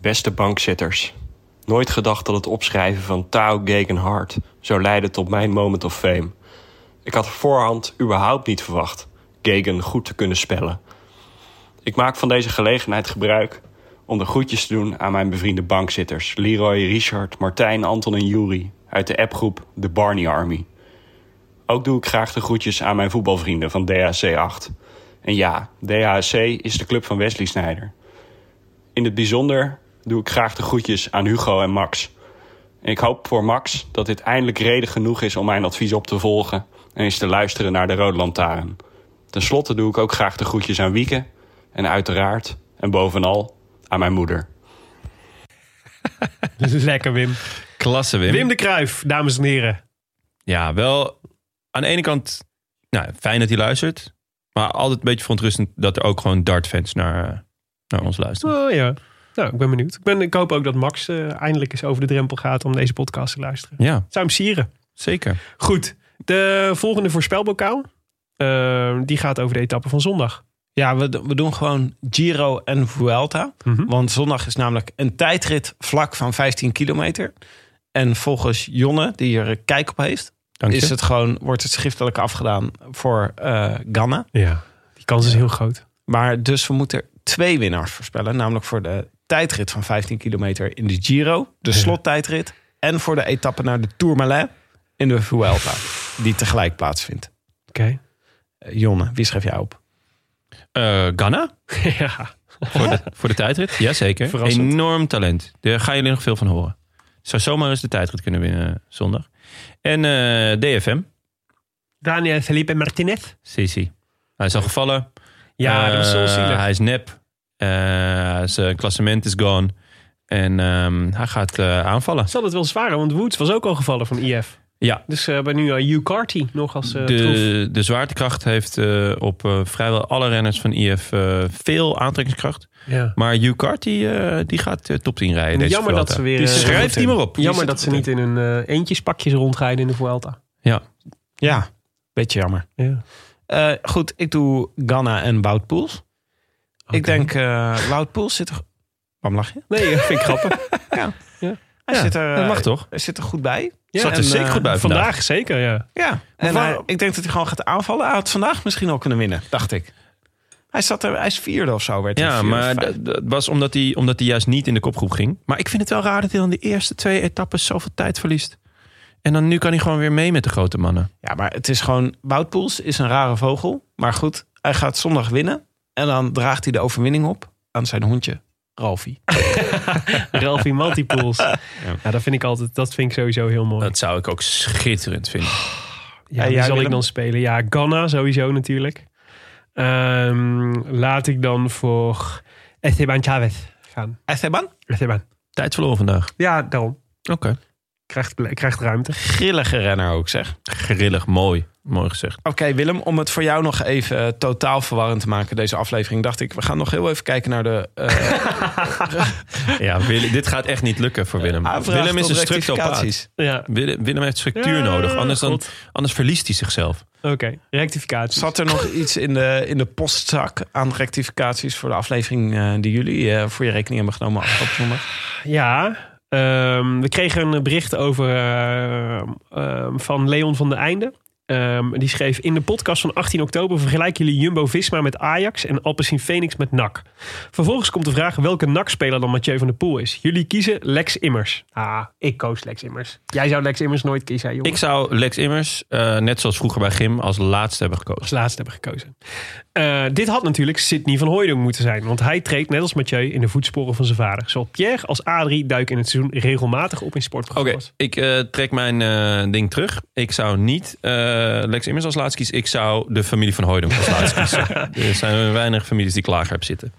[SPEAKER 4] Beste bankzitters. Nooit gedacht dat het opschrijven van Tao Gegenhard zou leiden tot mijn moment of fame. Ik had op voorhand überhaupt niet verwacht Gegen goed te kunnen spellen. Ik maak van deze gelegenheid gebruik om de groetjes te doen aan mijn bevriende bankzitters Leroy, Richard, Martijn, Anton en Juri uit de appgroep The Barney Army. Ook doe ik graag de groetjes aan mijn voetbalvrienden van DHC 8. En ja, DHC is de club van Wesley Sneijder. In het bijzonder doe ik graag de groetjes aan Hugo en Max. En ik hoop voor Max dat dit eindelijk reden genoeg is om mijn advies op te volgen en eens te luisteren naar de Rode Lantaarn. Ten slotte doe ik ook graag de groetjes aan Wieke en uiteraard en bovenal aan mijn moeder.
[SPEAKER 1] (laughs) Lekker, Wim.
[SPEAKER 5] Klasse, Wim.
[SPEAKER 1] Wim de Kruif, dames en heren.
[SPEAKER 5] Ja, wel aan de ene kant nou, fijn dat hij luistert. Maar altijd een beetje verontrustend dat er ook gewoon dartfans naar, eh, naar ons luisteren.
[SPEAKER 1] Oh ja. Nou, ik ben benieuwd. Ik, ben, ik hoop ook dat Max eh, eindelijk eens over de drempel gaat om deze podcast te luisteren.
[SPEAKER 5] Ja,
[SPEAKER 1] Zou hem sieren.
[SPEAKER 5] zeker.
[SPEAKER 1] Goed. De volgende voorspelbokaal. eh, die gaat over de etappe van zondag.
[SPEAKER 2] Ja, we, we doen gewoon Giro en Vuelta.
[SPEAKER 1] Mhm.
[SPEAKER 2] Want zondag is namelijk een tijdrit vlak van 15 kilometer. En volgens Jonne, die er kijk op heeft,
[SPEAKER 5] Dank je.
[SPEAKER 2] is het gewoon, wordt het schriftelijk afgedaan voor eh, Ganna.
[SPEAKER 1] Ja. Die kans is heel groot.
[SPEAKER 2] Maar dus we moeten er twee winnaars voorspellen. Namelijk voor de tijdrit van 15 kilometer in de Giro, de slottijdrit. En voor de etappe naar de Tourmalet in de Vuelta. Die tegelijk plaatsvindt.
[SPEAKER 5] (laughs)
[SPEAKER 1] Oké.
[SPEAKER 2] Eh, Jonne, wie schrijf jij op?
[SPEAKER 5] Eh, Ghana?
[SPEAKER 1] ja.
[SPEAKER 5] Voor de, voor de tijdrit? Jazeker.
[SPEAKER 1] Verrassend.
[SPEAKER 5] Enorm talent. Daar gaan jullie nog veel van horen. Zou zomaar eens de tijdrit kunnen winnen eh, zondag. En eh, DFM.
[SPEAKER 1] Daniel Felipe Martinez.
[SPEAKER 5] Sisi. Hij is al gevallen.
[SPEAKER 1] Ja, dat was zo
[SPEAKER 5] Eh,
[SPEAKER 1] zielig.
[SPEAKER 5] Hij is nep. Eh, zijn klassement is gone. En ehm, hij gaat eh, aanvallen.
[SPEAKER 1] Zal het wel zwaar, want Woods was ook al gevallen van IF.
[SPEAKER 5] Ja.
[SPEAKER 1] Dus we hebben nu aan Hugh Carty nog als eh troef.
[SPEAKER 5] De, de zwaartekracht heeft eh, op eh, vrijwel alle renners van IF eh, veel aantrekkingskracht.
[SPEAKER 1] Ja.
[SPEAKER 5] Maar Hugh Cart, die, eh, die gaat eh, top 10 rijden. Deze
[SPEAKER 1] Jammer
[SPEAKER 5] Vuelta.
[SPEAKER 1] dat ze weer... eh,
[SPEAKER 5] Schrijf die maar op.
[SPEAKER 1] Jammer dat ze niet in hun eh, eentjespakjes rondrijden in de Vuelta.
[SPEAKER 5] Ja.
[SPEAKER 2] Ja, beetje jammer.
[SPEAKER 1] Ja.
[SPEAKER 2] Eh, goed, ik doe Ganna en Wout Poels. Ik
[SPEAKER 1] Oké.
[SPEAKER 2] denk, eh Wout Poels zit er... Waarom lach je?
[SPEAKER 1] Nee, dat vind ik
[SPEAKER 2] (laughs)
[SPEAKER 1] grappig.
[SPEAKER 2] Hij
[SPEAKER 5] Ja,
[SPEAKER 2] zit er,
[SPEAKER 5] dat
[SPEAKER 2] eh,
[SPEAKER 5] mag toch?
[SPEAKER 2] Hij zit er goed bij.
[SPEAKER 1] Ja,
[SPEAKER 5] Zat er
[SPEAKER 1] en,
[SPEAKER 5] zeker
[SPEAKER 1] eh,
[SPEAKER 5] goed bij vandaag.
[SPEAKER 1] Vandaag zeker, ja.
[SPEAKER 2] Ja, en
[SPEAKER 1] waar-
[SPEAKER 2] hij- ik denk dat hij gewoon gaat aanvallen. Hij had vandaag misschien al kunnen winnen, dacht ik. Hij, zat er, hij is vierde of zo. Werd hij
[SPEAKER 5] Ja,
[SPEAKER 2] vierde of
[SPEAKER 5] maar
[SPEAKER 2] vijfde.
[SPEAKER 5] dat, dat was omdat hij, omdat hij juist niet in de kopgroep ging. Maar ik vind het wel raar dat hij dan de eerste twee etappes zoveel tijd verliest. En dan nu kan hij gewoon weer mee met de grote mannen.
[SPEAKER 2] Ja, maar het is gewoon... Wout Poels is een rare vogel. Maar goed, hij gaat zondag winnen. En dan draagt hij de overwinning op aan zijn hondje, Ralfie.
[SPEAKER 5] (laughs)
[SPEAKER 1] Ralphie Multipools. Ja. dat vind ik altijd, dat vind ik sowieso heel mooi.
[SPEAKER 5] Dat zou ik ook schitterend vinden.
[SPEAKER 1] ja,
[SPEAKER 2] Ja,
[SPEAKER 1] die
[SPEAKER 2] jij,
[SPEAKER 1] zal ik
[SPEAKER 2] Willem?
[SPEAKER 1] dan spelen. Ja, Ghana sowieso natuurlijk. Ehm, laat ik dan voor Esteban Chavez gaan.
[SPEAKER 2] Esteban?
[SPEAKER 1] Esteban.
[SPEAKER 5] Tijd verloren vandaag.
[SPEAKER 1] Ja, daarom.
[SPEAKER 5] Oké.
[SPEAKER 1] Krijgt, pla- krijgt ruimte.
[SPEAKER 2] Grillige renner ook, zeg.
[SPEAKER 5] Grillig, mooi. Mooi gezegd.
[SPEAKER 2] Oké, Willem, om het voor jou nog even eh, totaal verwarrend te maken, deze aflevering, dacht ik, we gaan nog heel even kijken naar de eh
[SPEAKER 5] (laughs) Ja, Willem, dit gaat echt niet lukken voor Willem.
[SPEAKER 2] aanvraag
[SPEAKER 5] Willem is
[SPEAKER 2] tot
[SPEAKER 5] een structopaat.
[SPEAKER 2] rectificaties.
[SPEAKER 1] Ja,
[SPEAKER 5] Willem, Willem heeft structuur
[SPEAKER 1] Ja,
[SPEAKER 5] nodig, anders, dan,
[SPEAKER 1] God.
[SPEAKER 5] anders verliest hij zichzelf.
[SPEAKER 1] oké. Rectificatie.
[SPEAKER 2] Zat er nog iets in de, in de postzak aan rectificaties voor de aflevering eh, die jullie eh, voor je rekening hebben genomen afgelopen zondag?
[SPEAKER 1] Ja, ehm, we kregen een bericht over, ehm, ehm, van Leon van de Einde. Ehm, die schreef in de podcast van 18 oktober vergelijken jullie Jumbo-Visma met Ajax en Alpecin Phoenix met NAC. Vervolgens komt de vraag welke NAC-speler dan Mathieu van der Poel is. Jullie kiezen Lex Immers. Ah, ik koos Lex Immers. Jij zou Lex Immers nooit kiezen, hè, jongen.
[SPEAKER 5] Ik zou Lex Immers, eh, net zoals vroeger bij Gim, als laatste hebben
[SPEAKER 1] als
[SPEAKER 5] gekozen.
[SPEAKER 1] laatste hebben gekozen. Eh, dit had natuurlijk Sidney van Hooydonk moeten zijn. Want hij treedt net als Mathieu in de voetsporen van zijn vader. Zowel Pierre als Adrie duiken in het seizoen regelmatig op in
[SPEAKER 5] Oké,
[SPEAKER 1] sportprogramma's.
[SPEAKER 5] ik eh, trek mijn eh, ding terug. Ik zou niet eh, Lex Immers als laatste kiezen. Ik zou de familie van Hooydonk als laatste
[SPEAKER 4] (laughs)
[SPEAKER 5] kiezen. Er zijn weinig families die ik lager heb zitten.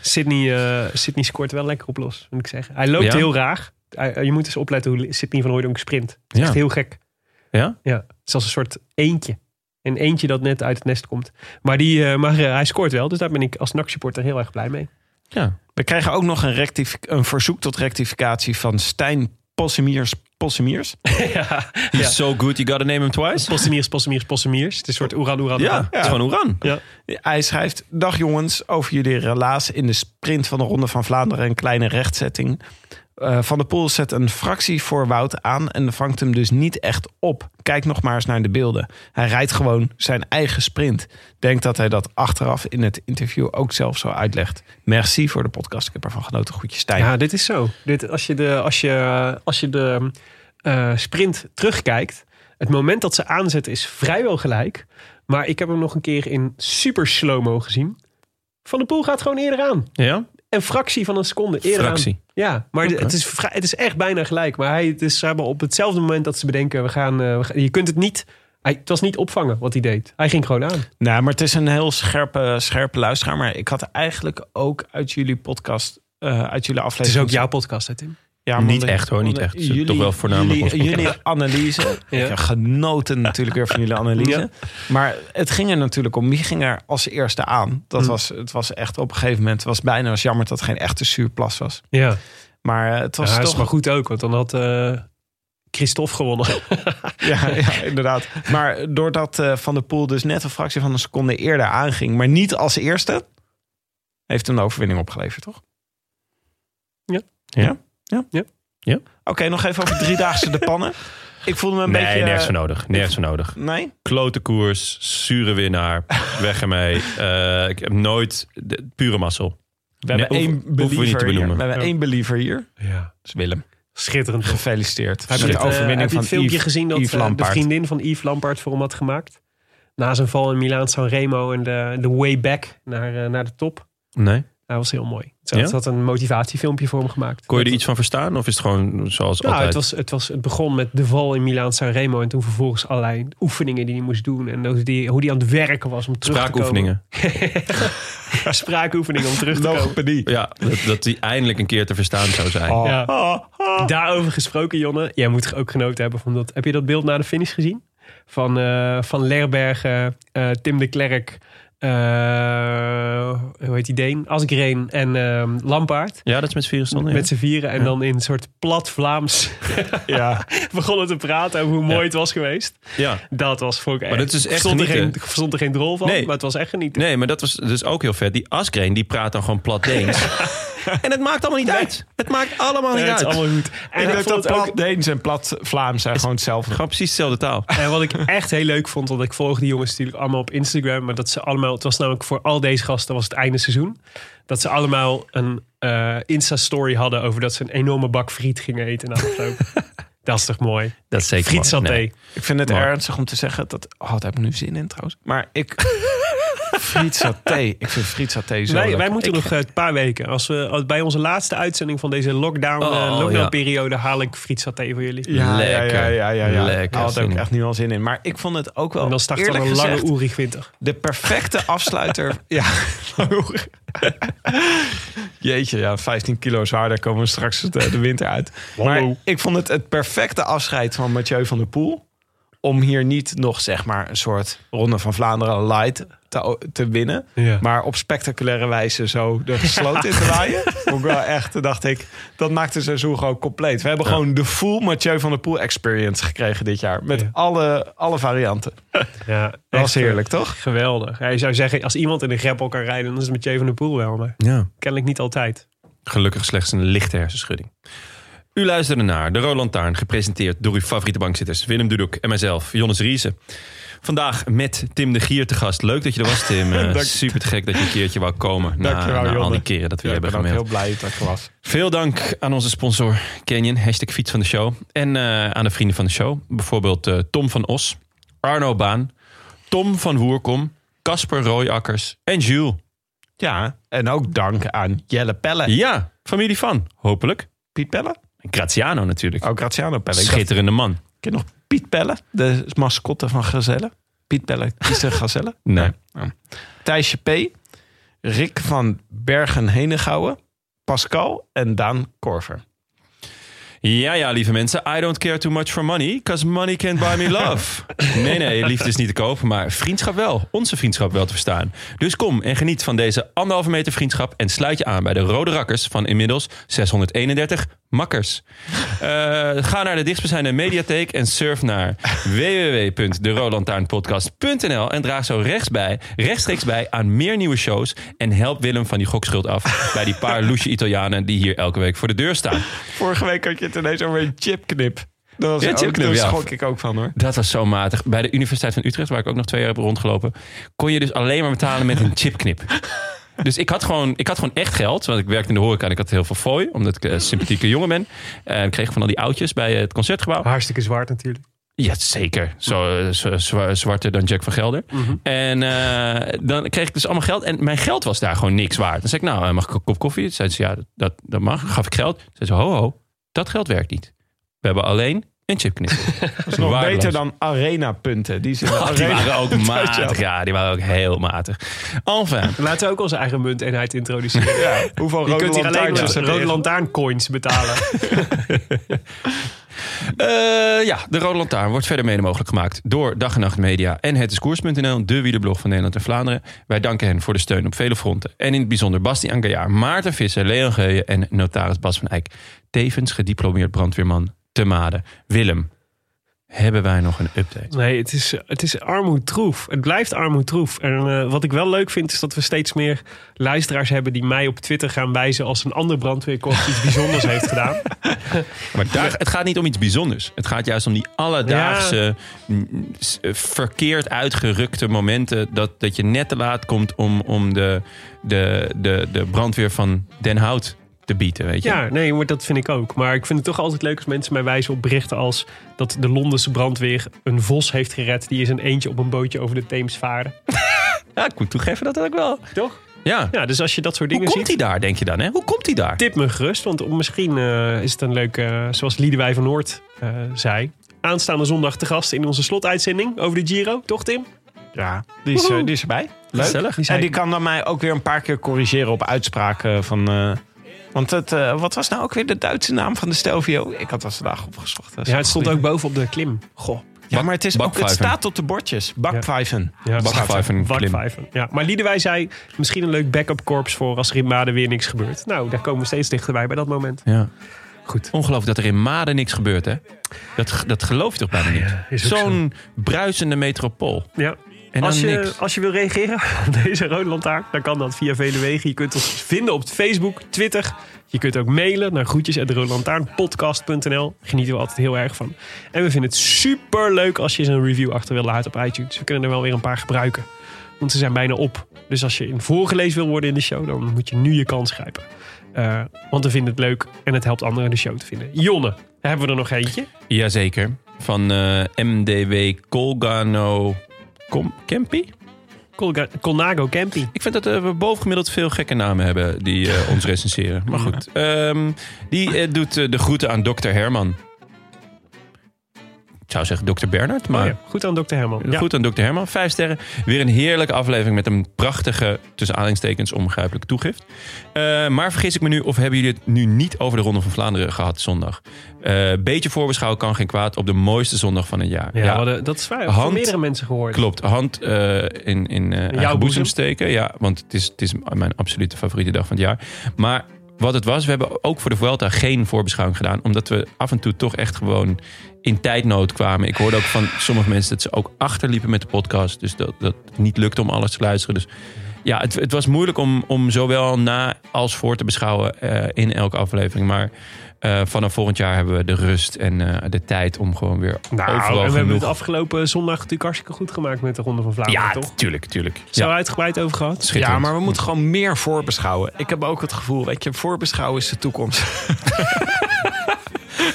[SPEAKER 1] Sydney, eh, Sydney scoort wel lekker op los, moet ik zeggen. Hij loopt
[SPEAKER 5] Ja?
[SPEAKER 1] heel raar. Hij- eh, je moet eens opletten hoe Sydney van Hooydonk sprint. Het is
[SPEAKER 5] Ja.
[SPEAKER 1] echt heel gek.
[SPEAKER 5] Ja?
[SPEAKER 1] Ja, het is als een soort eentje. Een eentje dat net uit het nest komt. Maar, die, eh, maar eh, hij scoort wel, dus daar ben ik als NAC-supporter heel erg blij mee.
[SPEAKER 5] Ja.
[SPEAKER 4] We krijgen ook nog een, rectifi- een verzoek tot rectificatie van Stijn Possemiers.
[SPEAKER 5] (laughs)
[SPEAKER 4] Possemiers?
[SPEAKER 1] ja.
[SPEAKER 5] He's so good, you gotta name him twice.
[SPEAKER 1] Possemiers, Possemiers, Possemiers. Het is een soort Oeran, Oeran.
[SPEAKER 5] Ja,
[SPEAKER 1] Oeran.
[SPEAKER 5] het is gewoon Oeran.
[SPEAKER 1] ja.
[SPEAKER 4] Hij schrijft: Dag jongens, over jullie relaas in de sprint van de Ronde van Vlaanderen een kleine rechtzetting. Eh, van der Poel zet een fractie voor Wout aan en vangt hem dus niet echt op. Kijk nog maar eens naar de beelden. Hij rijdt gewoon zijn eigen sprint. Denk dat hij dat achteraf in het interview ook zelf zo uitlegt. Merci voor de podcast. Ik heb ervan genoten. Goedje Stijn.
[SPEAKER 1] Ja, dit is zo. Dit, als je de, als je, als je de eh, sprint terugkijkt, het moment dat ze aanzetten is vrijwel gelijk. Maar ik heb hem nog een keer in super slow-mo gezien. Van de Poel gaat gewoon eerder aan.
[SPEAKER 5] Ja?
[SPEAKER 1] Een fractie van een seconde eerder
[SPEAKER 5] Fractie.
[SPEAKER 1] aan. Ja, maar
[SPEAKER 5] Oké.
[SPEAKER 1] het, is vrij- het is echt bijna gelijk. Maar hij, het is zeg maar, op hetzelfde moment dat ze bedenken, we gaan, eh, we gaan- je kunt het niet... Hij, het was niet opvangen wat hij deed. Hij ging gewoon aan.
[SPEAKER 4] Nou, maar het is een heel scherpe, scherpe luisteraar. Maar ik had eigenlijk ook uit jullie podcast, eh, uit jullie
[SPEAKER 1] Het is
[SPEAKER 4] aflevering.
[SPEAKER 1] ook jouw podcast, hè Tim?
[SPEAKER 4] Ja, maar
[SPEAKER 5] Niet
[SPEAKER 4] omdat-
[SPEAKER 5] echt, hoor, niet
[SPEAKER 4] omdat
[SPEAKER 5] echt. Het is toch wel voornamelijk
[SPEAKER 4] Jullie,
[SPEAKER 5] ons
[SPEAKER 4] jullie analyse. Ik heb genoten natuurlijk weer van jullie analyse.
[SPEAKER 1] Ja.
[SPEAKER 4] Maar het ging er natuurlijk om. Wie ging er als eerste aan?
[SPEAKER 1] Hm.
[SPEAKER 4] Dat was, het was echt op een gegeven moment. Het was bijna was jammer dat het geen echte zuurplas was.
[SPEAKER 1] Ja.
[SPEAKER 4] Maar eh, het was
[SPEAKER 1] ja, dat is
[SPEAKER 4] toch.
[SPEAKER 1] maar goed ook, want dan had eh Christophe gewonnen.
[SPEAKER 4] Ja, ja, inderdaad. Maar doordat eh, Van der Poel dus net een fractie van een seconde eerder aanging, maar niet als eerste, heeft hem de overwinning opgeleverd, toch?
[SPEAKER 1] Ja.
[SPEAKER 4] Ja? Ja?
[SPEAKER 1] Ja.
[SPEAKER 5] Ja.
[SPEAKER 4] Oké, nog even over driedaagse de pannen. Ik voelde me een
[SPEAKER 5] Nee,
[SPEAKER 4] beetje... eh,
[SPEAKER 5] nergens voor nodig. Nergens voor nodig.
[SPEAKER 4] Nee?
[SPEAKER 5] Klote koers, zure winnaar, weg ermee. Eh, ik heb nooit de, pure mazzel.
[SPEAKER 4] We hebben
[SPEAKER 5] Nee,
[SPEAKER 4] één
[SPEAKER 5] hoeven- hoeven we
[SPEAKER 4] believer
[SPEAKER 5] niet te
[SPEAKER 4] hier.
[SPEAKER 5] benoemen.
[SPEAKER 4] We hebben
[SPEAKER 1] Ja.
[SPEAKER 4] één believer hier. Dat
[SPEAKER 1] Ja.
[SPEAKER 4] is Willem.
[SPEAKER 1] Schitterend.
[SPEAKER 4] Gefeliciteerd.
[SPEAKER 1] Heb je, het,
[SPEAKER 4] met de
[SPEAKER 1] eh,
[SPEAKER 4] overwinning
[SPEAKER 1] heb je
[SPEAKER 4] van
[SPEAKER 1] het filmpje
[SPEAKER 4] Yves-
[SPEAKER 1] gezien dat
[SPEAKER 4] Yves
[SPEAKER 1] eh, de
[SPEAKER 4] Lampaard.
[SPEAKER 1] vriendin van Yves Lampaard voor hem had gemaakt? Na zijn val in Milaan San Remo en de, de way back naar, eh, naar de top.
[SPEAKER 5] Nee.
[SPEAKER 1] Dat was heel mooi. Ze
[SPEAKER 5] Ja?
[SPEAKER 1] had- ze had een motivatiefilmpje voor hem gemaakt.
[SPEAKER 5] Kon je er
[SPEAKER 1] Dat-
[SPEAKER 5] iets van verstaan? Of is het gewoon zoals
[SPEAKER 1] Nou,
[SPEAKER 5] altijd?
[SPEAKER 1] het, was, het, was, het begon met de val in Milaan San Remo. En toen vervolgens allerlei oefeningen die hij moest doen. En hoe die, hoe die aan het werken was om terug
[SPEAKER 5] Spraakoefeningen.
[SPEAKER 1] te komen. Spraakoefeningen om
[SPEAKER 5] (laughs)
[SPEAKER 1] terug te
[SPEAKER 5] Nou.
[SPEAKER 1] komen.
[SPEAKER 4] Logopedie.
[SPEAKER 5] Ja, dat, dat die eindelijk een keer te verstaan zou zijn.
[SPEAKER 4] Oh.
[SPEAKER 1] Ja.
[SPEAKER 5] Ah,
[SPEAKER 4] Oh, oh.
[SPEAKER 1] Daarover gesproken, Jonne. Jij moet ook genoten hebben van dat. Heb je dat beeld na de finish gezien? Van, eh, van Lerbergen, eh, Tim de Klerk, eh, hoe heet die Deen? Asgreen en ehm, Lampaard.
[SPEAKER 5] Ja, dat is met virus dan. ja.
[SPEAKER 1] Met z'n vieren en dan in een soort plat Vlaams
[SPEAKER 4] Ja.
[SPEAKER 1] (laughs) begonnen te praten over hoe mooi
[SPEAKER 5] Ja.
[SPEAKER 1] het was geweest.
[SPEAKER 5] ja.
[SPEAKER 1] Dat was voor
[SPEAKER 5] Maar dat is echt
[SPEAKER 1] stond er, geen,
[SPEAKER 5] genieten.
[SPEAKER 1] stond er geen drol van,
[SPEAKER 5] Nee.
[SPEAKER 1] maar het was echt genieten.
[SPEAKER 5] Nee, maar dat was dus ook heel vet. Die Asgreen, die praat dan gewoon plat Deens. en het maakt allemaal niet uit. Het maakt allemaal niet
[SPEAKER 1] Nee, het
[SPEAKER 5] uit.
[SPEAKER 1] is allemaal goed. En
[SPEAKER 4] Ik
[SPEAKER 1] ik
[SPEAKER 4] denk
[SPEAKER 1] vond
[SPEAKER 4] dat
[SPEAKER 1] het ook
[SPEAKER 4] plat Deens en plat Vlaams zijn gewoon hetzelfde.
[SPEAKER 5] Gewoon precies dezelfde taal.
[SPEAKER 1] En wat ik echt heel leuk vond, want ik volg die jongens natuurlijk allemaal op Instagram. Maar dat ze allemaal, het was namelijk voor al deze gasten was het einde seizoen. Dat ze allemaal een eh, Insta-story hadden over dat ze een enorme bak friet gingen eten na afloop. dat is toch mooi?
[SPEAKER 5] Dat is zeker.
[SPEAKER 1] Frietsaté.
[SPEAKER 5] Nee.
[SPEAKER 4] Ik vind het
[SPEAKER 5] Maar-
[SPEAKER 4] ernstig om te zeggen dat. Oh, daar heb ik nu zin in trouwens. Maar ik. (laughs) friet saté. Ik vind friet saté zo.
[SPEAKER 1] Wij,
[SPEAKER 4] lekker.
[SPEAKER 1] wij moeten
[SPEAKER 4] Ik-
[SPEAKER 1] nog eh, een paar weken. Als we, als- bij onze laatste uitzending van deze lockdown, eh,
[SPEAKER 5] Oh,
[SPEAKER 1] lockdown-periode haal ik frietsaté voor jullie.
[SPEAKER 4] Ja,
[SPEAKER 5] Lekker.
[SPEAKER 4] Ja, ja, ja, ja. ja.
[SPEAKER 5] Lekker.
[SPEAKER 4] Daar had ik
[SPEAKER 5] Zin in.
[SPEAKER 4] echt nu al zin in. Maar ik vond het ook wel.
[SPEAKER 1] En dan start dan
[SPEAKER 4] eerlijk
[SPEAKER 1] een
[SPEAKER 4] gezegd,
[SPEAKER 1] lange Oerig winter.
[SPEAKER 4] De perfecte afsluiter. ja. Jeetje, ja, 15 kilo zwaarder komen we straks het, eh, de winter uit. Maar ik vond het het perfecte afscheid van Mathieu van der Poel. Om hier niet nog zeg maar een soort Ronde van Vlaanderen light te, o- te winnen.
[SPEAKER 1] Ja.
[SPEAKER 4] Maar op spectaculaire wijze zo de sloot in te waaien. Ah. (laughs) Vond ik wel echt, eh, dacht ik, dat maakt de seizoen gewoon compleet. We hebben gewoon de full Mathieu van der Poel experience gekregen dit jaar. Met
[SPEAKER 1] Ja.
[SPEAKER 4] alle, alle varianten.
[SPEAKER 1] Ja,
[SPEAKER 4] Dat
[SPEAKER 1] echt,
[SPEAKER 4] was heerlijk, toch?
[SPEAKER 1] eh, Geweldig. Hij zou zeggen, als iemand in de greppel kan rijden, dan is het Mathieu van der Poel wel. Maar
[SPEAKER 5] Ja.
[SPEAKER 1] kennelijk niet altijd.
[SPEAKER 5] Gelukkig slechts een lichte hersenschudding. U luisterde naar De Roland Taarn, gepresenteerd door uw favoriete bankzitters Willem Dudok en mijzelf, Jonas Riese. Vandaag met Tim de Gier te gast. Leuk dat je er was, Tim.
[SPEAKER 4] (laughs)
[SPEAKER 5] Eh, Super te gek dat je een keertje wou komen. Na,
[SPEAKER 4] Dankjewel,
[SPEAKER 5] na al
[SPEAKER 4] Jonne.
[SPEAKER 5] die keren dat we
[SPEAKER 4] Ja,
[SPEAKER 5] je
[SPEAKER 4] ik
[SPEAKER 5] hebben
[SPEAKER 4] ben ook
[SPEAKER 5] gemaild.
[SPEAKER 4] heel blij dat ik er was.
[SPEAKER 5] Veel dank aan onze sponsor Canyon, hashtag fiets van de show. En eh, aan de vrienden van de show. Bijvoorbeeld eh, Tom van Os, Arno Baan, Tom van Woerkom, Casper Rooiakkers en Jules.
[SPEAKER 4] Ja, en ook dank aan Jelle Pelle.
[SPEAKER 5] Ja, familie van, hopelijk.
[SPEAKER 4] Piet Pelle?
[SPEAKER 5] En Graziano natuurlijk.
[SPEAKER 4] Oh, Graziano Pelle. Ik dacht,
[SPEAKER 5] Schitterende man.
[SPEAKER 4] ken je nog Piet Pelle, de mascotte van Gazelle. Piet Pelle is de (laughs) Gazelle. Oh.
[SPEAKER 5] Nee.
[SPEAKER 4] Thijsje P. Rick van Bergen-Henegouwen. Pascal en Daan Korver.
[SPEAKER 5] Ja, ja, lieve mensen. I don't care too much for money, because money can't buy me love. nee, nee, liefde is niet te koop, maar vriendschap wel. Onze vriendschap wel te verstaan. Dus kom en geniet van deze anderhalve meter vriendschap... en sluit je aan bij de Rode Rakkers van inmiddels 631 makkers. Eh, ga naar de dichtstbijzijnde mediatheek en surf naar www.derolantaarnpodcast.nl en draag zo rechts bij, rechtstreeks bij aan meer nieuwe shows en help Willem van die gokschuld af bij die paar loesje Italianen die hier elke week voor de deur staan.
[SPEAKER 4] Vorige week had je het ineens over een chipknip. Dat was
[SPEAKER 5] Ja,
[SPEAKER 4] ook-
[SPEAKER 5] chipknip,
[SPEAKER 4] daar
[SPEAKER 5] ja.
[SPEAKER 4] schrok ik ook van hoor.
[SPEAKER 5] Dat was zo matig. Bij de Universiteit van Utrecht, waar ik ook nog twee jaar heb rondgelopen, kon je dus alleen maar betalen
[SPEAKER 4] (laughs)
[SPEAKER 5] met een chipknip. Dus ik had, gewoon, ik had gewoon echt geld, want ik werkte in de horeca en ik had heel veel fooi, omdat ik een sympathieke jongen ben. En ik kreeg van al die oudjes bij eh, het concertgebouw.
[SPEAKER 1] Hartstikke zwaard natuurlijk.
[SPEAKER 5] Ja, zeker. Zo, eh, zo- zwa- zwarter dan Jack van Gelder. En eh, dan kreeg ik dus allemaal geld. En mijn geld was daar gewoon niks waard. Dan zei ik, nou, eh, mag ik een kop koffie? Toen zei ze, ja, dat, dat mag. Dan gaf ik geld. Toen zei ze, ho, ho, dat geld werkt niet. We hebben alleen een chipknip.
[SPEAKER 4] Dat is nog
[SPEAKER 5] Waardeloos.
[SPEAKER 4] beter dan arenapunten. Die, zijn
[SPEAKER 5] Oh, die waren
[SPEAKER 4] (laughs)
[SPEAKER 5] ook matig. Ja, die waren ook heel matig. Enfin,
[SPEAKER 1] Laten we ook onze eigen munteenheid (laughs) introduceren.
[SPEAKER 4] Hoeveel
[SPEAKER 1] Je
[SPEAKER 4] rode
[SPEAKER 1] kunt hier alleen
[SPEAKER 4] lantaarns
[SPEAKER 1] maar
[SPEAKER 4] is er
[SPEAKER 1] rode
[SPEAKER 4] in?
[SPEAKER 1] lantaarncoins betalen.
[SPEAKER 5] Eh, ja, de Rode Lantaarn wordt verder mede mogelijk gemaakt door Dag en Nacht Media en Het is Koers.nl, de wielerblog van Nederland en Vlaanderen. Wij danken hen voor de steun op vele fronten. En in het bijzonder Bastiaan Gajaar, Maarten Visser, Leon Geuyen en notaris Bas van Eyck. Tevens gediplomeerd brandweerman te Maden. Willem, hebben wij nog een update?
[SPEAKER 1] (laughs) Nee, het is, het is armoedtroef. Het blijft armoedtroef. En eh, wat ik wel leuk vind, is dat we steeds meer luisteraars hebben die mij op Twitter gaan wijzen als een ander brandweerkorps iets bijzonders heeft gedaan.
[SPEAKER 5] Maar daar, het gaat niet om iets bijzonders. Het gaat juist om die alledaagse, mm, s- eh, verkeerd uitgerukte momenten. Dat, dat je net te laat komt om, om de, de, de, de brandweer van Den Hout te bieden. Weet je?
[SPEAKER 1] Ja, nee, maar dat vind ik ook. Maar ik vind het toch altijd leuk als mensen mij wijzen op berichten als dat de Londense brandweer een vos heeft gered die is een eentje op een bootje over de Theems varen.
[SPEAKER 5] Ja, ik moet toegeven dat dat ook wel.
[SPEAKER 1] Toch?
[SPEAKER 5] Ja.
[SPEAKER 1] Ja, dus als je dat soort
[SPEAKER 5] Hoe
[SPEAKER 1] dingen
[SPEAKER 5] komt
[SPEAKER 1] ziet,
[SPEAKER 5] hij daar, denk je dan? Hè? Hoe komt hij daar?
[SPEAKER 1] tip me gerust. Want misschien eh, is het een leuk, eh, zoals Liedewij van Noord eh, zei, aanstaande zondag te gast in onze slotuitzending over de Giro. Toch Tim?
[SPEAKER 4] Ja, die is, eh, die is erbij. Leuk.
[SPEAKER 5] Gezellig.
[SPEAKER 4] En die kan dan mij ook weer een paar keer corrigeren op uitspraken van... eh, want het, eh, wat was nou ook weer de Duitse naam van de Stelvio? Ik had dat vandaag opgezocht. Dat is
[SPEAKER 1] Ja,
[SPEAKER 4] een
[SPEAKER 1] het stond
[SPEAKER 4] goeie.
[SPEAKER 1] ook boven op de klim. Goh.
[SPEAKER 4] Ja, maar het, is ook, het
[SPEAKER 5] Bakvijven.
[SPEAKER 4] staat op de bordjes. Bakvijven.
[SPEAKER 1] Ja,
[SPEAKER 5] Bakvijven, klim.
[SPEAKER 1] Bakvijven. Ja, maar Liedewij zei misschien een leuk backup korps voor als er in Maden weer niks gebeurt. Nou, daar komen we steeds dichterbij bij dat moment.
[SPEAKER 5] Ja.
[SPEAKER 1] Goed.
[SPEAKER 5] Ongelooflijk dat er in Maden niks gebeurt, hè? Dat, dat geloof je toch bijna niet?
[SPEAKER 1] is ook
[SPEAKER 5] Zo'n bruisende metropool.
[SPEAKER 1] Ja.
[SPEAKER 5] En dan
[SPEAKER 1] als, je,
[SPEAKER 5] niks.
[SPEAKER 1] als je wil reageren (laughs) op deze rode lantaarn, dan kan dat via vele wegen. Je kunt ons vinden op Facebook, Twitter. Je kunt ook mailen naar groetjes.roodlantaarnpodcast.nl. Genieten we altijd heel erg van. En we vinden het super leuk als je eens een review achter wil laten op iTunes. We kunnen er wel weer een paar gebruiken. Want ze zijn bijna op. Dus als je in voorgelezen wil worden in de show, dan moet je nu je kans grijpen. Eh, want we vinden het leuk en het helpt anderen de show te vinden. Jonne, hebben we er nog eentje?
[SPEAKER 5] Jazeker. Van eh, MDW Colgano Com- Kempi?
[SPEAKER 1] Colga- Colnago Campy.
[SPEAKER 5] Ik vind dat eh, we bovengemiddeld veel gekke namen hebben die eh, ons recenseren. Maar goed. Ehm, die eh, doet eh, de groeten aan dokter Herman. Ik zou zeggen dokter Bernard, maar...
[SPEAKER 1] Oh ja, goed aan Dr. Herman. Ja.
[SPEAKER 5] Goed aan Dr. Herman. Vijf sterren. Weer een heerlijke aflevering met een prachtige, tussen aanhalingstekens, onbegrijpelijke toegift. Eh, maar vergis ik me nu, of hebben jullie het nu niet over de Ronde van Vlaanderen gehad zondag? Eh beetje voorbeschouwen kan geen kwaad op de mooiste zondag van het jaar.
[SPEAKER 1] Ja,
[SPEAKER 5] Ja,
[SPEAKER 1] we hadden- dat is waar.
[SPEAKER 5] Hand-
[SPEAKER 1] Van meerdere mensen gehoord.
[SPEAKER 5] Klopt, hand eh, in, in eh, eigen boezem,
[SPEAKER 1] boezem.
[SPEAKER 5] steken. Ja, want het is, het is mijn absolute favoriete dag van het jaar. Maar wat het was, we hebben ook voor de Vuelta geen voorbeschouwing gedaan. Omdat we af en toe toch echt gewoon in tijdnood kwamen. Ik hoorde ook van sommige mensen dat ze ook achterliepen met de podcast. Dus dat, dat het niet lukte om alles te luisteren. Dus ja, het, het was moeilijk om, om zowel na als voor te beschouwen eh, in elke aflevering. Maar eh, vanaf volgend jaar hebben we de rust en eh, de tijd om gewoon weer
[SPEAKER 1] Nou, en we
[SPEAKER 5] overal
[SPEAKER 1] hebben het
[SPEAKER 5] genoeg...
[SPEAKER 1] afgelopen zondag natuurlijk hartstikke goed gemaakt met de Ronde van Vlaanderen,
[SPEAKER 5] Ja,
[SPEAKER 1] toch?
[SPEAKER 5] tuurlijk, tuurlijk.
[SPEAKER 1] Zo
[SPEAKER 5] Ja.
[SPEAKER 1] uitgebreid over gehad.
[SPEAKER 4] Ja,
[SPEAKER 5] Schitterend.
[SPEAKER 4] maar we moeten gewoon meer voorbeschouwen. Ik heb ook het gevoel, weet je, voorbeschouwen is de toekomst.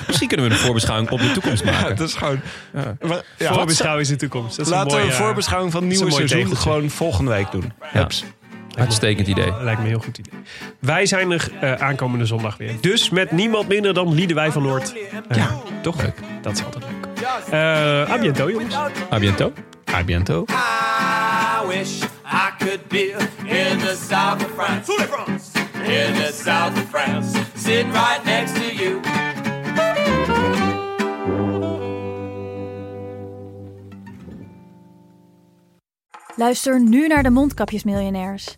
[SPEAKER 5] Misschien kunnen we een voorbeschouwing op de
[SPEAKER 4] (laughs)
[SPEAKER 5] toekomst maken.
[SPEAKER 4] (laughs) dat is gewoon... Ja. Ja.
[SPEAKER 1] Voorbeschouwen is de toekomst. Dat is
[SPEAKER 4] Laten
[SPEAKER 1] een
[SPEAKER 4] we
[SPEAKER 1] mooie, eh,
[SPEAKER 4] een voorbeschouwing van het
[SPEAKER 1] is een
[SPEAKER 4] nieuwe
[SPEAKER 1] mooi
[SPEAKER 4] seizoen
[SPEAKER 1] tegeltje.
[SPEAKER 4] gewoon volgende week doen. Hups.
[SPEAKER 5] Uitstekend idee.
[SPEAKER 1] eh, Lijkt me een heel goed idee. Wij zijn er eh, aankomende zondag weer. Dus met niemand minder dan Liedewij van Noord. ja, toch leuk. Dat is altijd leuk. Eh à bientôt, jongens.
[SPEAKER 5] A bientôt.
[SPEAKER 4] A biento.
[SPEAKER 3] I wish I could be in the south of France. In the south of France, sitting right next to you.
[SPEAKER 2] Luister nu naar de Mondkapjesmiljonairs.